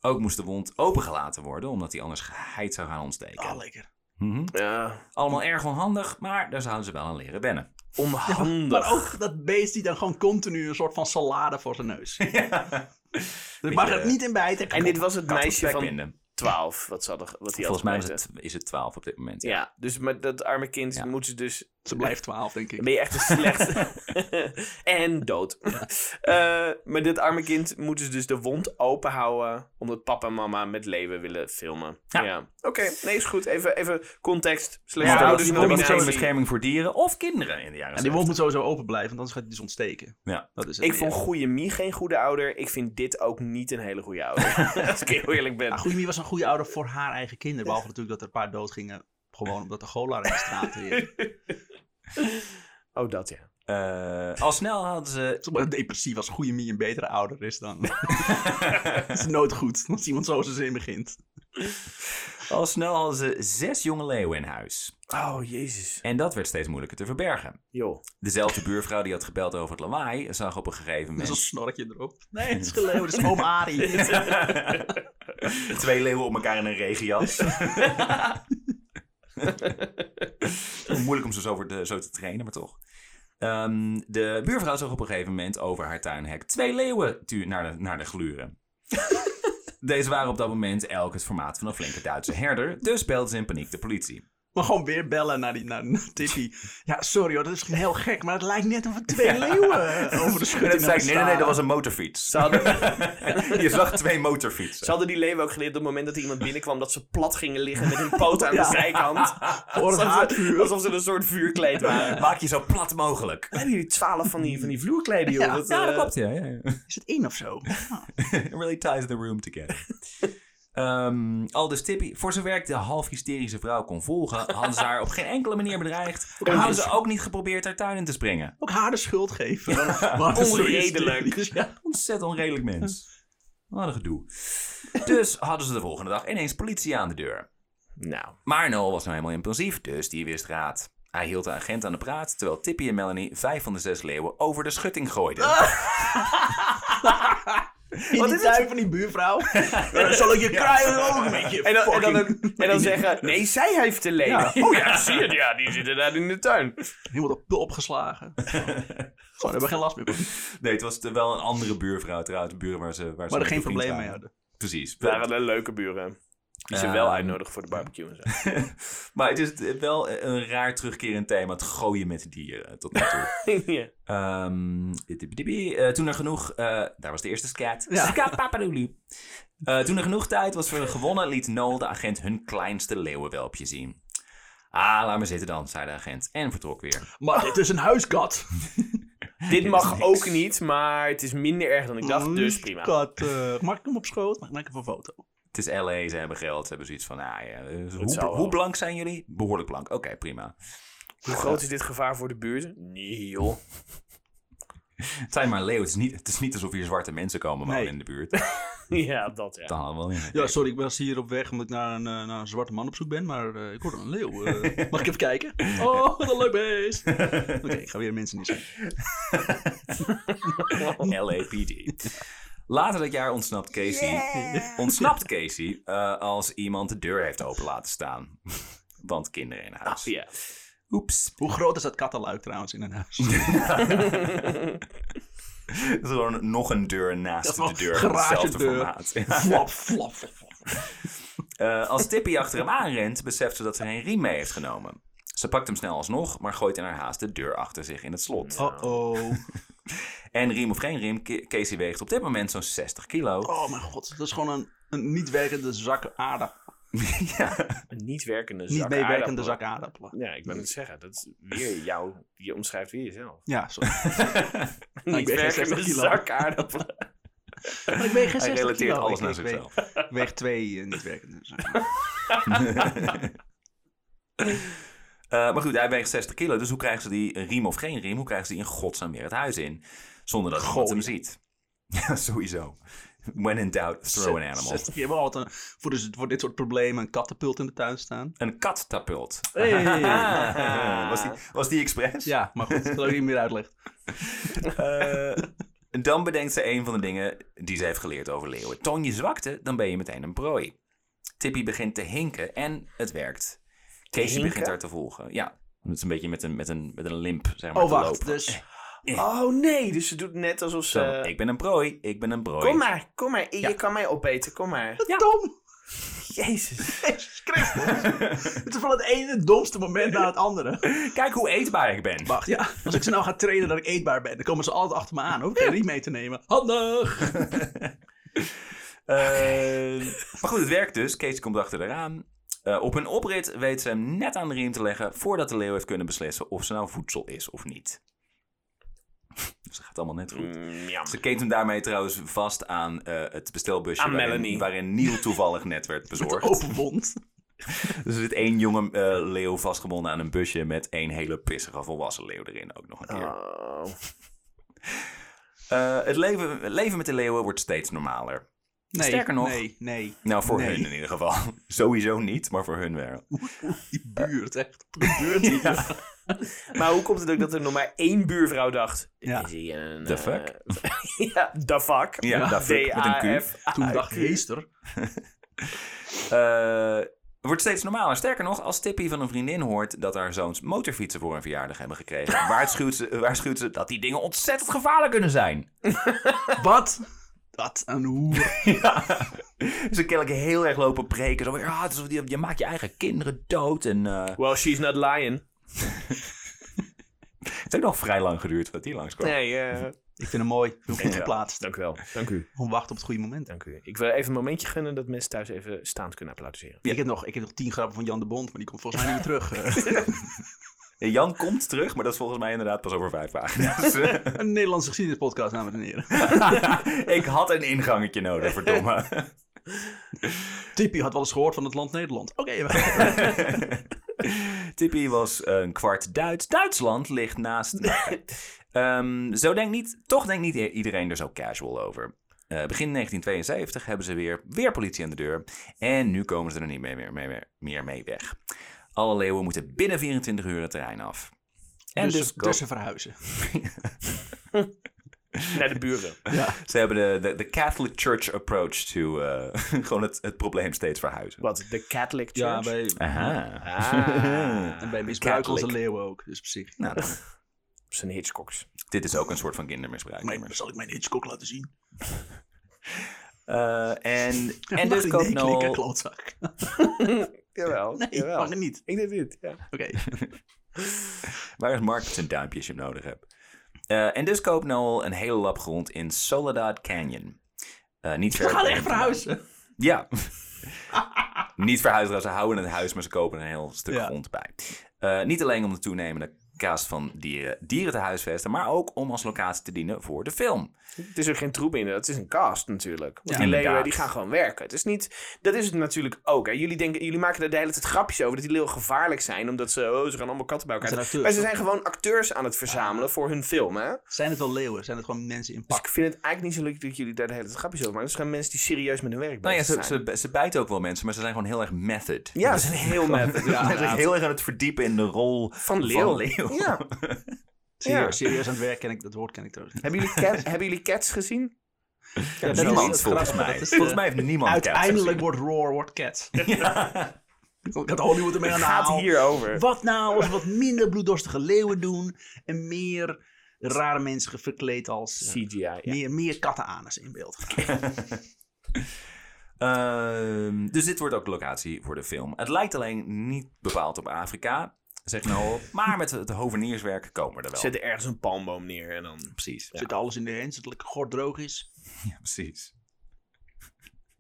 S1: Ook moest de wond opengelaten worden, omdat die anders geheid zou gaan ontsteken.
S2: Ah, lekker.
S1: Mhm.
S3: Ja,
S1: Allemaal erg onhandig, maar daar zouden ze wel aan leren wennen.
S3: onhandig.
S2: Maar ook dat beest die dan gewoon continu een soort van salade voor zijn neus. Ik mag
S1: Beetje,
S2: het niet in bijten.
S3: eh, en dit was het
S1: kat op
S3: meisje
S1: spek
S3: van
S1: binden.
S3: 12, eh, wat, ze hadden, wat hij had
S1: Volgens mij is
S3: gemeten.
S1: het, is het 12 op dit moment. Ja.
S3: Ja, dus met dat arme kind
S1: Ja.
S3: moet ze dus
S2: Ze blijft twaalf, denk ik.
S3: Dan ben je echt een slecht. en dood. Eh, maar dit arme kind moeten ze dus de wond open houden. Omdat papa en mama met leeuwen willen filmen.
S1: Ja.
S3: Ja. Oké, nee, is goed. Even, even context. Slechts
S1: Maar dat
S3: ouders
S1: is
S3: en
S1: nog niet zo'n
S3: dominatie.
S1: bescherming voor dieren of kinderen in de jaren
S2: En die
S1: 70.
S2: wond moet sowieso open blijven, want anders gaat hij dus ontsteken.
S1: Ja.
S2: Dat is het
S3: Ik
S2: idee.
S3: vond goede Mie geen goede ouder. Ik vind dit ook niet een hele goede ouder. Als ik heel eerlijk ben.
S2: Ja, Goeie Mie was een goede ouder voor haar eigen kinderen. Behalve natuurlijk dat er een paar doodgingen. Gewoon omdat de gola in de straat heerste.
S3: Oh, dat ja.
S1: Eh, al snel hadden ze...
S2: Zeg maar Depressief als goede Mie een betere ouder is dan. dat is nooit goed als iemand zo zijn zin begint.
S1: Al snel hadden ze zes jonge leeuwen in huis.
S3: Oh, jezus.
S1: En dat werd steeds moeilijker te verbergen.
S3: Joh.
S1: Dezelfde buurvrouw die had gebeld over het lawaai... zag op een gegeven
S2: Met zo'n
S1: moment
S2: snorkje erop. Nee, het is geleeuw, het is oom Arie.
S1: twee leeuwen op elkaar in een regenjas. Moeilijk om ze zo, voor de- zo te trainen, maar toch. Ehm, de buurvrouw zag op een gegeven moment over haar tuinhek twee leeuwen tu- naar de, naar de gluren. Deze waren op dat moment elk het formaat van een flinke Duitse herder, dus belde ze in paniek de politie.
S2: Maar gewoon weer bellen naar, die, naar Tippy. Ja, sorry hoor, dat is heel gek, maar het lijkt net of er twee leeuwen over de schutting
S1: En toen zei ik,
S2: aan
S1: nee, nee, nee, dat
S2: staan.
S1: was een motorfiets.
S3: Ze hadden,
S1: Je zag twee motorfietsen.
S3: ze hadden die leeuwen ook geleerd op het moment dat er iemand binnenkwam... dat ze plat gingen liggen met hun poot aan de
S2: Ja.
S3: zijkant.
S2: Voor het
S3: Alsof
S2: haardvuur.
S3: ze, alsof ze een soort vuurkleed waren.
S1: Maak je zo plat mogelijk.
S3: Hebben jullie twaalf van die, van die vloerkleden, joh?
S2: Ja,
S3: dat,
S1: Ja,
S3: eh,
S1: dat klopt, ja. ja, ja.
S2: Is het één of zo? Ja.
S1: It really ties the room together. Ehm al dus Tippy, voor zover ik de half hysterische vrouw kon volgen, hadden ze haar op geen enkele manier bedreigd. En hadden ze ook niet geprobeerd haar tuin in te springen.
S2: Ook haar de schuld geven. Wat een
S3: Onredelijk.
S2: hysterisch, Ja.
S1: Ontzettend onredelijk mens. Wat een gedoe. Dus hadden ze de volgende dag ineens politie aan de deur.
S3: Nou,
S1: Maar Noel was nou helemaal impulsief, dus die wist raad. Hij hield de agent aan de praat, terwijl Tippy en Melanie vijf van de zes leeuwen over de schutting gooiden.
S2: In die tuin van die buurvrouw. Dan zal ik je kruien ook met je
S3: en dan, en dan,
S2: fucking-
S3: ook- en dan zeggen, nee, zij heeft te lenen. Oh ja, zie je het, ja, die zitten daar in de tuin.
S2: Helemaal op de opgeslagen. Zo, daar hebben we geen last meer van.
S1: Nee, het was wel een andere buurvrouw trouwens, de buren waar ze... Waar ze met
S2: Maar er geen
S1: bevriend
S2: probleem mee
S1: waren.
S2: hadden.
S1: Precies.
S3: Het waren de leuke buren. Die ze wel
S1: Ehm.
S3: uitnodigen voor de barbecue en zo.
S1: Maar het is wel een raar terugkerend thema, het gooien met dieren tot nu toe.
S3: Ja.
S1: Ehm, dibidibi. Eh, toen er genoeg, eh, daar was de eerste scat. Scat papadoelie. Eh, toen er genoeg tijd was voor gewonnen, liet Noel de agent hun kleinste leeuwenwelpje zien. Ah, laat maar zitten dan, zei de agent. En vertrok weer.
S2: Maar dit is een huiskat.
S3: Dit mag ook niet, maar het is minder erg dan ik dacht, dus prima.
S2: Kat, eh, mag ik hem op schoot? Mag ik even een foto?
S1: Het is LA, ze hebben geld, ze hebben zoiets van, ah ja, eh, hoe,
S3: zou wel.
S1: hoe blank zijn jullie? Behoorlijk blank, oké, prima.
S3: Hoe groot is dit gevaar voor de buurt? Nee, joh.
S1: Het zijn maar leeuwen, het is niet, het is niet alsof hier zwarte mensen komen wonen
S2: Nee.
S1: in de buurt.
S3: Ja, dat ja.
S1: Dan hadden we wel in.
S2: Ja, sorry, ik was hier op weg omdat ik naar een, eh, naar een zwarte man op zoek ben, maar eh, ik hoorde een leeuw. eh. mag ik even kijken? Oh, wat een leuk beest! Oké, ik ga weer mensen niet zijn.
S1: LAPD. Later dat jaar ontsnapt Casey, ontsnapt Casey eh, als iemand de deur heeft open laten staan. Want kinderen in huis.
S2: Ah,
S3: Ja.
S1: Oeps.
S2: Hoe groot is dat kattenluik trouwens in een huis?
S1: Er is gewoon nog een deur naast
S2: Dat is wel
S1: de deur. van Hetzelfde
S2: garagedeur.
S1: formaat.
S2: flap, flap, flap, flap.
S1: Eh, als Tippy achter hem aanrent, beseft ze dat ze geen riem mee heeft genomen. Ze pakt hem snel alsnog, maar gooit in haar haast de deur achter zich in het slot.
S2: Oh. Uh-oh.
S1: En riem of geen riem, Ca- Casey weegt op dit moment zo'n 60 kilo.
S2: Oh mijn god, dat is gewoon een, een niet werkende zak aardappel.
S1: ja.
S3: Een niet werkende zak
S2: Niet meewerkende
S3: aardappelen.
S2: zak aardappelen.
S3: Ja, ik ben het zeggen. Dat is weer jou. Je omschrijft weer jezelf.
S2: Ja, sorry.
S3: Niet
S2: ben geen
S3: werkende
S2: 60 kilo.
S3: zak aardappelen.
S2: Maar ik weeg
S1: Hij
S2: geen 60
S1: relateert
S2: kilo.
S1: alles
S2: Ik-
S1: naar
S2: ik weeg-
S1: zichzelf.
S2: Ik weeg twee eh, niet werkende zakken.
S1: Eh, maar goed, hij weegt 60 kilo. Dus hoe krijgen ze die, een riem of geen riem, hoe krijgen ze die in godsnaam weer het huis in? Zonder dat iemand hem ziet. Ja, sowieso. When in doubt, throw an animal.
S2: 60 keer. We hebben altijd een- voor, dus, voor dit soort problemen een katapult in de tuin staan.
S1: Een kattapult.
S2: Hey.
S1: was, die, was die expres?
S2: ja, maar goed. Dat wil ik niet meer uitleggen.
S1: Eh, dan bedenkt ze een van de dingen die ze heeft geleerd over leeuwen. Toon je zwakte, dan ben je meteen een prooi. Tippy begint te hinken en het werkt. Casey
S3: hinken?
S1: begint haar te volgen. Ja, dat is een beetje met een, met een, met een limp, zeg maar,
S2: Oh,
S1: te
S2: wacht.
S1: lopen.
S2: Dus
S3: Oh nee, dus ze doet net alsof ze...
S1: Zo, ik ben een prooi, ik ben een prooi.
S3: Kom maar, kom maar. Je kan mij opeten, kom maar.
S2: dom.
S3: Jezus.
S2: Jezus Christus. het is van het ene domste moment naar het andere.
S1: Kijk hoe eetbaar ik ben.
S2: Wacht, ja. Als ik ze nou ga trainen dat ik eetbaar ben, dan komen ze altijd achter me aan. Hoef ik geen riem mee te nemen. Handig.
S1: Eh, maar goed, het werkt dus. Casey komt achter haar aan. Eh, op een oprit weet ze hem net aan de riem te leggen... voordat de leeuw heeft kunnen beslissen of ze nou voedsel is of niet. Dus dat gaat allemaal net
S3: Mm.
S1: goed.
S3: ja.
S1: Ze keent hem daarmee trouwens vast aan eh, het bestelbusje...
S3: Aan
S1: waarin,
S3: Melanie.
S1: waarin Neil toevallig net werd bezorgd.
S2: Open wond.
S1: Dus er zit één jonge eh, leeuw vastgebonden aan een busje... met één hele pissige volwassen leeuw erin ook nog een keer.
S3: Oh.
S1: Eh, het leven, het leven met de leeuwen wordt steeds normaler.
S2: Nee,
S1: Sterker nog-
S2: Nee, nee.
S1: Nou, voor
S2: Nee.
S1: hun in ieder geval. Sowieso niet, maar voor hun wel.
S2: Die buurt, echt. De buurt hier.
S3: Maar hoe komt het ook dat er nog maar één buurvrouw dacht?
S2: Ja.
S3: Is hier een,
S1: The
S3: eh,
S1: fuck?
S3: ja, the fuck.
S1: Ja, dat fuck met een Q.
S3: D-A-F.
S2: Toen dacht ik, heester.
S1: Eh, het wordt steeds normaler. Sterker nog, als Tippy van een vriendin hoort dat haar zoons motorfietsen voor een verjaardag hebben gekregen, waarschuwt ze, waarschuwt ze dat die dingen ontzettend gevaarlijk kunnen zijn.
S2: Wat? Dat een hoer.
S1: Ja. Ze kennelijk heel erg lopen preken. Zo, ja, het is alsof je, je maakt je eigen kinderen dood. En, eh,
S3: Well, she's not lying.
S1: het heeft ook nog vrij lang geduurd dat die langskwam.
S3: Nee, eh,
S2: Ik vind hem mooi. Ik vind hem goed geplaatst.
S3: dank u wel. Dank u.
S2: Gewoon wachten op het goede moment.
S3: Dank u. Ik wil even een momentje gunnen dat mensen thuis even staand kunnen applaudisseren.
S2: Ik, heb nog, ik heb nog tien grappen van Jan de Bond, maar die komt volgens mij niet meer terug. Eh,
S1: En Eh, Jan komt terug, maar dat is volgens mij inderdaad pas over vijf pagina's.
S2: een Nederlandse geschiedenispodcast, dames en heren.
S1: Ik had een ingangetje nodig, verdomme.
S2: Tippy had wel eens gehoord van het land Nederland. Oké,
S1: Tippy was een kwart Duits. Duitsland ligt naast. Nou, oké. Ehm, zo denkt niet, toch denkt niet i- iedereen er zo casual over. Eh, begin 1972 hebben ze weer, weer politie aan de deur. En nu komen ze er niet meer, meer, meer, meer- meer mee weg. Alle leeuwen moeten binnen 24 uur het terrein af. En dus,
S2: dus, dus,
S1: ko-
S2: ze verhuizen.
S3: Naar de buren.
S1: ze hebben de, de, de Catholic Church approach to eh, gewoon het, het probleem steeds verhuizen.
S3: Wat? De Catholic
S2: Ja,
S3: Church?
S2: bij,
S1: Aha.
S3: Ah.
S2: en bij misbruik onze
S1: Catholic.
S2: leeuwen ook. Dus op zich.
S1: Nou, dan-
S3: Zijn Hitchcocks.
S1: dit is ook een soort van kindermisbruik.
S2: Mijn, zal ik mijn Hitchcock laten zien?
S1: Eh, en en
S2: Mag
S1: dus
S2: ik
S1: koopt
S2: nee klikken,
S1: Noel
S2: klootzak?
S3: Jawel.
S2: Nee, mag het niet.
S3: Ik deed dit, ja.
S2: Oké.
S1: Waar is Mark met zijn duimpje als je hem nodig hebt? Eh, en dus koopt Noel een hele lap grond in Soledad Canyon. Eh, niet ver
S2: We gaan echt verhuizen.
S1: Ja. niet verhuizen, ze houden het huis, maar ze kopen een heel stuk
S2: Ja.
S1: grond bij. Eh, niet alleen om de toenemende kaas van dieren, dieren te huisvesten, maar ook om als locatie te dienen voor de film.
S3: Het is ook geen troep in, het is een cast natuurlijk. Want
S2: Ja,
S3: die leeuwen
S1: inderdaad.
S3: die gaan gewoon werken. Het is niet, dat is het natuurlijk ook. Hè. Jullie, denken, jullie maken er de hele tijd grapjes over dat die leeuwen gevaarlijk zijn. Omdat ze, oh, ze gaan allemaal katten bij elkaar.
S2: zijn acteurs,
S3: maar ze
S2: toch?
S3: zijn gewoon acteurs aan het verzamelen voor hun film. Hè?
S2: Zijn het wel leeuwen? Zijn het gewoon mensen in
S3: Dus
S2: pak?
S3: ik vind het eigenlijk niet zo leuk dat jullie daar de hele tijd grapjes over maken. Het zijn gewoon mensen die serieus met hun werk
S1: Nou ja,
S3: bezig
S1: ze,
S3: zijn.
S1: ze, ze bijten ook wel mensen, maar ze zijn gewoon heel erg method.
S3: Ja, ze zijn heel mad.
S1: Ze zijn zich
S3: inderdaad.
S1: heel erg aan het verdiepen in de rol
S3: Van leeuw. Ja. Ja.
S2: Serieus, serieus aan het werk ken ik, dat woord ken ik trouwens niet.
S3: Hebben, jullie cat, hebben jullie cats gezien?
S2: Ja, dat is
S1: Niemand,
S2: het
S1: volgens
S2: grappige,
S1: mij.
S2: dat is,
S1: Volgens
S2: eh,
S1: mij heeft niemand Cats
S2: Uiteindelijk wordt Roar, wordt Cat. Ik had Hollywood ermee aan
S3: Het
S2: de
S3: gaat
S2: haal.
S3: hierover.
S2: Wat nou als we wat minder bloeddorstige leeuwen doen en meer rare mensen verkleed als... eh,
S3: CGI. ja.
S2: meer, meer kattenanus in beeld.
S1: Ehm, dus dit wordt ook de locatie voor de film. Het lijkt alleen niet bepaald op Afrika, zegt Noel. maar met het hovenierswerk komen we er wel.
S3: Zet er ergens een palmboom neer en dan...
S1: Precies.
S2: Zit alles in de hens, dat het lekker gort droog is.
S1: precies.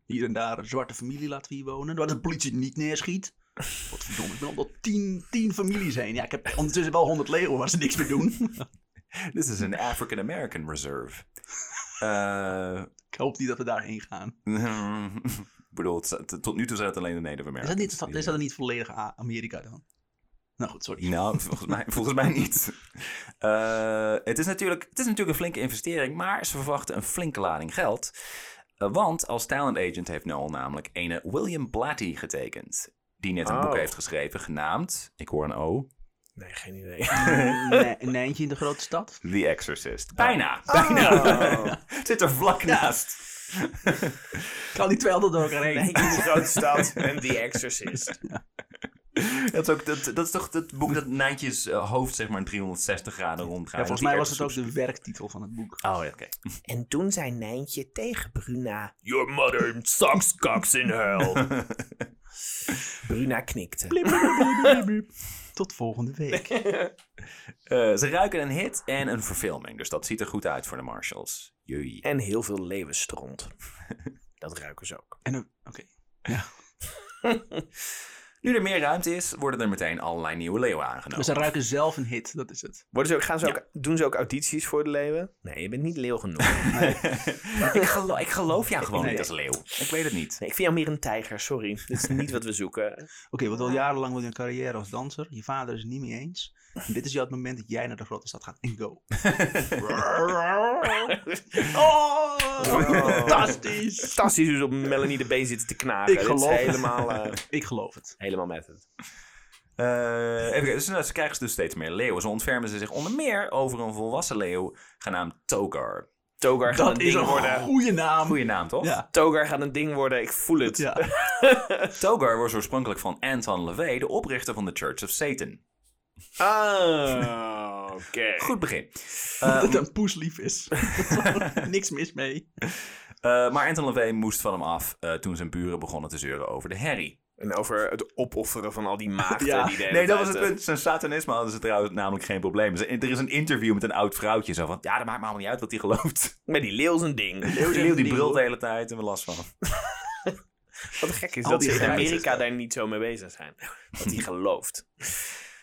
S2: Hier en daar een zwarte familie laten we hier wonen. Waar de politie niet neerschiet. Wat verdomme, ik ben al door tien, tien families heen. Ja, ik heb ondertussen wel honderd leeuwen waar ze niks meer doen.
S1: Dit is een African American reserve. Eh,
S2: ik hoop niet dat we daarheen gaan.
S1: ik bedoel, het staat- tot nu toe zijn het alleen de Nederlanders.
S2: Is dat niet, is dat niet volledig A- Amerika dan? Nou goed, sorry.
S1: Nou, volgens mij, volgens mij niet. Eh, het, is natuurlijk, het is natuurlijk een flinke investering, maar ze verwachten een flinke lading geld. Eh, want als talent agent heeft Noel namelijk ene William Blatty getekend. Die net een
S3: Oh.
S1: boek heeft geschreven genaamd, ik hoor een
S2: Oh.
S1: O,
S3: Nee, geen idee.
S6: Nee, een nijntje in de grote stad.
S1: The Exorcist. Bijna,
S2: Oh.
S1: bijna. Het Zit er vlak naast.
S2: Kan die twee altijd door elkaar heen?
S3: Nee, in de grote stad en The Exorcist.
S1: Dat, is ook, dat, dat is toch het boek dat Nijntjes eh, hoofd zeg maar 360 graden rondgaat. Dus
S2: Ja, volgens mij was het ook de werktitel van het boek.
S1: Oh, ja, oké.
S3: En toen zei Nijntje tegen Bruna... Your mother sucks cocks in hell. Bruna knikte.
S2: Tot volgende week.
S1: Eh, ze ruiken een hit en een verfilming, dus dat ziet er goed uit voor de Marshalls. Jee.
S3: En heel veel leeuwenstront. Dat ruiken ze ook.
S2: En een- Oké.
S1: Nu er meer ruimte is, worden er meteen allerlei nieuwe leeuwen
S2: Maar
S1: aangenomen.
S2: Dus ze ruiken zelf een hit, dat is het.
S3: Worden ze ook, gaan ze ook, doen ze ook audities voor de leeuwen? Nee, je bent niet leeuw genoeg.
S1: ik, gelo- ik geloof jou gewoon
S3: Nee.
S1: niet als leeuw. Ik weet het niet.
S3: Nee, ik vind jou meer een tijger, sorry. Dit is niet wat we zoeken.
S2: Oké, want al jarenlang wil je een carrière als danser. Je vader is het niet mee eens. En dit is jou het moment dat jij naar de grote stad gaat en go.
S3: Oh.
S2: Fantastisch!
S3: Fantastisch hoe ze op Melanie de B zitten te knagen.
S2: Ik
S3: Dit is
S2: geloof het.
S3: helemaal, eh,
S2: Ik geloof het.
S3: helemaal met het.
S1: Eh, even kijken, dus, nou, ze krijgen dus steeds meer leeuwen. Ze ontfermen ze zich onder meer over een volwassen leeuw genaamd Togar.
S3: Togar gaat
S2: Dat
S3: een
S2: is
S3: ding
S2: een
S3: worden.
S2: goede naam.
S1: Goeie naam, toch?
S2: Ja.
S3: Togar gaat een ding worden, ik voel het.
S2: Ja.
S1: Togar was oorspronkelijk van Anton LaVey, de oprichter van de Church of Satan.
S3: Ah, oké.
S1: Goed begin.
S2: dat het een poeslief is. Niks mis mee.
S1: Eh, maar Anton LaVey moest van hem af eh, toen zijn buren begonnen te zeuren over de herrie.
S3: En over het opofferen van al die maagden.
S2: Ja.
S3: die de hele
S1: Nee, dat
S3: tijd,
S1: was het
S3: eh,
S1: punt. Zijn satanisme hadden ze trouwens namelijk geen probleem. Ze- Er is een interview met een oud vrouwtje. Zo van, ja, dat maakt me allemaal niet uit wat hij gelooft.
S3: Met die leeuw zijn ding.
S1: Die leeuw die
S2: ding,
S1: brult de
S2: hoor.
S1: hele tijd en we last van.
S3: Wat gek is
S2: Al
S3: dat
S2: die
S3: ze in
S2: geiten.
S3: Amerika daar niet zo mee bezig zijn. Dat hij gelooft.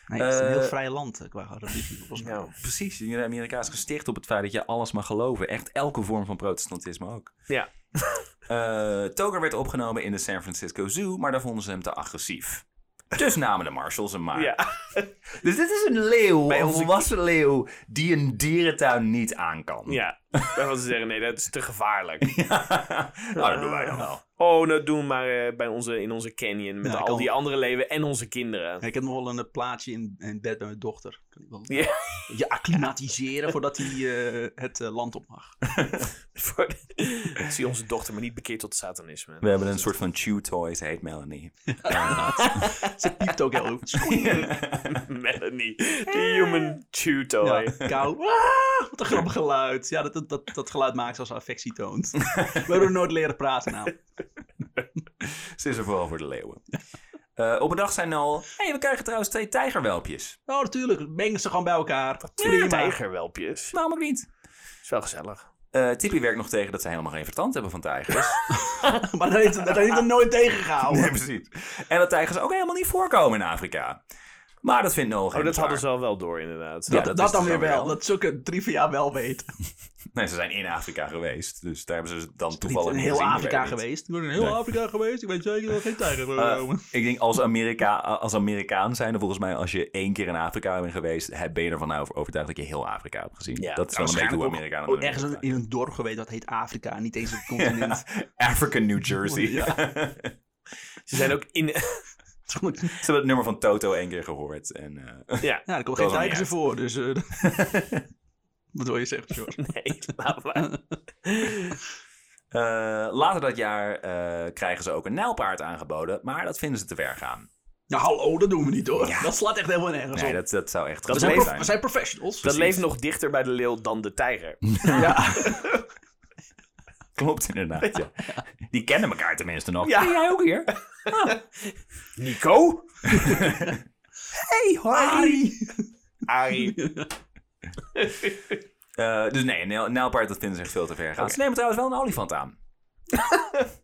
S2: Nee, het is een
S1: Eh,
S2: heel vrij land eh, qua religie, volgens mij.
S3: Nou,
S1: Precies, in Amerika is gesticht op het feit dat je alles mag geloven. Echt elke vorm van protestantisme ook.
S3: ja.
S1: Eh, Toger werd opgenomen in de San Francisco Zoo, maar daar vonden ze hem te agressief. Dus namen de Marshalls hem maar.
S3: ja.
S1: Dus dit is een leeuw,
S3: Bij
S1: een
S3: onze-
S1: volwassen leeuw, die een dierentuin niet aan kan.
S3: Ja. Daarvan ze zeggen, nee, dat is te gevaarlijk.
S1: nou, dat doen wij dan wel.
S3: Oh, dat doen we maar eh, bij onze, in onze canyon. Met
S2: Ja,
S3: al
S2: kan.
S3: die andere leeuwen en onze kinderen.
S2: Ja, Ik heb nog wel een eh, plaatje in, in bed bij mijn dochter. Kan ik wel
S3: Ja.
S2: je acclimatiseren voordat hij eh, het eh, land op mag.
S3: Voor Ik zie onze dochter maar niet bekeerd tot satanisme.
S1: We hebben een soort van chew toys, heet Melanie.
S2: Ze piept ook heel goed.
S3: Melanie, de human tutor.
S2: Ja, kou. Ah, wat een grappig geluid. Ja, dat, dat, dat, dat geluid maakt als ze affectie toont. We hebben nooit leren praten nou.
S1: Ze is er vooral voor de leeuwen. Eh, op een dag zijn Noel... hey, we krijgen trouwens twee tijgerwelpjes.
S2: Oh, natuurlijk. Mengen ze gewoon bij elkaar.
S3: Prima.
S2: Prima.
S3: Tijgerwelpjes.
S1: Waarom ook niet?
S3: Is wel gezellig.
S1: Eh Tippy werkt nog tegen dat ze helemaal geen verstand hebben van tijgers.
S2: Maar dat heeft, dat heeft er nooit tegengehouden.
S1: nee, precies. En dat tijgers ook helemaal niet voorkomen in Afriga. Maar dat vindt Noel geen
S3: Oh, dat hadden ze
S1: bezwaar.
S3: al wel door, inderdaad.
S1: Ja.
S3: Ja.
S1: dat
S2: dat
S1: is
S2: dan
S1: het
S2: weer
S1: dan
S2: wel.
S1: wel.
S2: Dat zulke trivia wel weten.
S1: Nee, ze zijn in Afrika geweest. Dus daar hebben ze dan
S2: Niet
S1: toevallig
S2: in
S1: niet
S2: heel
S1: gezien, ik weet
S2: Afrika
S1: het niet.
S2: geweest. Ik ben in heel
S1: Nee.
S2: Afrika geweest. Ik weet zeker dat er geen tijger
S1: Eh,
S2: komen.
S1: ik denk als, Amerika, als Amerikaan zijn, volgens mij als je één keer in Afrika bent geweest, heb- ben je ervan over- overtuigd dat je heel Afrika hebt gezien.
S3: Ja,
S1: dat is wel een beetje
S3: waarschijnlijk
S1: hoe
S3: ook
S1: Amerikanen
S2: Oh,
S1: doen.
S2: ergens een- in een dorp geweest dat heet Afrika. Niet eens een continent.
S1: African New Jersey.
S2: Ja.
S3: Ze zijn ook in...
S2: Ze komen-
S1: Ze hebben het nummer van Toto één keer gehoord. En, eh,
S3: ja,
S2: Ja, er komen
S1: Dat
S2: geen
S1: was er niet
S2: tijgers
S1: uit.
S2: ervoor. Dus, eh, wat wil je zeggen, George?
S3: nee, laat maar.
S1: eh, later dat jaar eh, krijgen ze ook een nijlpaard aangeboden, maar dat vinden ze te ver gaan.
S2: Nou, hallo, dat doen we niet hoor. Dat slaat echt helemaal nergens
S1: Nee,
S2: op.
S1: dat, dat zou echt
S3: Dat
S2: We
S1: dat
S2: zijn,
S3: leeft-
S2: prof- we zijn professionals.
S3: Dat leeft nog dichter bij de leeuw dan de tijger.
S2: Ja.
S1: Klopt inderdaad, ja. Die kennen elkaar tenminste nog.
S3: Ja.
S1: Ben jij ook hier?
S3: Nico?
S2: Hey, Harry!
S3: Arie.
S1: Eh, dus nee, een nijl- nijlpaard dat vinden ze echt veel te ver gaan. Ze nemen trouwens wel een olifant aan.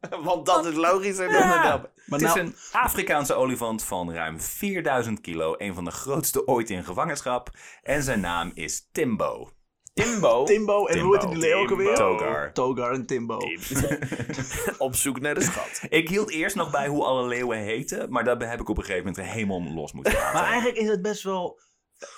S3: Want dat is logischer dan een dab.
S1: Maar
S2: Nou.
S1: het is een Afrikaanse olifant van ruim 4000 kilo. Een van de grootste ooit in gevangenschap. En zijn naam is Timbo.
S3: Timbo,
S2: oh, Timbo en hoe heet die
S1: Timbo.
S2: leeuw ook alweer?
S1: Togar.
S2: Togar en Timbo.
S3: op zoek naar de schat.
S1: Ik hield eerst nog bij hoe alle leeuwen heten. Maar dat heb ik op een gegeven moment helemaal los moeten laten.
S2: Maar eigenlijk is het best wel,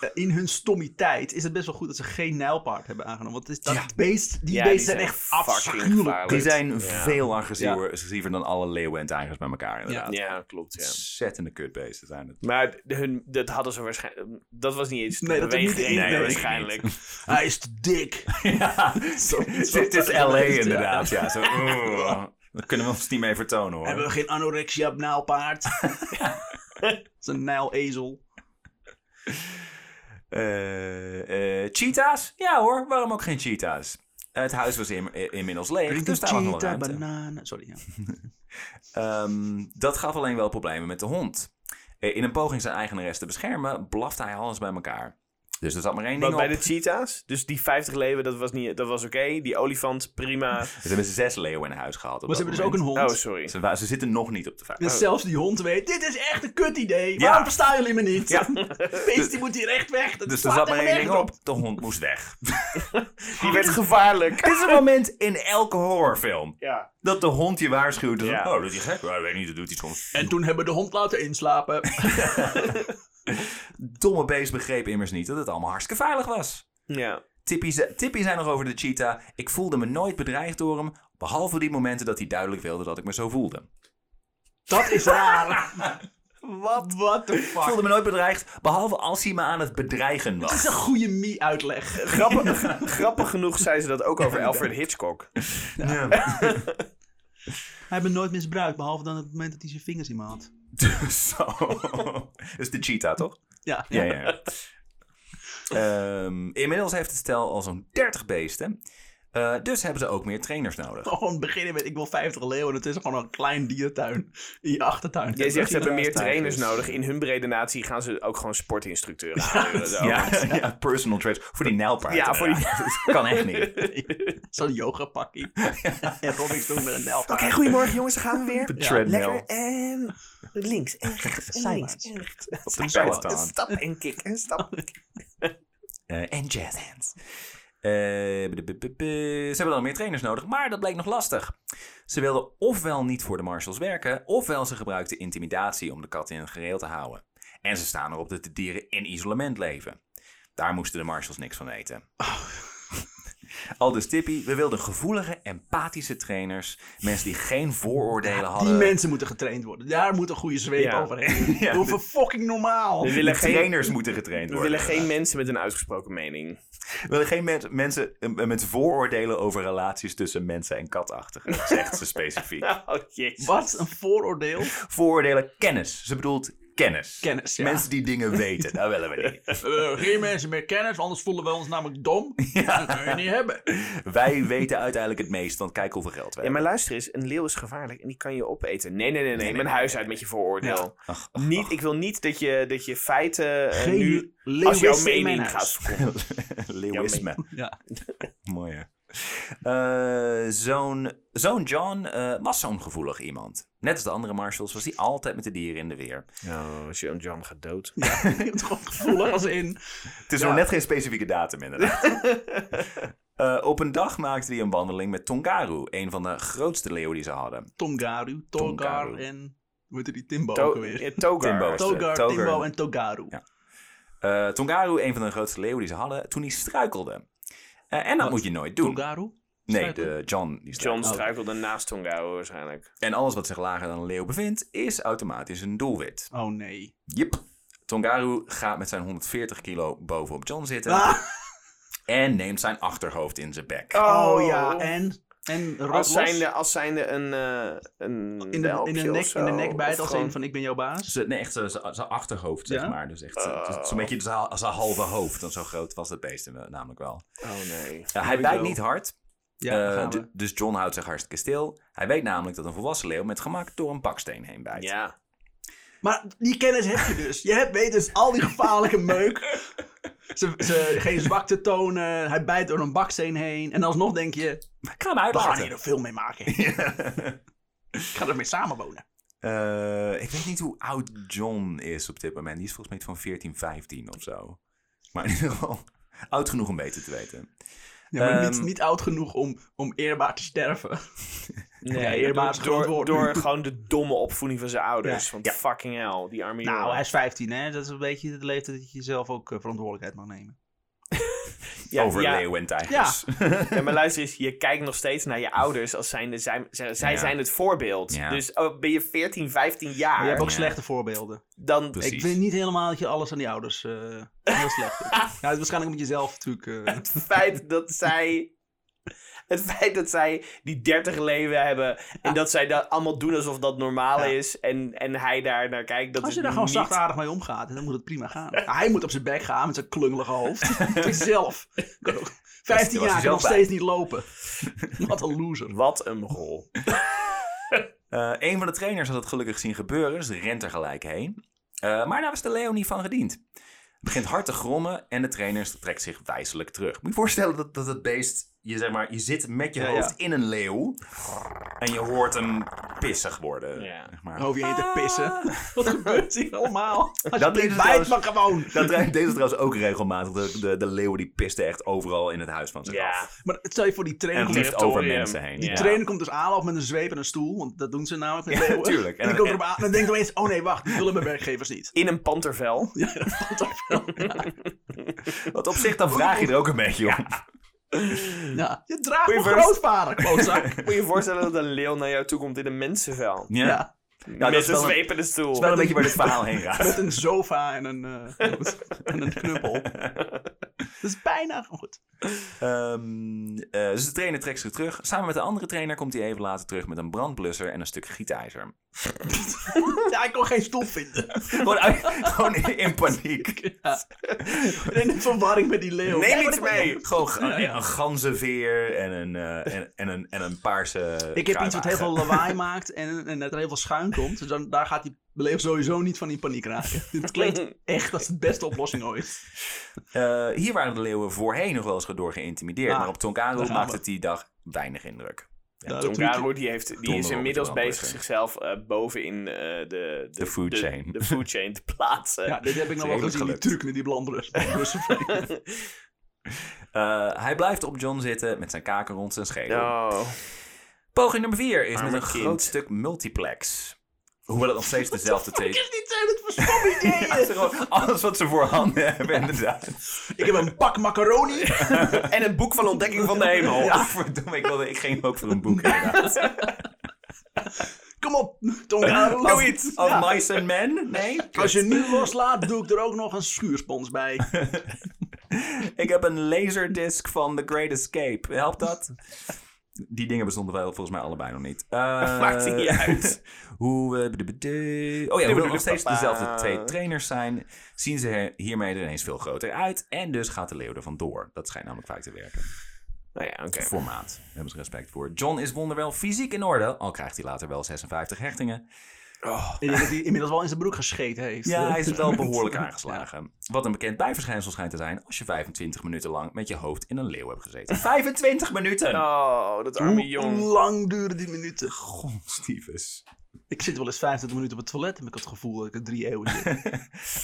S2: eh, in hun stommiteit, is het best wel goed dat ze geen nijlpaard hebben aangenomen. Want het is dat beest, die
S3: Ja,
S2: beesten
S3: die zijn
S2: zijn, echt
S3: fucking
S2: afschuwelijk.
S3: gevaarlijk.
S1: Die zijn veel agressiever, agressiever dan alle leeuwen en tijgers bij elkaar inderdaad.
S3: Ja, klopt. Ja.
S1: Ontzettende kutbeesten zijn het.
S3: Maar de- hun, dat hadden ze waarschijnlijk. Dat was niet eens.
S2: Nee, dat was niet de
S3: beweegreden
S1: enige. Nee,
S3: waarschijnlijk.
S2: Hij is te dik.
S1: Ja, dit is LA inderdaad. Ja, zo, oeh. Daar kunnen we ons niet mee vertonen
S2: Hebben we
S1: hoor.
S2: geen anorexia op nijlpaard? Het is een nijlezel.
S1: Eh, eh, cheetahs? Ja hoor, waarom ook geen cheetahs? Het huis was in- eh, inmiddels leeg, dus daar was nog wel
S2: Cheetah,
S1: ruimte.
S2: bananen. Sorry, ja.
S1: Ehm, dat gaf alleen wel problemen met de hond. Eh, in een poging zijn eigenares te beschermen, blafte hij alles bij elkaar. Dus er zat maar één ding
S3: Want
S1: op.
S3: bij de cheetahs, dus die 50 leeuwen, dat was, niet- dat was oké. Die olifant, prima.
S1: Ze hebben zes leeuwen in huis gehad. op
S2: Maar ze
S1: dat
S2: hebben dus ook een
S1: moment.
S2: hond.
S3: Oh, sorry.
S1: Ze, wa- ze zitten nog niet op de vijf.
S2: Dus zelfs die hond weet, dit is echt een kut idee.
S1: Oh. Ja.
S2: Waarom verstaan jullie me niet? Beest, die moet hier echt weg. Dat
S1: Dus er
S2: slaat
S1: zat maar één
S2: helemaal
S1: ding op.
S2: nergens
S1: De hond moest weg.
S3: Die werd gevaarlijk.
S1: Dit is een moment in elke horrorfilm.
S3: Ja.
S1: Dat de hond je waarschuwt. Dus
S3: Ja.
S1: Oh, doet hij gek? Ja, ik weet niet, dat doet hij soms.
S2: En toen hebben we de hond laten inslapen.
S1: Domme beest begreep immers niet dat het allemaal hartstikke veilig was.
S3: Ja.
S1: Tippy, ze- Tippy zei nog over de cheetah. Ik voelde me nooit bedreigd door hem. Behalve die momenten dat hij duidelijk wilde dat ik me zo voelde.
S2: Dat is raar. Wat? What the
S1: Ik
S2: fuck?
S1: voelde me nooit bedreigd, behalve als hij me aan het bedreigen
S2: Dat is
S1: was.
S2: een goede Mie-uitleg.
S3: Grappig, grappig genoeg zei ze dat ook over Alfred Hitchcock.
S2: Hij heeft me nooit misbruikt, behalve dan het moment dat hij zijn vingers in me had.
S1: Zo. Dat is de cheetah, toch?
S2: Ja.
S1: Ja, ja. ja. Ehm, inmiddels heeft het stel al zo'n 30 beesten. Eh, dus hebben ze ook meer trainers nodig.
S2: Gewoon beginnen met ik wil 50 leeuwen. Het is gewoon een klein diertuin in je achtertuin.
S3: Jij zegt ze hebben meer
S2: Diertuin.
S3: trainers nodig. In hun brede natie gaan ze ook gewoon sportinstructeuren aanhuren. zo.
S1: Ja, Oh, ja, personal trainers. Voor die nijlpaarden.
S3: Ja, voor die-
S1: Dat kan echt niet. Oké,
S2: Zo'n yoga pakkie. en Robin toen met een nelpaard.
S3: goedemorgen jongens, daar gaan we weer.
S1: treadmill.
S3: en links en rechts en
S2: Zijwaarts.
S3: en rechts.
S1: Op de peloton.
S3: stap en kick en stap.
S1: Eh, En jazz hands. Eh, bu- bu- bu- bu- ze hebben dan meer trainers nodig, maar dat bleek nog lastig. Ze wilden ofwel niet voor de marshals werken, ofwel ze gebruikten intimidatie om de kat in het gereel te houden. En ze staan erop dat de dieren in isolement leven. Daar moesten de marshals niks van eten. Aldus Tippy, we wilden gevoelige, empathische trainers. Mensen die geen vooroordelen
S2: Die
S1: hadden.
S2: mensen moeten getraind worden. Daar moet een goede zweep
S3: Ja.
S2: overheen.
S1: Ja.
S2: Doe even fucking normaal.
S3: We
S1: De
S3: willen geen,
S1: trainers moeten getraind
S3: we
S1: worden.
S3: willen geen mensen met een uitgesproken mening.
S1: We willen geen men- mensen eh, met vooroordelen over relaties tussen mensen en katachtigen, zegt ze specifiek.
S3: Oh jezus.
S2: Wat een vooroordeel.
S1: Vooroordelen kennis. Ze bedoelt kennis.
S2: Kennis, ja.
S1: Mensen die dingen weten, dat willen we niet.
S2: Eh, geen mensen meer kennis, anders voelen we ons namelijk dom. Dat kun je niet hebben.
S1: Wij weten uiteindelijk het meest, want kijk hoeveel geld we
S3: Ja,
S1: hebben.
S3: maar luister eens, een leeuw is gevaarlijk en die kan je opeten. Nee, nee, nee, nee, mijn
S1: nee,
S3: huis uit met je vooroordeel.
S1: Ach,
S3: Niet, ik wil niet dat je, dat je feiten eh,
S2: Geen
S3: nu
S2: leeuwissen
S3: als jouw
S2: in mijn
S3: mening
S2: huis.
S3: gaat verkondigen.
S1: Leeuwisme.
S2: Ja.
S1: Mooi hè. Eh, zo'n, zo'n John eh, was zo'n gevoelig iemand. Net als de andere marshals was hij altijd met de dieren in de weer.
S3: Oh, John John gaat dood.
S2: Ik heb het gewoon gevoelig als in.
S1: Het is nog net geen specifieke datum inderdaad. Eh, op een dag maakte hij een wandeling met Tongaru, een van de grootste leeuwen die ze hadden.
S2: Tongaru, Togar
S1: Tongaru.
S2: en. Hoe heette die Timbo
S3: To-
S2: ook alweer?
S3: eh, Togar.
S1: Timbo.
S2: Togar,
S1: Togar.
S2: Timbo en Togaru.
S1: Ja. Eh, Tongaru, een van de grootste leeuwen die ze hadden, toen hij struikelde. Eh, en dat
S2: Oh,
S1: moet je nooit doen.
S2: Togaru?
S1: Nee, de John die struikelt.
S3: John struikelde naast Tonga waarschijnlijk.
S1: En alles wat zich lager dan een leeuw bevindt, is automatisch een doelwit.
S2: Oh nee.
S1: Jip. Tongaru gaat met zijn 140 kilo bovenop John zitten
S2: Ah,
S1: en neemt zijn achterhoofd in zijn bek.
S2: oh ja, en. En
S3: Als
S2: Rutlos?
S3: zijnde, als zijnde een, eh, een
S2: in de, in, de
S3: welpje of
S2: nek, in de
S3: zo,
S2: nek
S3: of
S2: bijt als
S3: gewoon-
S2: een van ik ben jouw baas.
S1: Ze- Nee, echt zijn achterhoofd, zeg
S2: Ja?
S1: maar. Dus echt zijn- dus zo'n beetje zijn zijn halve hoofd. Dan zo groot was dat beest hem, eh, namelijk wel.
S3: Oh nee.
S1: Ja, hij bijt niet hard,
S2: Ja, daar
S1: eh,
S2: gaan we.
S1: d- dus John houdt zich hartstikke stil. Hij weet namelijk dat een volwassen leeuw met gemak door een baksteen heen bijt.
S3: Ja.
S2: Maar die kennis heb je dus. Je hebt, weet dus al die gevaarlijke meuk. Ze, ze, geen zwakte tonen. Hij bijt door een baksteen heen. En alsnog denk je,
S1: Ik ga hem
S2: we gaan
S1: uitlaten.
S2: hier een film mee maken. Ik ga ermee samenwonen.
S1: Eh, ik weet niet hoe oud John is op dit moment. Die is volgens mij iets van 14, 15 of zo. Maar in ieder geval oud genoeg om beter te weten.
S2: Ja, maar niet,
S1: Ehm.
S2: niet oud genoeg om, om eerbaar te sterven.
S3: Nee,
S2: Ja, eerbaar is een groot
S3: door,
S2: woord.
S3: door gewoon de domme opvoeding van zijn ouders.
S2: Ja.
S3: Want fucking hell, die arme
S2: Nou,
S3: jongen.
S2: hij is 15, hè? Dat is een beetje het leeftijd dat je zelf ook eh, verantwoordelijkheid mag nemen.
S3: ja,
S1: Over
S3: ja,
S1: leeuwen en tijgers.
S3: Ja, maar luister eens, je kijkt nog steeds naar je ouders als zijnde, zij, zij, zij
S1: Ja.
S3: zijn het voorbeeld.
S1: Ja.
S3: Dus oh, ben je 14, 15 jaar,
S2: Maar je hebt ook
S1: Ja.
S2: slechte voorbeelden.
S3: dan...
S1: Precies.
S2: Ik weet niet helemaal dat je alles aan die ouders eh heel slecht doet. Ja, het is waarschijnlijk omdat je zelf natuurlijk... eh,
S3: Het feit dat zij... Het feit dat zij die 30 leven hebben en dat zij dat allemaal doen alsof dat normaal
S2: Ja.
S3: is en, en hij daar naar kijkt, dat
S2: als je
S3: is
S2: daar gewoon
S3: niet-
S2: zachtaardig mee omgaat, dan moet het prima gaan. Ja, hij moet op zijn bek gaan met zijn klungelige hoofd. Het is zelf. Kan ook- 15
S1: was hij
S2: jaar kan
S1: zelf
S2: nog
S1: bij.
S2: steeds niet lopen. Wat een loser.
S3: Wat een rol.
S1: Eh, een van de trainers had het gelukkig zien gebeuren, dus rent er gelijk heen. Eh, maar daar was de leeuw niet van gediend. Het begint hard te grommen en de trainer trekt zich wijselijk terug. Moet je voorstellen dat, dat het beest, je, zeg maar, je zit met je
S2: Ja,
S1: hoofd in een leeuw en je hoort hem pissig worden.
S3: Ja.
S1: zeg maar.
S2: Over je heen te pissen.
S1: Ah,
S2: Wat gebeurt hier allemaal?
S1: Dat is
S2: Alsjeblieft, bijt
S1: trouwens-
S2: maar gewoon.
S1: Dat tra- deze trouwens ook regelmatig. De, de, de leeuwen die pisten echt overal in het huis van zich
S3: Ja.
S1: af.
S2: Maar stel je voor, die trainer
S1: En het
S2: komt,
S1: liefst over
S3: territorium.
S1: mensen heen.
S3: Die
S1: ja.
S2: die trainer komt dus aanlopen met een zweep en een stoel. Want dat doen ze namelijk met leeuwen.
S1: tuurlijk.
S2: En
S1: En-
S2: dan komt erop aan en dan denkt opeens, oh nee, wacht, die willen mijn werkgevers niet.
S3: In een pantervel.
S1: Wat op zich, dan vraag je er ook een beetje om.
S2: Ja. Je draagt
S3: Goeie
S2: mijn
S3: verhaal.
S2: grootvader, klootzak.
S3: Moet je je voorstellen dat een leeuw naar jou toe komt in een mensenvel.
S1: Ja.
S2: Ja.
S1: dat
S3: Met
S1: is
S3: een
S1: wel een-
S3: zweep en een stoel.
S1: Wel een beetje waar dit verhaal heen gaat.
S2: Met een sofa en een, eh, en een knuppel. Dat is bijna gewoon goed.
S1: Ehm, eh, dus de trainer trekt zich terug. Samen met de andere trainer komt hij even later terug met een brandblusser en een stuk gietijzer.
S2: Ja, ik kon geen stoel vinden.
S1: gewoon, uit- gewoon in paniek.
S2: En in verwarring met die leeuw.
S3: Neem
S2: Ja,
S3: iets
S2: maar ik-
S3: mee.
S1: Gewoon ga- ja, een ganzenveer en een, eh, en, en een, en een paarse
S2: Ik heb iets wat heel
S1: kruiwagen.
S2: veel lawaai maakt en, en dat er heel veel schuim komt. Dus dan, daar gaat die leeuw sowieso niet van in paniek raken. Dit klinkt echt als de beste oplossing ooit.
S1: Eh, hier waren de leeuwen voorheen nog wel eens door geïntimideerd.
S2: Ah,
S1: maar op Tonkaru
S2: daar gaan
S1: maakte
S2: we.
S1: het die dag weinig indruk.
S2: Ja,
S3: Tom
S2: dat doet-
S3: Garo, die, heeft, die is
S1: Donder op
S3: inmiddels
S1: het wel,
S3: bezig
S1: dus, hè.
S3: zichzelf eh, bovenin eh, de, de,
S1: De food chain.
S3: de food chain te plaatsen.
S2: ja, dit heb ik nog wel
S1: Redelijk
S2: gezien, die
S1: gelukt.
S2: truc met die Dus blanderen. Oké,
S1: Eh, hij blijft op John zitten met zijn kaken rond zijn schedel.
S3: Oh.
S1: Poging nummer 4 is
S3: Arme
S1: met een
S3: kind.
S1: groot stuk multiplex. Hoewel het nog steeds dezelfde teken
S2: dit zijn het voor stomme ideeën.
S1: is. Alles wat ze voorhanden hebben, inderdaad.
S2: Ik heb een pak macaroni.
S3: En een boek van ontdekking van de hemel.
S1: Ja, verdomme, ik, wilde, ik ging ook voor een boek. inderdaad.
S2: Kom op, Tongaro.
S1: Als- Als Mice and Men? Nee.
S2: Als je nu loslaat, doe ik er ook nog een schuurspons bij.
S1: Ik heb een laserdisc van The Great Escape. Helpt dat? Die dingen bestonden wel volgens mij allebei nog niet. Eh,
S3: Maakt niet uit.
S1: Hoe we... de- de- de- Oh ja, hoewel er nog steeds dezelfde twee trainers zijn... zien ze er hiermee er ineens veel groter uit. En dus gaat de leeuw er vandoor. Dat schijnt namelijk vaak te werken.
S3: Nou ja, oké.
S1: Formaat. Daar hebben ze respect voor. John is wonderwel fysiek in orde. Al krijgt hij later wel 56 hechtingen.
S2: Ik denk dat hij inmiddels wel in zijn broek gescheten heeft. Dus
S1: Ja, hij is wel behoorlijk aangeslagen. Wat een bekend bijverschijnsel schijnt te zijn... als je 25 minuten lang met je hoofd in een leeuw hebt gezeten. 25 minuten!
S3: Oh, dat arme
S2: Hoe
S3: jong.
S2: lang duren die minuten?
S1: Gonstiefes.
S2: Ik zit wel eens 25 minuten op het toilet en ik had het gevoel dat ik er drie eeuwen zit.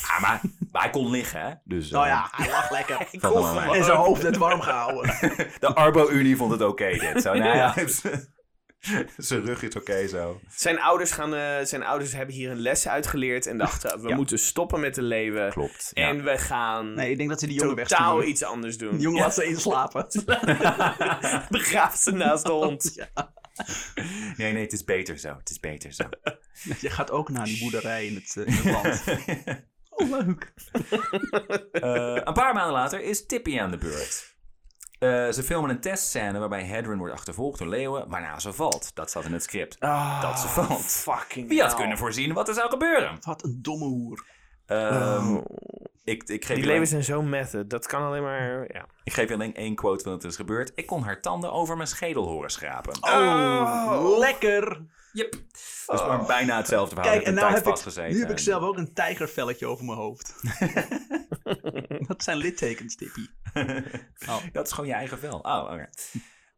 S1: Ah, maar, maar hij kon liggen, hè? Dus,
S2: Nou
S1: eh,
S2: ja, hij lag lekker.
S1: valt allemaal mee.
S2: En zijn hoofd werd warm gehouden.
S1: De Arbo-Unie vond het oké, dit. Zo, nou ja. Zijn rug is oké, zo.
S3: Zijn ouders, gaan, eh, zijn ouders hebben hier een les uitgeleerd en dachten, we
S1: Ja.
S3: moeten stoppen met de leeuwen.
S1: Klopt.
S3: En we gaan
S2: Nee, ik denk dat ze die jongen
S3: totaal
S2: wegsturen.
S3: iets anders doen.
S2: Die jongen laat ze inslapen.
S3: Begraaf ze naast de hond.
S1: Nee, nee, het is beter zo. Het is beter zo.
S2: Je gaat ook naar die boerderij in het, eh, in het land. Oh, leuk.
S1: Eh, een paar maanden later is Tippy aan de beurt. Eh, ze filmen een testscène waarbij Hedron wordt achtervolgd door leeuwen, waarna ze valt. Dat zat in het script. dat ze valt.
S3: Fucking
S1: Wie had
S3: hell.
S1: kunnen voorzien wat er zou gebeuren?
S2: Wat een domme hoer.
S1: Ehm, Ik, ik, geef je
S3: Die leven
S1: alleen,
S3: zijn zo method. Dat kan alleen maar... Ja.
S1: ik geef je alleen één quote van het is gebeurd. Ik kon haar tanden over mijn schedel horen schrapen.
S3: Oh.
S2: Lekker!
S1: Yep. Dus maar bijna hetzelfde verhaal.
S2: Oh. Kijk, en
S1: een
S2: nou
S1: tijd
S2: heb, ik,
S1: vastgezeten
S2: nu heb ik
S1: en-
S2: zelf ook een tijgervelletje over mijn hoofd. dat zijn littekens, Tippy.
S1: Dat is gewoon je eigen vel. Oh, oké.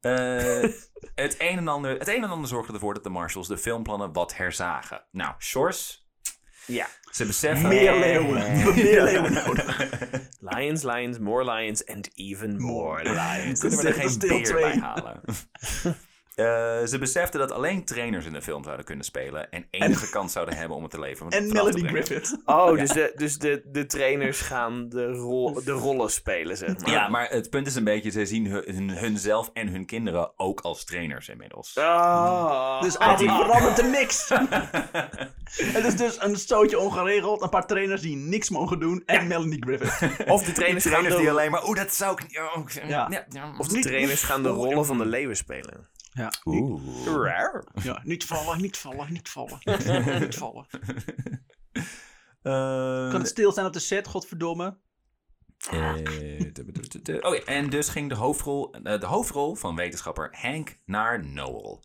S1: Eh, het, een en ander, het een en ander zorgde ervoor dat de marshals de filmplannen wat herzagen. Nou, Shores,
S3: ja.
S1: ze beseffen...
S2: Meer leeuwen. We hebben Eh, Meer leeuwen nodig.
S3: Lions, lions, more lions and even more lions.
S1: Kunnen we er
S2: Dat is
S1: geen
S2: deel
S1: beer
S2: twee.
S1: bij halen? Eh, ze beseften dat alleen trainers in de film zouden kunnen spelen en enige kans zouden hebben om het te leven. om het
S2: En
S1: vanaf te
S2: Melody
S1: brengen.
S2: Griffith.
S3: Oh, dus, de, dus de, de trainers gaan de, rol, de rollen spelen, zeg maar.
S1: Ja, maar het punt is een beetje, ze zien hun, hun, hunzelf en hun kinderen ook als trainers inmiddels.
S3: Oh.
S2: Dus eigenlijk verandert er niks. het is dus een stootje ongeregeld, een paar trainers die niks mogen doen en Melanie Griffith.
S3: of de trainers, gaan
S1: trainers
S3: de,
S1: die alleen maar, oeh, dat zou ik... ja, ook-
S2: Ja.
S3: of de trainers gaan de rollen van de leeuwen spelen.
S2: Ja,
S1: Oeh.
S3: Rare.
S2: ja, niet vallen, niet vallen, niet vallen,
S3: Eh,
S2: niet vallen, niet vallen. Kan het stil zijn op de set, godverdomme?
S1: Eh, te- te- te- te- Oh ja, en dus ging de hoofdrol, eh, de hoofdrol van wetenschapper Hank naar Noel.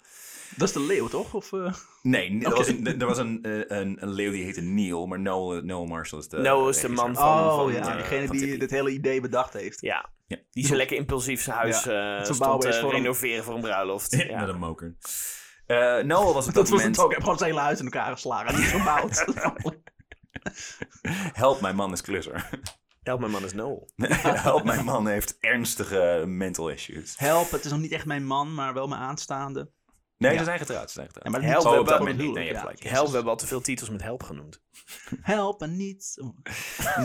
S2: Dat is de leeuw, toch? Of, eh,
S1: Nee, n- er was een, er was een, eh, een, een leeuw die heette Neil, maar Noel, eh, Noel Marshall is de...
S3: Noel is de
S1: regisseur.
S3: man van...
S2: Oh
S3: van,
S2: ja,
S3: eh,
S2: degene
S1: van
S2: die
S1: Tippy.
S2: dit hele idee bedacht heeft.
S3: ja.
S1: Ja.
S3: Die ze lekker impulsief zijn huis
S2: Ja,
S3: eh,
S2: het
S3: stond
S2: verbouwen
S3: te
S2: is voor een-
S3: renoveren voor een bruiloft. Ja.
S1: Met een moker. Eh, Noel was op dat,
S2: Dat was
S1: moment...
S2: het ook. Ik heb gewoon zijn hele huis in elkaar geslagen. en Niet gebouwd.
S1: Help, mijn man is klusser.
S3: Help, mijn man is Noel.
S1: Help, mijn man heeft ernstige mental issues.
S2: Help, het is nog niet echt mijn man, maar wel mijn aanstaande.
S1: Nee, ze zijn getrouwd, ze zijn getrouwd.
S2: Ja, maar
S3: Help,
S2: niet-
S1: oh,
S3: we
S1: op dat
S3: hebben-
S1: moment niet. Nee, je hebt
S2: Ja.
S1: gelijk.
S3: Help, we hebben al te veel titels met help genoemd.
S2: Help en niet.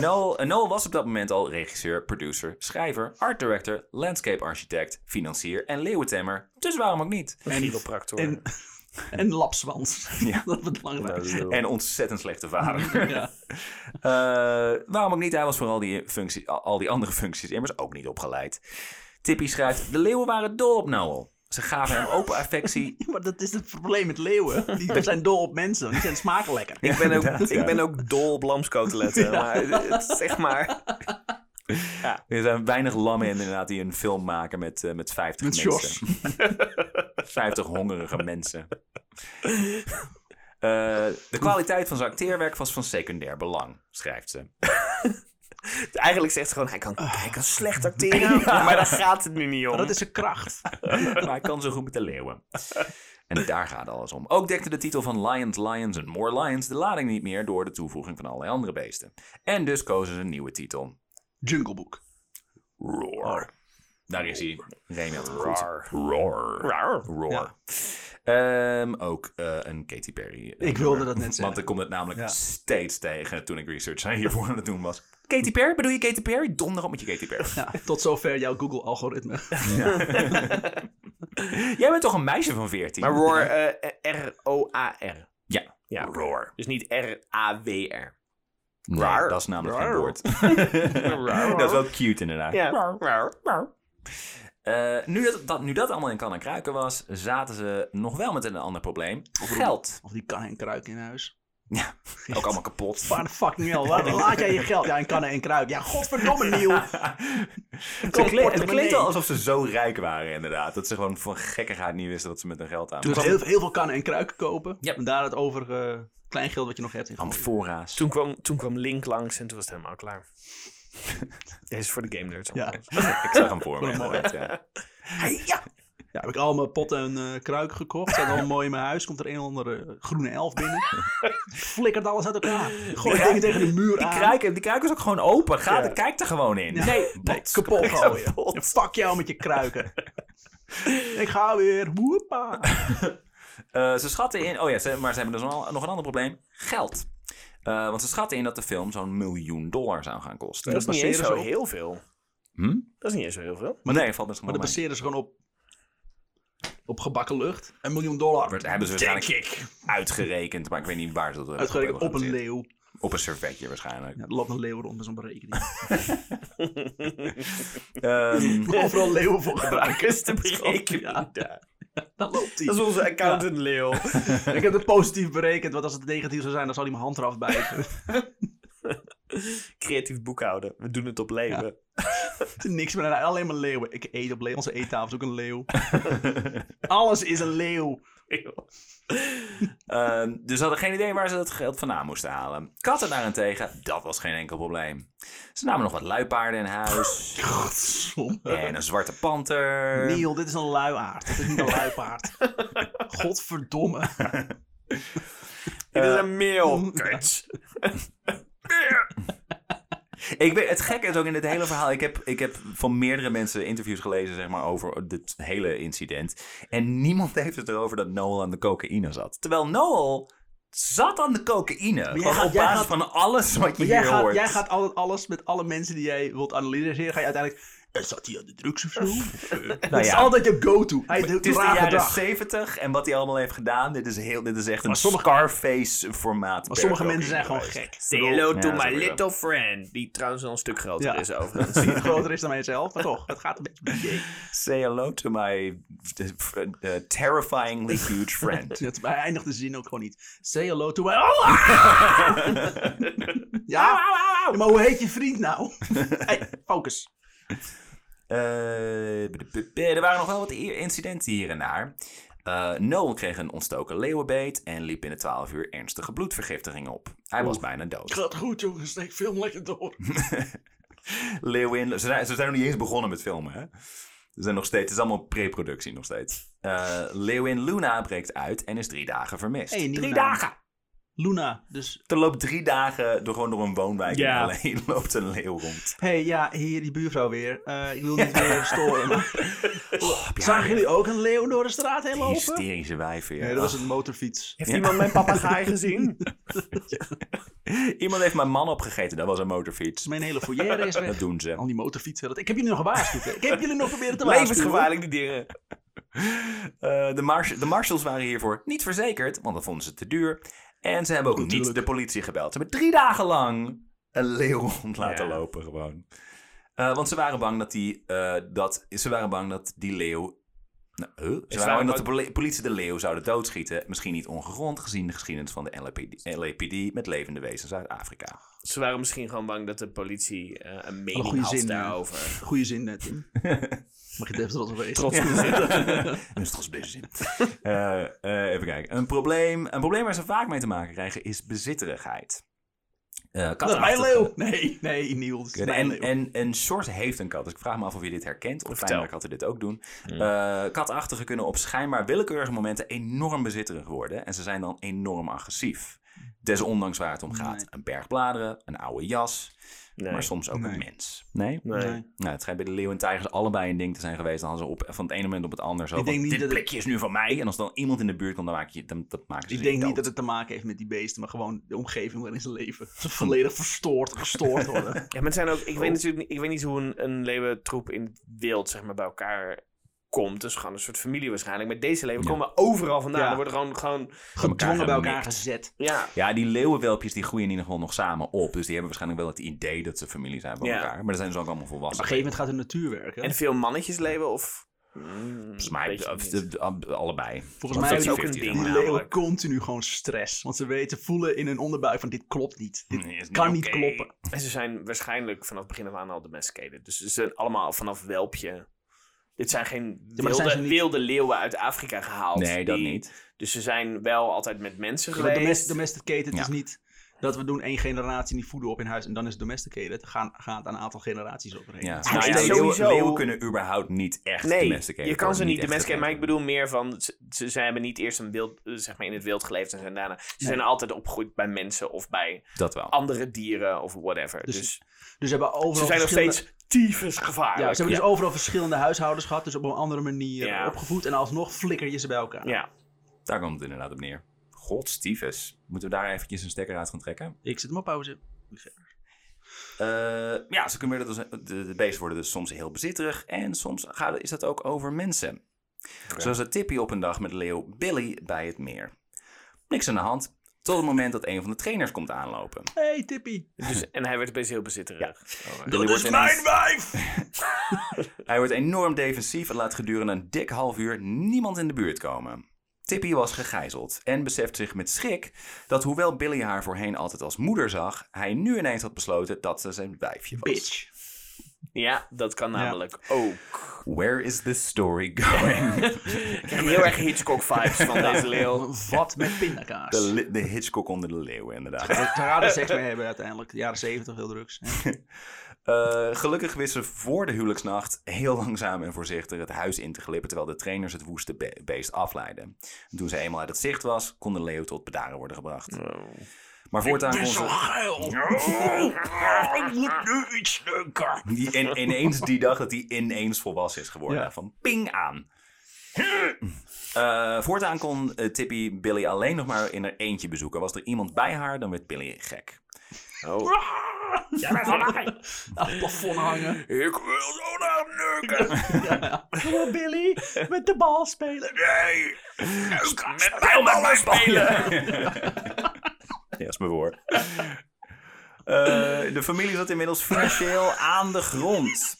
S1: Noel, eh, Noel was op dat moment al regisseur, producer, schrijver, art director, landscape architect, financier en leeuwentemmer. Dus waarom ook niet?
S3: Chiropractor.
S2: En, en lapswans.
S1: Ja.
S2: Dat is belangrijk.
S1: En ontzettend slechte vader.
S2: Ja.
S1: Eh, waarom ook niet? Hij was voor al die, functie, al- al die andere functies immers ook niet opgeleid. Tippy schrijft, de leeuwen waren dol op Noel. Ze gaven hem open affectie.
S2: Maar dat is het probleem met leeuwen. Die zijn dol op mensen. Die zijn smaken lekker.
S3: Ik ben, ook,
S1: inderdaad, ja.
S3: ik ben ook dol op lamskoteletten. Maar het, is zeg maar.
S1: Er zijn weinig lammen inderdaad die een film maken met, eh, met 50
S2: Met
S1: mensen. 50 hongerige mensen. Eh, de kwaliteit van zijn acteerwerk was van secundair belang, schrijft ze.
S3: Eigenlijk zegt ze gewoon: hij kan, hij kan slecht acteren. Maar daar gaat het nu niet om.
S2: Ah. Maar dat is zijn kracht.
S1: maar hij kan zo goed met de leeuwen. En daar gaat alles om. Ook dekte de titel van Lions, Lions and More Lions de lading niet meer door de toevoeging van allerlei andere beesten. En dus kozen ze een nieuwe titel.
S2: Jungle Book.
S1: Roar. Daar is hij. Remy had hem goed. Oh. Roar. Roar. Roar. Ehm, ook eh, een Katy Perry. eh,
S2: Ik wilde
S1: nummer.
S2: dat net
S1: Want
S2: zeggen.
S1: ik kom het namelijk
S2: Ja.
S1: steeds tegen toen ik research hiervoor aan het doen was. Katy Perry? Bedoel je Katy Perry? Donder op met je Katy Perry.
S2: Ja, tot zover jouw Google-algoritme.
S1: Jij bent toch een meisje van 14?
S3: Maar Roar, eh, R-O-A-R.
S1: ja.
S3: Ja.
S1: Roar.
S3: Dus niet R-A-W-R.
S1: Nee,
S3: Raar.
S1: dat is namelijk
S3: Raar.
S1: geen woord. dat is wel cute inderdaad. Eh, nu, dat, dat, nu dat allemaal in kan en kruiken was, zaten ze nog wel met een ander probleem. Geld.
S2: Of die kan en kruik in huis.
S1: Ja, ook allemaal kapot.
S2: Waar de fucking hell, waar laat jij je geld? Ja, in kannen en kruik. Ja, godverdomme, Niel.
S1: Het klinkt, het klinkt wel alsof ze zo rijk waren inderdaad. Dat ze gewoon van gekkigheid niet wisten wat ze met hun geld aan
S2: Dus
S1: moesten.
S2: heel, heel veel kannen en kruiken kopen.
S1: Ja.
S2: En daar het overige kleingeld wat je nog hebt in.
S1: Amfora's.
S3: Toen kwam, toen kwam Link langs en toen was het helemaal klaar. Deze is voor de game nerds.
S2: Ja.
S1: Ik zag hem voor me
S2: Wat een mooi.
S1: inderdaad, ja.
S2: ja, heb ik al mijn potten en eh, kruiken gekocht. Zijn allemaal mooi in mijn huis. Komt er een of andere groene elf binnen. Flikkert alles uit elkaar. Gooi
S1: Ja.
S2: dingen tegen de muur
S1: Die
S2: aan.
S1: kruiken, die kruiken is ook gewoon open. Ga, Kijk er gewoon in.
S2: Ja.
S1: Nee,
S2: Nee,
S1: bots.
S2: kapot gooien.
S3: Kapot.
S2: Ja, Fuck jou met je kruiken. ik ga weer. Woepa. Oh
S1: Eh, ze schatten in, oh ja, ze- maar ze hebben dus nog een nog een ander probleem: geld. Eh, want ze schatten in dat de film zo'n miljoen dollar zou gaan kosten.
S3: Dat is niet eens
S2: baseren
S3: zo
S2: ze op-
S3: heel veel.
S1: Hm?
S3: Dat is niet eens zo heel veel.
S1: Maar nee, valt best
S2: Maar
S1: wel
S2: dat
S1: mee.
S2: baseren ze gewoon op, op gebakken lucht. Een miljoen dollar.
S1: Dat hebben ze
S2: Denk
S1: waarschijnlijk
S2: ik.
S1: uitgerekend, maar ik weet niet waar ze dat hebben
S2: Uitgerekend op een
S1: gebaseerd.
S2: leeuw.
S1: Op een servetje waarschijnlijk.
S2: Ja, er loopt een leeuw rond met zo'n berekening.
S1: Ehm,
S2: Overal leeuwen voor gebruikt.
S3: Gebruik is te berekenen.
S2: Dan loopt
S3: Dat
S2: hij.
S3: is onze accountant Leo.
S2: Ik heb het positief berekend, want als het negatief zou zijn, dan zou hij mijn hand eraf bijten.
S3: Creatief boekhouden. We doen het op leeuwen.
S2: Het is Niks meer, alleen maar leeuwen. Ik eet op leeuwen. Onze eettafel is ook een leeuw. Alles is een leeuw.
S1: Ehm, dus ze hadden geen idee waar ze dat geld vandaan moesten halen. Katten daarentegen, dat was geen enkel probleem. Ze namen nog wat luipaarden in huis.
S2: Godsom.
S1: en een zwarte panter.
S2: Neil, dit is een luiaard. Dit is niet een luipaard. Godverdomme.
S3: Dit is een mail. Kut.
S1: Ik weet, het gekke is ook in dit hele verhaal. Ik heb, ik heb van meerdere mensen interviews gelezen zeg maar, over dit hele incident. En niemand heeft het erover dat Noel aan de cocaïne zat. Terwijl Noel zat aan de cocaïne. Gewoon
S2: gaat-
S1: op
S2: jij
S1: basis
S2: gaat-
S1: van alles wat je
S2: Maar jij
S1: hier
S2: gaat,
S1: hoort.
S2: jij gaat altijd alles met alle mensen die jij wilt analyseren, ga je uiteindelijk... eh, Zat hij aan de drugs of zo? Eh, dat is
S1: Nou ja.
S2: altijd je go-to. Hij
S1: het
S2: doet
S1: is de
S2: rare
S1: jaren
S2: dag.
S1: 70 en wat hij allemaal heeft gedaan. Dit is, heel, dit is echt een
S2: sommige-
S1: Scarface-formaat.
S2: Maar sommige mensen zijn gewoon gek.
S3: Say hello to
S1: Ja, dat
S3: my
S1: is ook
S3: little friend. Die trouwens al een stuk groter
S2: Ja.
S3: is overigens.
S2: Die groter is dan mijzelf, maar toch, het gaat een beetje om die idee.
S1: Say hello to my eh, terrifyingly huge friend.
S2: Dus Het- Hij eindigt de zin ook gewoon niet. Say hello to my... Oh! ja, maar hoe heet je vriend nou? hey, focus.
S1: Eh, b- b- b- er waren nog wel wat i- incidenten hier en daar. Eh, Noel kreeg een ontstoken leeuwenbeet en liep binnen 12 uur ernstige bloedvergiftiging op. Hij was bijna dood.
S2: Gaat goed jongens, steek film lekker door.
S1: Leeuwin, ze zijn, ze zijn nog niet eens begonnen met filmen, hè? Ze zijn nog steeds, het is allemaal pre-productie nog steeds. Eh Leeuwin Luna breekt uit en is drie dagen vermist.
S2: Hey, een nieuwe
S1: drie
S2: naam.
S1: dagen!
S2: Luna, dus
S1: Er loopt drie dagen door, gewoon door een woonwijk in
S3: Ja.
S1: alleen loopt een leeuw rond.
S2: hey, ja, hier die buurvrouw weer. Eh, ik wil niet meer storen. maar-
S1: ja,
S2: Zagen jullie ook een leeuw door de straat heen lopen?
S1: Hysterische wijf weer.
S2: Nee, dat was een motorfiets.
S3: Heeft iemand mijn papegaai gezien?
S1: Iemand heeft mijn man opgegeten, dat was een motorfiets.
S2: Dus Mijn hele foyer is
S1: Dat
S2: weg.
S1: doen ze.
S2: Al die motorfietsen. dat- Ik heb jullie nog gewaarschuwd. hè. Ik heb jullie nog proberen te waarschuwen.
S3: Levensgevaarlijk, die dingen.
S1: Eh, de, mars de marshals waren hiervoor niet verzekerd, want dat vonden ze te duur. En ze hebben ook niet
S2: Natuurlijk.
S1: de politie gebeld. Ze hebben drie dagen lang een leeuw rond laten
S3: Ja.
S1: lopen gewoon. Eh, want ze waren bang dat die, eh, dat, ze waren bang dat die leeuw... Nou, huh? Ze waren
S3: waren
S1: bang dat de poli- politie de leeuw zouden doodschieten. Misschien niet ongegrond, gezien de geschiedenis van de LAPD, LAPD met levende wezens uit Afrika.
S3: Ze waren misschien gewoon bang dat de politie eh, een mening
S2: goede
S3: had
S2: zin, hè?
S3: daarover.
S2: Goeie zin, net, Tim. Mag je het even trots op wezen?
S3: Trots goed zin.
S1: Dat is toch best zin. Eh, eh, even kijken. Een probleem, een probleem waar ze vaak mee te maken krijgen is bezitterigheid. Eh,
S2: Dat is
S1: kattenachtige-
S2: mijn leeuw. Nee, nee, Niels. Dat is mijn
S1: En,
S2: leeuw.
S1: en, en Short heeft een kat. Dus ik vraag me af of je dit herkent. Of
S3: Vertel.
S1: fijnlijk katten dit ook doen.
S2: Hmm.
S1: Eh, katachtigen kunnen op schijnbaar willekeurige momenten enorm bezitterig worden. En ze zijn dan enorm agressief. Desondanks waar het om gaat. Een berg bladeren, een oude jas.
S3: Nee.
S1: Maar soms ook
S2: Nee.
S1: een mens. Nee?
S3: Nee.
S2: Dus
S1: Nou, het schijnt bij de leeuw en tijgers allebei een ding te zijn geweest. Dan hadden ze op, van het ene moment op het andere zo.
S2: Ik denk
S1: van,
S2: niet
S1: dit
S2: dat het-
S1: plekje is nu van mij. En als dan iemand in de buurt komt, dan maak je, dan, dat maken ze
S2: Ik
S1: zich
S2: denk niet
S1: dood.
S2: dat het te maken heeft met die beesten, maar gewoon de omgeving waarin ze leven. Ze volledig verstoord, gestoord worden.
S3: Ja, maar het zijn ook, ik, weet natuurlijk, niet- ik weet niet hoe een, een leeuwentroep in het wild zeg maar, bij elkaar komt. Dus gewoon een soort familie waarschijnlijk. Maar deze leeuwen komen overal vandaan.
S2: Ja.
S3: Er worden gewoon, gewoon
S2: Gedwongen bij elkaar
S1: gemikt.
S2: gezet.
S3: ja,
S1: Ja, die leeuwenwelpjes die groeien in ieder geval nog samen op. Dus die hebben waarschijnlijk wel het idee dat ze familie zijn van
S3: Ja.
S1: elkaar. Maar dan zijn ze ook allemaal
S2: Op een
S1: volwassen.
S2: gegeven moment gaat de natuur werken.
S3: en veel mannetjes leeuwen of... Mm,
S1: Volgens mij
S3: weet je
S1: of-
S3: niet.
S1: de- de- allebei.
S2: Volgens
S1: is
S2: mij hebben
S3: ook een ding.
S2: die
S3: Ja,
S2: leeuwen
S3: namelijk.
S2: continu gewoon stress. Want ze weten, voelen in hun onderbuik van dit klopt niet. Dit kan niet kloppen.
S3: En ze zijn waarschijnlijk vanaf begin af aan al domesticated. Dus ze zijn allemaal vanaf welpje. Dit zijn geen
S2: maar dat
S3: wilde,
S2: zijn ze niet.
S3: wilde leeuwen uit Afrika gehaald.
S1: Nee, dat
S3: Die-
S1: niet.
S3: Dus ze zijn wel altijd met mensen
S2: Want
S3: geweest.
S2: domest- domesticated
S1: Ja.
S2: is niet dat we doen één generatie die voeden op in huis en dan is domesticated. Gaan, gaat een aantal generaties overheen.
S1: Ja.
S2: Het is
S1: Nou ja,
S2: nog steeds-
S1: leeuwen,
S3: sowieso-
S1: leeuwen kunnen überhaupt niet echt
S3: Nee,
S1: domesticated
S3: je kan ze
S1: worden,
S3: niet
S1: echt
S3: domesticeren. Maar ik
S1: gegeven.
S3: bedoel meer van, ze, ze, ze hebben niet eerst een wild, eh, zeg maar in het wild geleefd en zijn daarna. Ze zijn altijd opgegroeid bij mensen of bij
S1: Dat wel.
S3: andere dieren of whatever. Dus,
S2: Dus- Dus ze hebben overal
S3: ze zijn nog
S2: verschillende-
S3: steeds tyfus gevaarlijk.
S2: Ja, ze hebben dus overal verschillende huishouders gehad, dus op een andere manier
S3: Ja.
S2: opgevoed. En alsnog flikker je ze bij elkaar.
S3: Ja.
S1: Daar komt het inderdaad op neer. God, Stiefes. Moeten we daar eventjes een stekker uit gaan trekken?
S2: Ik zet hem op pauze.
S1: Eh, ja, ze kunnen weer, de, de beesten worden dus soms heel bezitterig. En soms gaat, is dat ook over mensen. Zo zat Tippy op een dag met leeuw Billy bij het meer. Niks aan de hand. Tot het moment dat een van de trainers komt aanlopen.
S2: Hey Tippy.
S3: Dus, en hij werd best heel bezitterig. Oh,
S1: Billy
S2: Dat
S1: wordt
S2: is
S1: ineens-
S2: mijn wijf!
S1: Hij wordt enorm defensief en laat gedurende een dik half uur niemand in de buurt komen. Tippy was gegijzeld en beseft zich met schrik dat hoewel Billy haar voorheen altijd als moeder zag, hij nu ineens had besloten dat ze zijn wijfje was.
S2: Bitch.
S3: Ja, dat kan namelijk ook.
S1: Where is this story going?
S3: Ik heb heel erg Hitchcock-vibes van deze leeuw.
S2: Wat met pindakaas.
S1: De,
S2: Ze
S1: li- de Hitchcock onder de leeuwen, inderdaad.
S2: raden seks mee hebben uiteindelijk. De jaren zeventig, heel drugs. Ja.
S1: Eh, gelukkig wist ze voor de huwelijksnacht heel langzaam en voorzichtig het huis in te glippen, terwijl de trainers het woeste be- beest afleidden. En toen ze eenmaal uit het zicht was, kon de leeuw tot bedaren worden gebracht. Maar voortaan kon ze...
S2: Ik moet nu iets neuken.
S1: Die in, ineens die dag dat hij ineens volwassen is geworden. Van ping aan. Eh, voortaan kon eh, Tippy Billy alleen nog maar in haar eentje bezoeken. Was er iemand bij haar, dan werd Billy gek.
S2: Aan het plafond hangen.
S1: Ik wil zo naar neuken.
S4: Hallo Billy, met de bal spelen.
S1: Nee. Met mij met mij spelen. ja, is mijn woord. Eh, de familie zat inmiddels financieel aan de grond.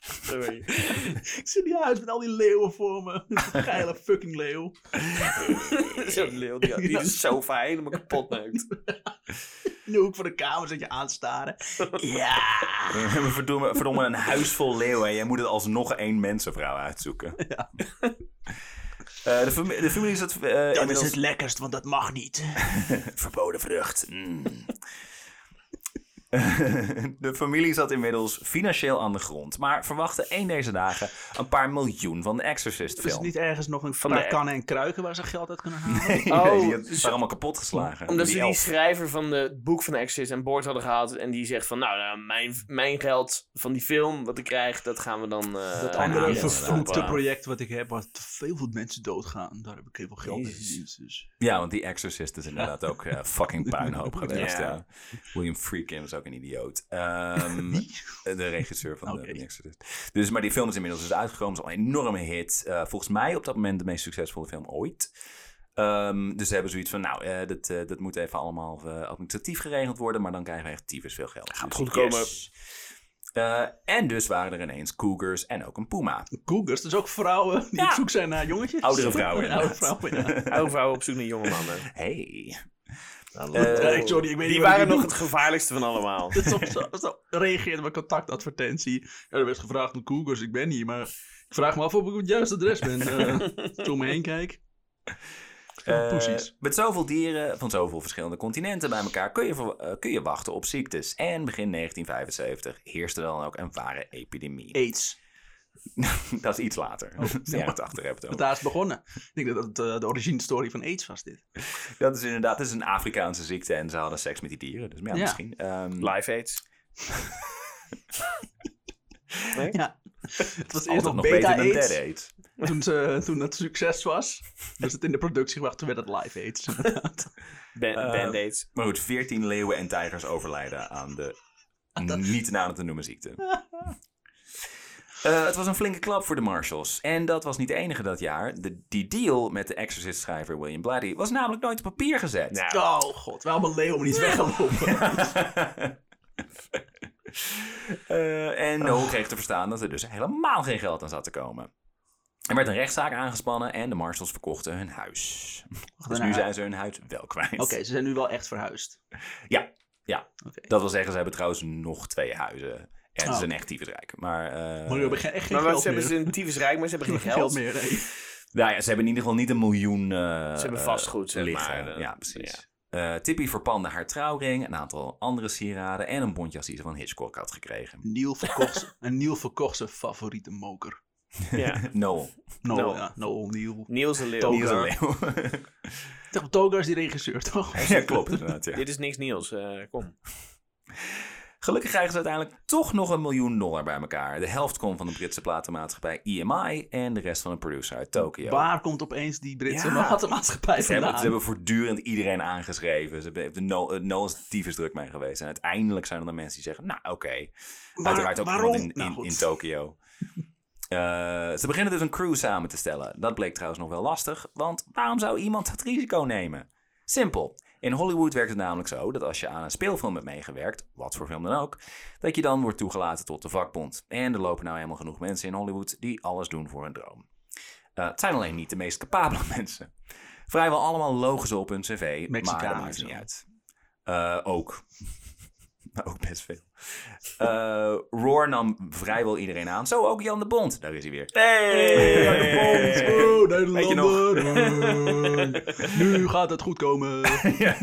S3: Sorry.
S4: Ik zie die huis met al die leeuwen voor me. Geile fucking leeuw.
S3: Zo'n leeuw die, die de sofa helemaal kapot neukt.
S4: In de hoek van de kamer zit je aanstaren.
S1: We hebben verdomme, verdomme een huis vol leeuwen. En jij moet het alsnog één mensenvrouw uitzoeken. Eh, de, fami- de familie zat eh,
S4: Dat is
S1: inmiddels...
S4: het lekkerst, want dat mag niet.
S1: Verboden vrucht. Mm. de familie zat inmiddels financieel aan de grond. Maar verwachtte één deze dagen een paar miljoen van de Exorcist
S2: Is het
S1: film.
S2: Dus niet ergens nog een
S3: de-
S2: paar kannen en kruiken waar ze geld uit kunnen halen?
S3: Oh,
S1: die had-
S3: dus-
S1: waren allemaal kapot geslagen.
S3: Omdat ze
S1: Die
S3: die
S1: elf.
S3: schrijver van de- het boek van de Exorcist aan boord hadden gehaald. En die zegt van, nou, nou, mijn, mijn geld van die film wat ik krijg, dat gaan we dan... eh,
S2: Dat
S3: aan
S2: andere
S1: ja,
S3: Alex
S2: vervloekte
S3: verkopen.
S2: project wat ik heb, waar te veel mensen doodgaan. Daar heb ik heel veel geld in
S3: Jezus.
S2: verdiend. Dus.
S1: Ja, want die Exorcist is inderdaad ook eh, fucking puinhoop geweest.
S3: Ja.
S1: ja. William Friedkin is ook een idioot. Ehm, de regisseur van
S2: Oké.
S1: de The Exorcist. Dus, maar die film is inmiddels dus uitgekomen. Het is al een enorme hit. Eh, volgens mij op dat moment de meest succesvolle film ooit. Ehm, dus ze hebben zoiets van, nou, eh, dat, eh, dat moet even allemaal eh, administratief geregeld worden. Maar dan krijgen we echt tyfus veel geld. Gaat
S3: goed komen.
S1: en dus waren er ineens cougars en ook een puma.
S2: Cougars, dus ook vrouwen die op zoek zijn naar jongetjes.
S1: Oudere vrouwen,
S2: Oudere
S1: inderdaad.
S2: vrouwen, ja.
S3: Elke vrouw op zoek naar jonge mannen.
S1: Hey.
S2: Ja, ik- Eh, sorry,
S3: die
S2: ik weet niet wat ik
S3: waren nog
S2: doe.
S3: het gevaarlijkste van allemaal.
S2: Dat is op zo, zo reageerde mijn contactadvertentie. Ja, er werd gevraagd om Cougars, ik ben hier, maar ik vraag me af of ik op het juiste adres ben. Eh toen me heen kijk.
S1: Eh,
S2: Poesies.
S1: Met zoveel dieren van zoveel verschillende continenten bij elkaar kun je, ver- eh, kun je wachten op ziektes. En begin 1975 heerste dan ook een ware epidemie.
S2: AIDS.
S1: dat is iets later. de jaren 80 hebben we het
S2: Want
S1: over.
S2: daar is het begonnen. Ik denk dat het eh, de originestory van AIDS was dit.
S1: Dat is inderdaad dat is een Afrikaanse ziekte en ze hadden seks met die dieren. Dus maar ja,
S2: Ja.
S1: misschien. ehm,
S3: Live aids.
S2: Ja. Het was
S1: altijd
S2: eerst nog
S1: nog beter dan
S2: beta-AIDS.
S1: Dead AIDS.
S2: Toen, ze, toen het succes was, was het in de productie gebracht. Toen werd het live AIDS. inderdaad.
S3: Ban- Band-aids.
S1: Maar goed, 14 leeuwen en tijgers overlijden aan de niet nader te noemen ziekte. Eh, het was een flinke klap voor de Marshalls. En dat was niet de enige dat jaar. De, die deal met de Exorcist-schrijver William Blatty was namelijk nooit op papier gezet.
S2: Oh god, waarom een leeuw niet weggelopen?
S1: Eh, en Noel kreeg te verstaan dat er dus helemaal geen geld aan zat te komen. Er werd een rechtszaak aangespannen en de Marshalls verkochten hun huis. Dus nu
S2: nou.
S1: zijn ze hun huis wel kwijt.
S2: Oké, ze zijn nu wel echt verhuisd.
S1: Ja, ja.
S2: Oké.
S1: Dat wil zeggen, ze hebben trouwens nog twee huizen. En ze
S2: Oh.
S1: zijn echt tyfusrijk. Maar, eh,
S2: Maar nu hebben we geen- echt geen
S3: Maar wat,
S2: geld
S3: ze hebben
S2: meer.
S3: ze een tyfusrijk, maar ze hebben geen
S2: Geen geld
S3: geld.
S2: meer, nee.
S1: nou ja, ze hebben in ieder geval niet een miljoen eh,
S3: Ze hebben
S1: eh,
S3: vastgoed, zeg
S1: liggen.
S3: maar.
S1: ja, precies. Eh, Tippy verpande haar trouwring, een aantal andere sieraden en een bondjas die ze van Hitchcock had gekregen.
S2: Neil verkocht, ze- en Neil verkocht zijn favoriete moker.
S3: Ja.
S1: Noel.
S2: Noel,
S3: Noel.
S2: ja. Noel, Neil.
S3: Niels en Leeuw.
S2: Toker.
S1: Die is een leeuw.
S2: Toch, Toga is die regisseur, toch?
S1: ja, klopt inderdaad. Ja.
S3: Dit is niks Niels, eh, kom.
S1: Gelukkig krijgen ze uiteindelijk toch nog een miljoen dollar bij elkaar. De helft komt van de Britse platenmaatschappij EMI en de rest van een producer uit Tokio.
S2: Waar komt opeens die Britse
S1: Ja. eh,
S2: maatschappij
S1: Ze hebben,
S2: vandaan?
S1: ze hebben voortdurend iedereen aangeschreven. Ze hebben- hebben Noel no is tyfus druk mee geweest. En uiteindelijk zijn er dan mensen die zeggen, nou oké. Uiteraard ook
S2: waarom?
S1: iemand in,
S2: Nou,
S1: in,
S2: goed.
S1: in Tokio. Eh, ze beginnen dus een crew samen te stellen. Dat bleek trouwens nog wel lastig, want waarom zou iemand dat risico nemen? Simpel. In Hollywood werkt het namelijk zo dat als je aan een speelfilm hebt meegewerkt, wat voor film dan ook, dat je dan wordt toegelaten tot de vakbond. En er lopen nou helemaal genoeg mensen in Hollywood die alles doen voor hun droom. Eh, het zijn alleen niet de meest capabele mensen. Vrijwel allemaal logisch op hun cv, maar dat
S2: Mexicanen
S1: maakt
S2: zo.
S1: niet uit. Eh, ook. ook best veel. Eh, Roar nam vrijwel iedereen aan. Zo ook Jan de Bond. Daar is hij weer.
S3: Hey!
S2: Oh,
S1: Weet je nog?
S2: Nederlander. nu gaat het goed komen.
S1: Ja.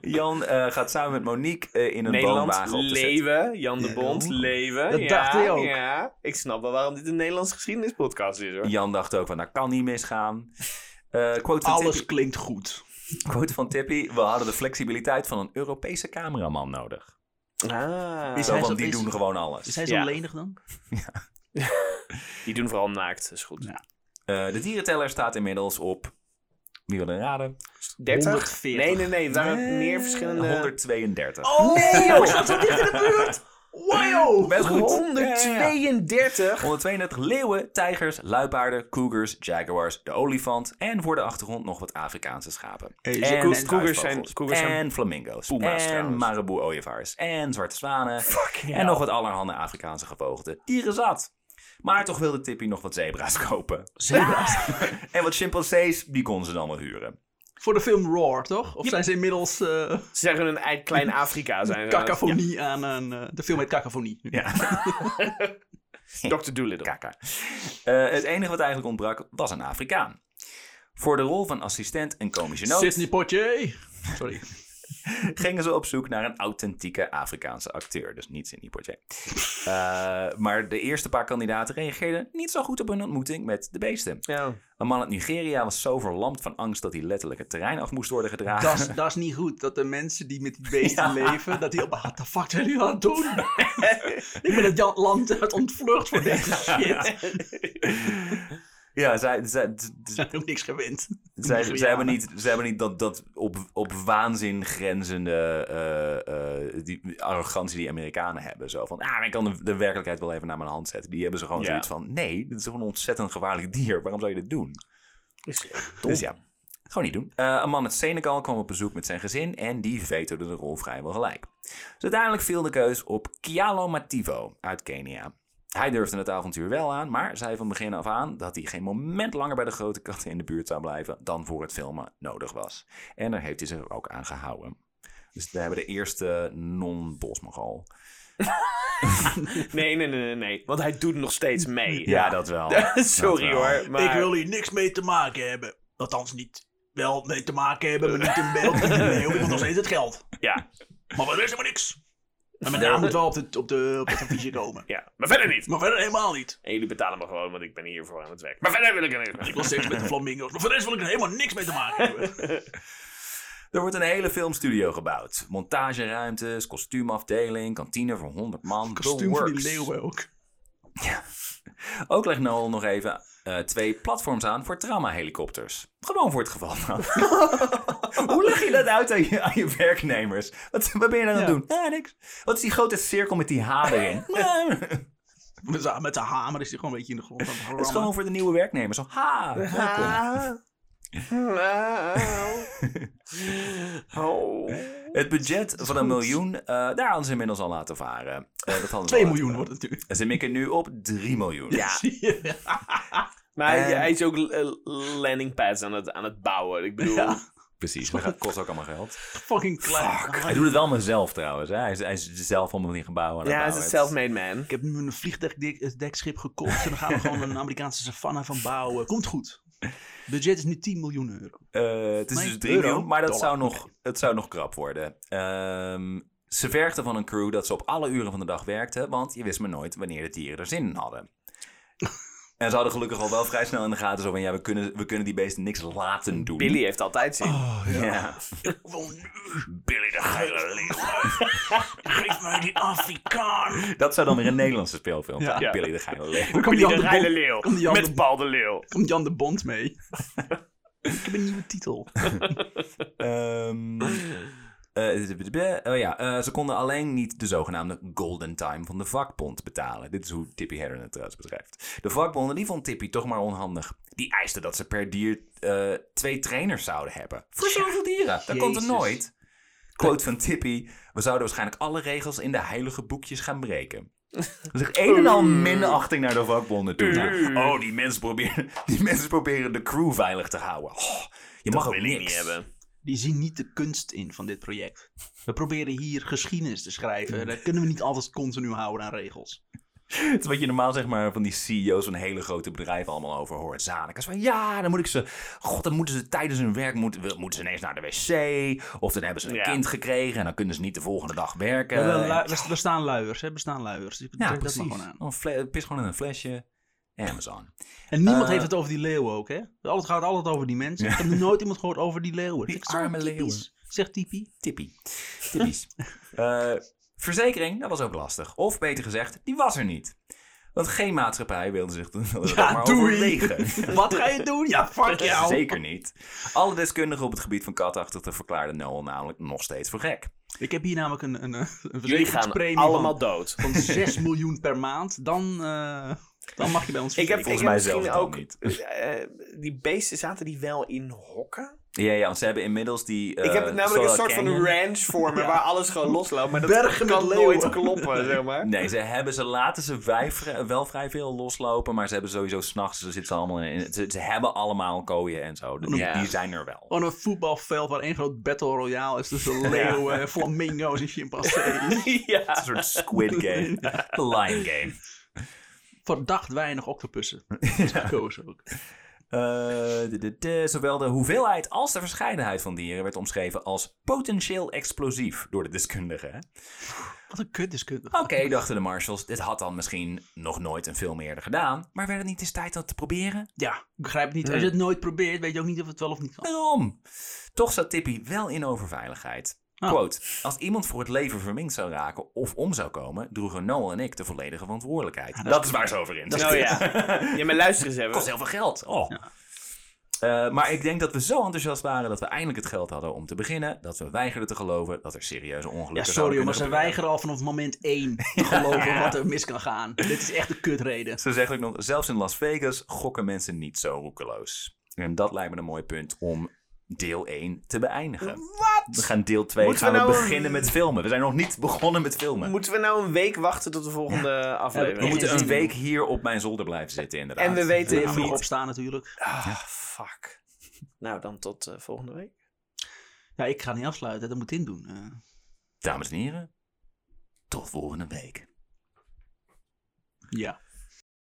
S1: Jan eh, gaat samen met Monique eh, in een
S3: Nederland,
S1: woonwagen op de set.
S3: leven. Jan de Bond, leven.
S2: Dat
S3: ja,
S2: dacht hij ook.
S3: Ja, ik snap wel waarom dit een Nederlands geschiedenispodcast is hoor.
S1: Jan dacht ook van, dat kan niet misgaan. Eh, quote, van
S2: Alles
S1: Tippy,
S2: klinkt goed.
S1: quote van Tippy, we hadden de flexibiliteit van een Europese cameraman nodig.
S3: Ah.
S2: Is
S1: Zo,
S2: hij
S1: want
S2: zo-
S1: die
S2: is-
S1: doen gewoon
S2: Is
S1: alles.
S2: hij zo
S3: Ja.
S2: lenig dan?
S3: Die doen vooral naakt, dat is goed.
S2: Ja.
S1: Eh, de dierenteller staat inmiddels op, wie wil er raden?
S3: 30?
S2: 140.
S3: Nee, nee, nee. Er waren
S1: Eh,
S3: meer verschillende...
S1: 132.
S3: Oh, nee joh! Ik zat zo dicht in de buurt!
S2: Wow!
S1: Best goed.
S3: 132?
S1: 132 leeuwen, tijgers, luipaarden, cougars, jaguars, de olifant en voor de achtergrond nog wat Afrikaanse schapen.
S2: Hey,
S1: en
S2: ze-
S3: cougars zijn-
S1: struisvogels.
S3: cougars zijn-
S1: en flamingo's.
S3: Puma's
S1: en
S3: trouwens.
S1: marabou-ooievaars. En zwarte zwanen.
S3: Fucking
S1: en nog wat allerhande Afrikaanse gevogelte. Dieren zat. Maar toch wilde Tippy nog wat zebra's kopen. en wat chimpansees, die kon ze dan wel huren.
S2: Voor de film Roar, toch? Of zijn ze inmiddels eh
S3: Ze zeggen een ei- klein Afrika zijn. ze.
S2: cacophonie aan een... eh, de film heet Cacophonie. nu.
S1: Ja.
S3: Dr. Doolittle.
S1: Kaka. Eh, het enige wat eigenlijk ontbrak was een Afrikaan. Voor de rol van assistent en komische noot
S2: Sidney Poitier. Sorry.
S1: gingen ze op zoek naar een authentieke Afrikaanse acteur. Dus niet Sidney Poitier. Eh, maar de eerste paar kandidaten reageerden niet zo goed op hun ontmoeting met de beesten.
S3: Ja.
S1: Een man uit Nigeria was zo verlamd van angst dat hij letterlijk het terrein af moest worden gedragen.
S2: Dat is- Dat is niet goed. Dat de mensen die met die beesten leven, dat die op... Ah, What the fuck zijn jullie aan het doen? Ik ben het Jan- land uit ontvlucht voor deze shit.
S1: Ja, zij, zij, d- d-
S2: Ze hebben niks gewend.
S1: zij, zij
S2: Nigerianen.
S1: hebben niet, zij hebben niet dat, dat op, op waanzin grenzende eh, eh, die arrogantie die Amerikanen hebben. Zo van, ah, maar ik kan de, de werkelijkheid wel even naar mijn hand zetten. Die hebben ze gewoon
S3: Ja.
S1: zoiets van, nee, dit is gewoon een ontzettend gevaarlijk dier. Waarom zou je dit doen? Dus ja, gewoon niet doen. Eh, een man uit Senegal kwam op bezoek met zijn gezin en die veterde de rol vrijwel gelijk. Dus uiteindelijk viel de keus op Kialo Mativo uit Kenia. Hij durfde het avontuur wel aan, maar zei van begin af aan dat hij geen moment langer bij de grote katten in de buurt zou blijven dan voor het filmen nodig was. En daar heeft hij zich ook aan gehouden. Dus we hebben de eerste non-bosmogal.
S3: Nee, nee, nee, nee, nee. Want hij doet nog steeds mee.
S1: Ja, dat wel.
S3: Sorry
S1: Dat wel.
S3: hoor. Maar...
S2: Ik wil hier niks mee te maken hebben. Althans niet. Wel mee te maken hebben, maar niet in beeld. niet in beeld. Ik wil nog steeds het geld.
S3: Ja,
S2: Maar we wisten maar niks. En mijn naam moet wel op, de, op, de, op het adviesje komen.
S3: ja. Maar verder niet.
S2: Maar verder helemaal niet.
S3: En jullie betalen me gewoon, want ik ben hiervoor aan het werk. Maar verder wil ik er
S2: Ik
S3: niet.
S2: was steeds met de flamingo's. Maar voor de rest wil ik er helemaal niks mee te maken hebben.
S1: Er wordt een hele filmstudio gebouwd. Montageruimtes, kostuumafdeling, kantine voor 100 man. The works.
S2: ook.
S1: Ook legt Noel nog even eh, twee platforms aan voor traumahelikopters. Gewoon voor het geval. Hoe leg je dat uit aan je, aan je werknemers? Wat, wat ben je dan aan het doen? Ja, niks. Wat is die grote cirkel met die H erin? Nee, Het
S2: Met z'n- Met de hamer is hij gewoon een beetje in de grond aan het rammen.
S1: is gewoon voor de nieuwe werknemers. Zo, ha, welkom.
S3: Oh.
S1: Het budget van een miljoen, eh, daar hadden ze inmiddels al laten varen. Eh, dat hadden ze
S2: 2
S1: al
S2: miljoen
S1: laten
S2: wordt het natuurlijk.
S1: varen. Ze mikken nu op 3 miljoen. Dus Ja.
S3: Maar hij,
S1: En-
S3: hij is ook eh, landing pads aan het, aan het bouwen. Ik bedoel,
S1: Precies, dat gaat- kost ook allemaal geld.
S2: Fucking klein.
S1: Hij doet het wel mezelf trouwens. Hè? Hij, is, hij is zelf allemaal die gebouwen aan het
S3: ja, hij is
S1: bouwen.
S3: een self-made man.
S2: Ik heb nu een vliegdekschip gekocht. En dan gaan we gewoon een Amerikaanse savanne van bouwen. Komt goed. Budget is nu 10 miljoen euro.
S1: Eh, het is
S2: Nee,
S1: dus 3
S2: euro,
S1: miljoen, maar dat
S2: dollar,
S1: zou, nog, het zou nog krap worden. Ehm, ze vergden van een crew dat ze op alle uren van de dag werkten, want je wist maar nooit wanneer de dieren er zin in hadden. en ze hadden gelukkig al wel vrij snel in de gaten zo van, ja, we kunnen, we kunnen die beesten niks laten doen.
S3: Billy heeft altijd
S2: Oh.
S3: zin.
S1: Oh, Ja. Billy de geile leeuw.
S2: Geef mij die Afrikaan.
S1: Dat zou dan weer een Nederlandse speelfilm zijn.
S3: Ja.
S1: Billy de geile leeuw.
S2: Dan komt
S3: Die
S2: Jan
S3: de
S2: de
S3: Rijle
S2: Bond,
S3: Leeuw.
S2: Komt Jan
S3: Met
S2: de-
S3: Paul de Leeuw.
S2: komt Jan de Bond mee. Ik heb een nieuwe titel.
S1: Ehm, eh, oh ja, eh, ze konden alleen niet de zogenaamde golden time van de vakbond betalen. Dit is hoe Tippy Herron het trouwens beschrijft. De vakbonden die vond Tippy toch maar onhandig. Die eisten dat ze per dier eh, twee trainers zouden hebben. Voor zoveel dieren. Dat komt er
S2: Jezus.
S1: nooit. Quote van Tippy. We zouden waarschijnlijk alle regels in de heilige boekjes gaan breken. Dat is echt een en al minachting naar de vakbonden toe. Oh, die mensen, proberen, die mensen proberen de crew veilig te houden. Oh, je mag ook
S3: wil ik
S1: niks.
S3: niet hebben.
S2: Die zien niet de kunst in van dit project. We proberen hier geschiedenis te schrijven. Dat kunnen we niet altijd continu houden aan regels.
S1: Het is wat je normaal zeg maar van die CEO's van hele grote bedrijven allemaal over hoort. Zanekers van ja, dan moet ik ze. God, dan moeten ze tijdens hun werk moeten, wil- moeten ze ineens naar de wc. Of dan hebben ze een
S3: Ja.
S1: kind gekregen en dan kunnen ze niet de volgende dag werken.
S2: Ja, wel, lu- er bestaan luiers, hè? Bestaan luiers. Dus ik
S1: ja,
S2: trek dat maar
S1: precies.
S2: gewoon aan.
S1: Dan fle- pis gewoon in een flesje. Amazon.
S2: En niemand
S1: Eh,
S2: heeft het over die leeuwen ook, hè? Het gaat altijd over die mensen.
S1: Ja.
S2: Ik heb nog nooit iemand gehoord over die leeuwen.
S1: Die
S2: Ik zo
S1: arme
S2: typisch.
S1: leeuwen.
S2: Zegt Tipi.
S1: Tippie. Tippies. Eh, verzekering, dat was ook lastig. Of beter gezegd, die was er niet. Want geen maatschappij wilde zich er
S2: Ja,
S1: maar
S2: doei.
S1: overwegen.
S2: Wat ga je doen? Ja, fuck jou.
S1: Zeker niet. Alle deskundigen op het gebied van katachtigen verklaarden Noel namelijk nog steeds voor gek.
S2: Ik heb hier namelijk een, een, eh, een
S3: Jullie gaan
S2: verzekeringspremie
S3: allemaal
S2: van,
S3: dood.
S2: van 6 miljoen per maand. Dan, eh, dan mag je bij ons
S3: Ik heb,
S2: verzekeren.
S1: Volgens
S3: ik heb
S1: mij zelf
S3: misschien
S1: dan
S3: ook.
S1: niet.
S3: eh, die beesten zaten die wel in hokken?
S1: Ja, ja, want ze hebben inmiddels die. eh,
S3: ik heb namelijk een
S1: Sorrel
S3: soort
S1: Canyon.
S3: van ranch voor me waar alles gewoon losloopt. Maar dat
S2: Bergen met
S3: kan nooit
S2: leeuwen.
S3: kloppen, zeg maar.
S1: Nee, ze, hebben, ze laten ze wij, vri- wel vrij veel loslopen, maar ze hebben sowieso s'nachts, ze zitten allemaal in, ze, ze hebben allemaal kooien en zo. Dus Die,
S3: Ja.
S1: die zijn er wel.
S2: Gewoon Oh, een voetbalveld waar één groot battle royale is tussen leeuwen, flamingo's en chimpansees.
S1: Een
S3: ja.
S1: soort squid game. The lion game.
S2: Verdacht weinig octopussen. Gekozen ook.
S1: Eh, de, de, de- zowel de hoeveelheid als de verscheidenheid van dieren werd omschreven als potentieel explosief door de deskundigen. hè?
S2: Wat een kutdeskundige.
S1: Oké, dachten de marshals, dit had dan misschien nog nooit een film eerder gedaan, maar werd het niet eens tijd dat te proberen?
S2: Ja, ik begrijp het niet. Als je het nooit probeert, weet je ook niet of het wel of niet kan.
S1: Waarom? Toch zat Tippy wel in overveiligheid.
S2: Ah.
S1: Quote, als iemand voor het leven verminkt zou raken of om zou komen, droegen Noel en ik de volledige verantwoordelijkheid. dat, is waar ze over in.
S3: Nou ja. ja, maar luister eens
S1: kost
S3: even.
S1: heel veel geld. Oh. Eh, maar ik denk dat we zo enthousiast waren dat we eindelijk het geld hadden om te beginnen, dat we weigerden te geloven dat er serieuze ongelukken
S2: Ja,
S1: zouden
S2: sorry,
S1: kunnen
S2: maar ze
S1: gebeuren.
S2: weigeren al vanaf moment één te geloven wat er mis kan gaan. Dit is echt de kutreden.
S1: Ze zeggen ook nog, zelfs in Las Vegas gokken mensen niet zo roekeloos. En dat lijkt me een mooi punt om deel 1 te beëindigen. We gaan deel 2
S3: Moeten
S1: gaan
S3: we
S1: we,
S3: nou
S1: beginnen
S3: een-
S1: met filmen. We zijn nog niet begonnen met filmen.
S3: Moeten we nou een week wachten tot de volgende aflevering?
S1: we moeten
S2: zin
S1: een
S2: in.
S1: week hier op mijn zolder blijven zitten, inderdaad.
S3: En we weten
S1: Ja,
S2: Vroeg
S3: niet.
S2: opstaan natuurlijk.
S3: Ah, fuck. Nou, dan tot eh, volgende week.
S2: Ja, ik ga niet afsluiten. Dat moet in doen. Eh,
S1: Dames en heren, tot volgende week.
S2: ja.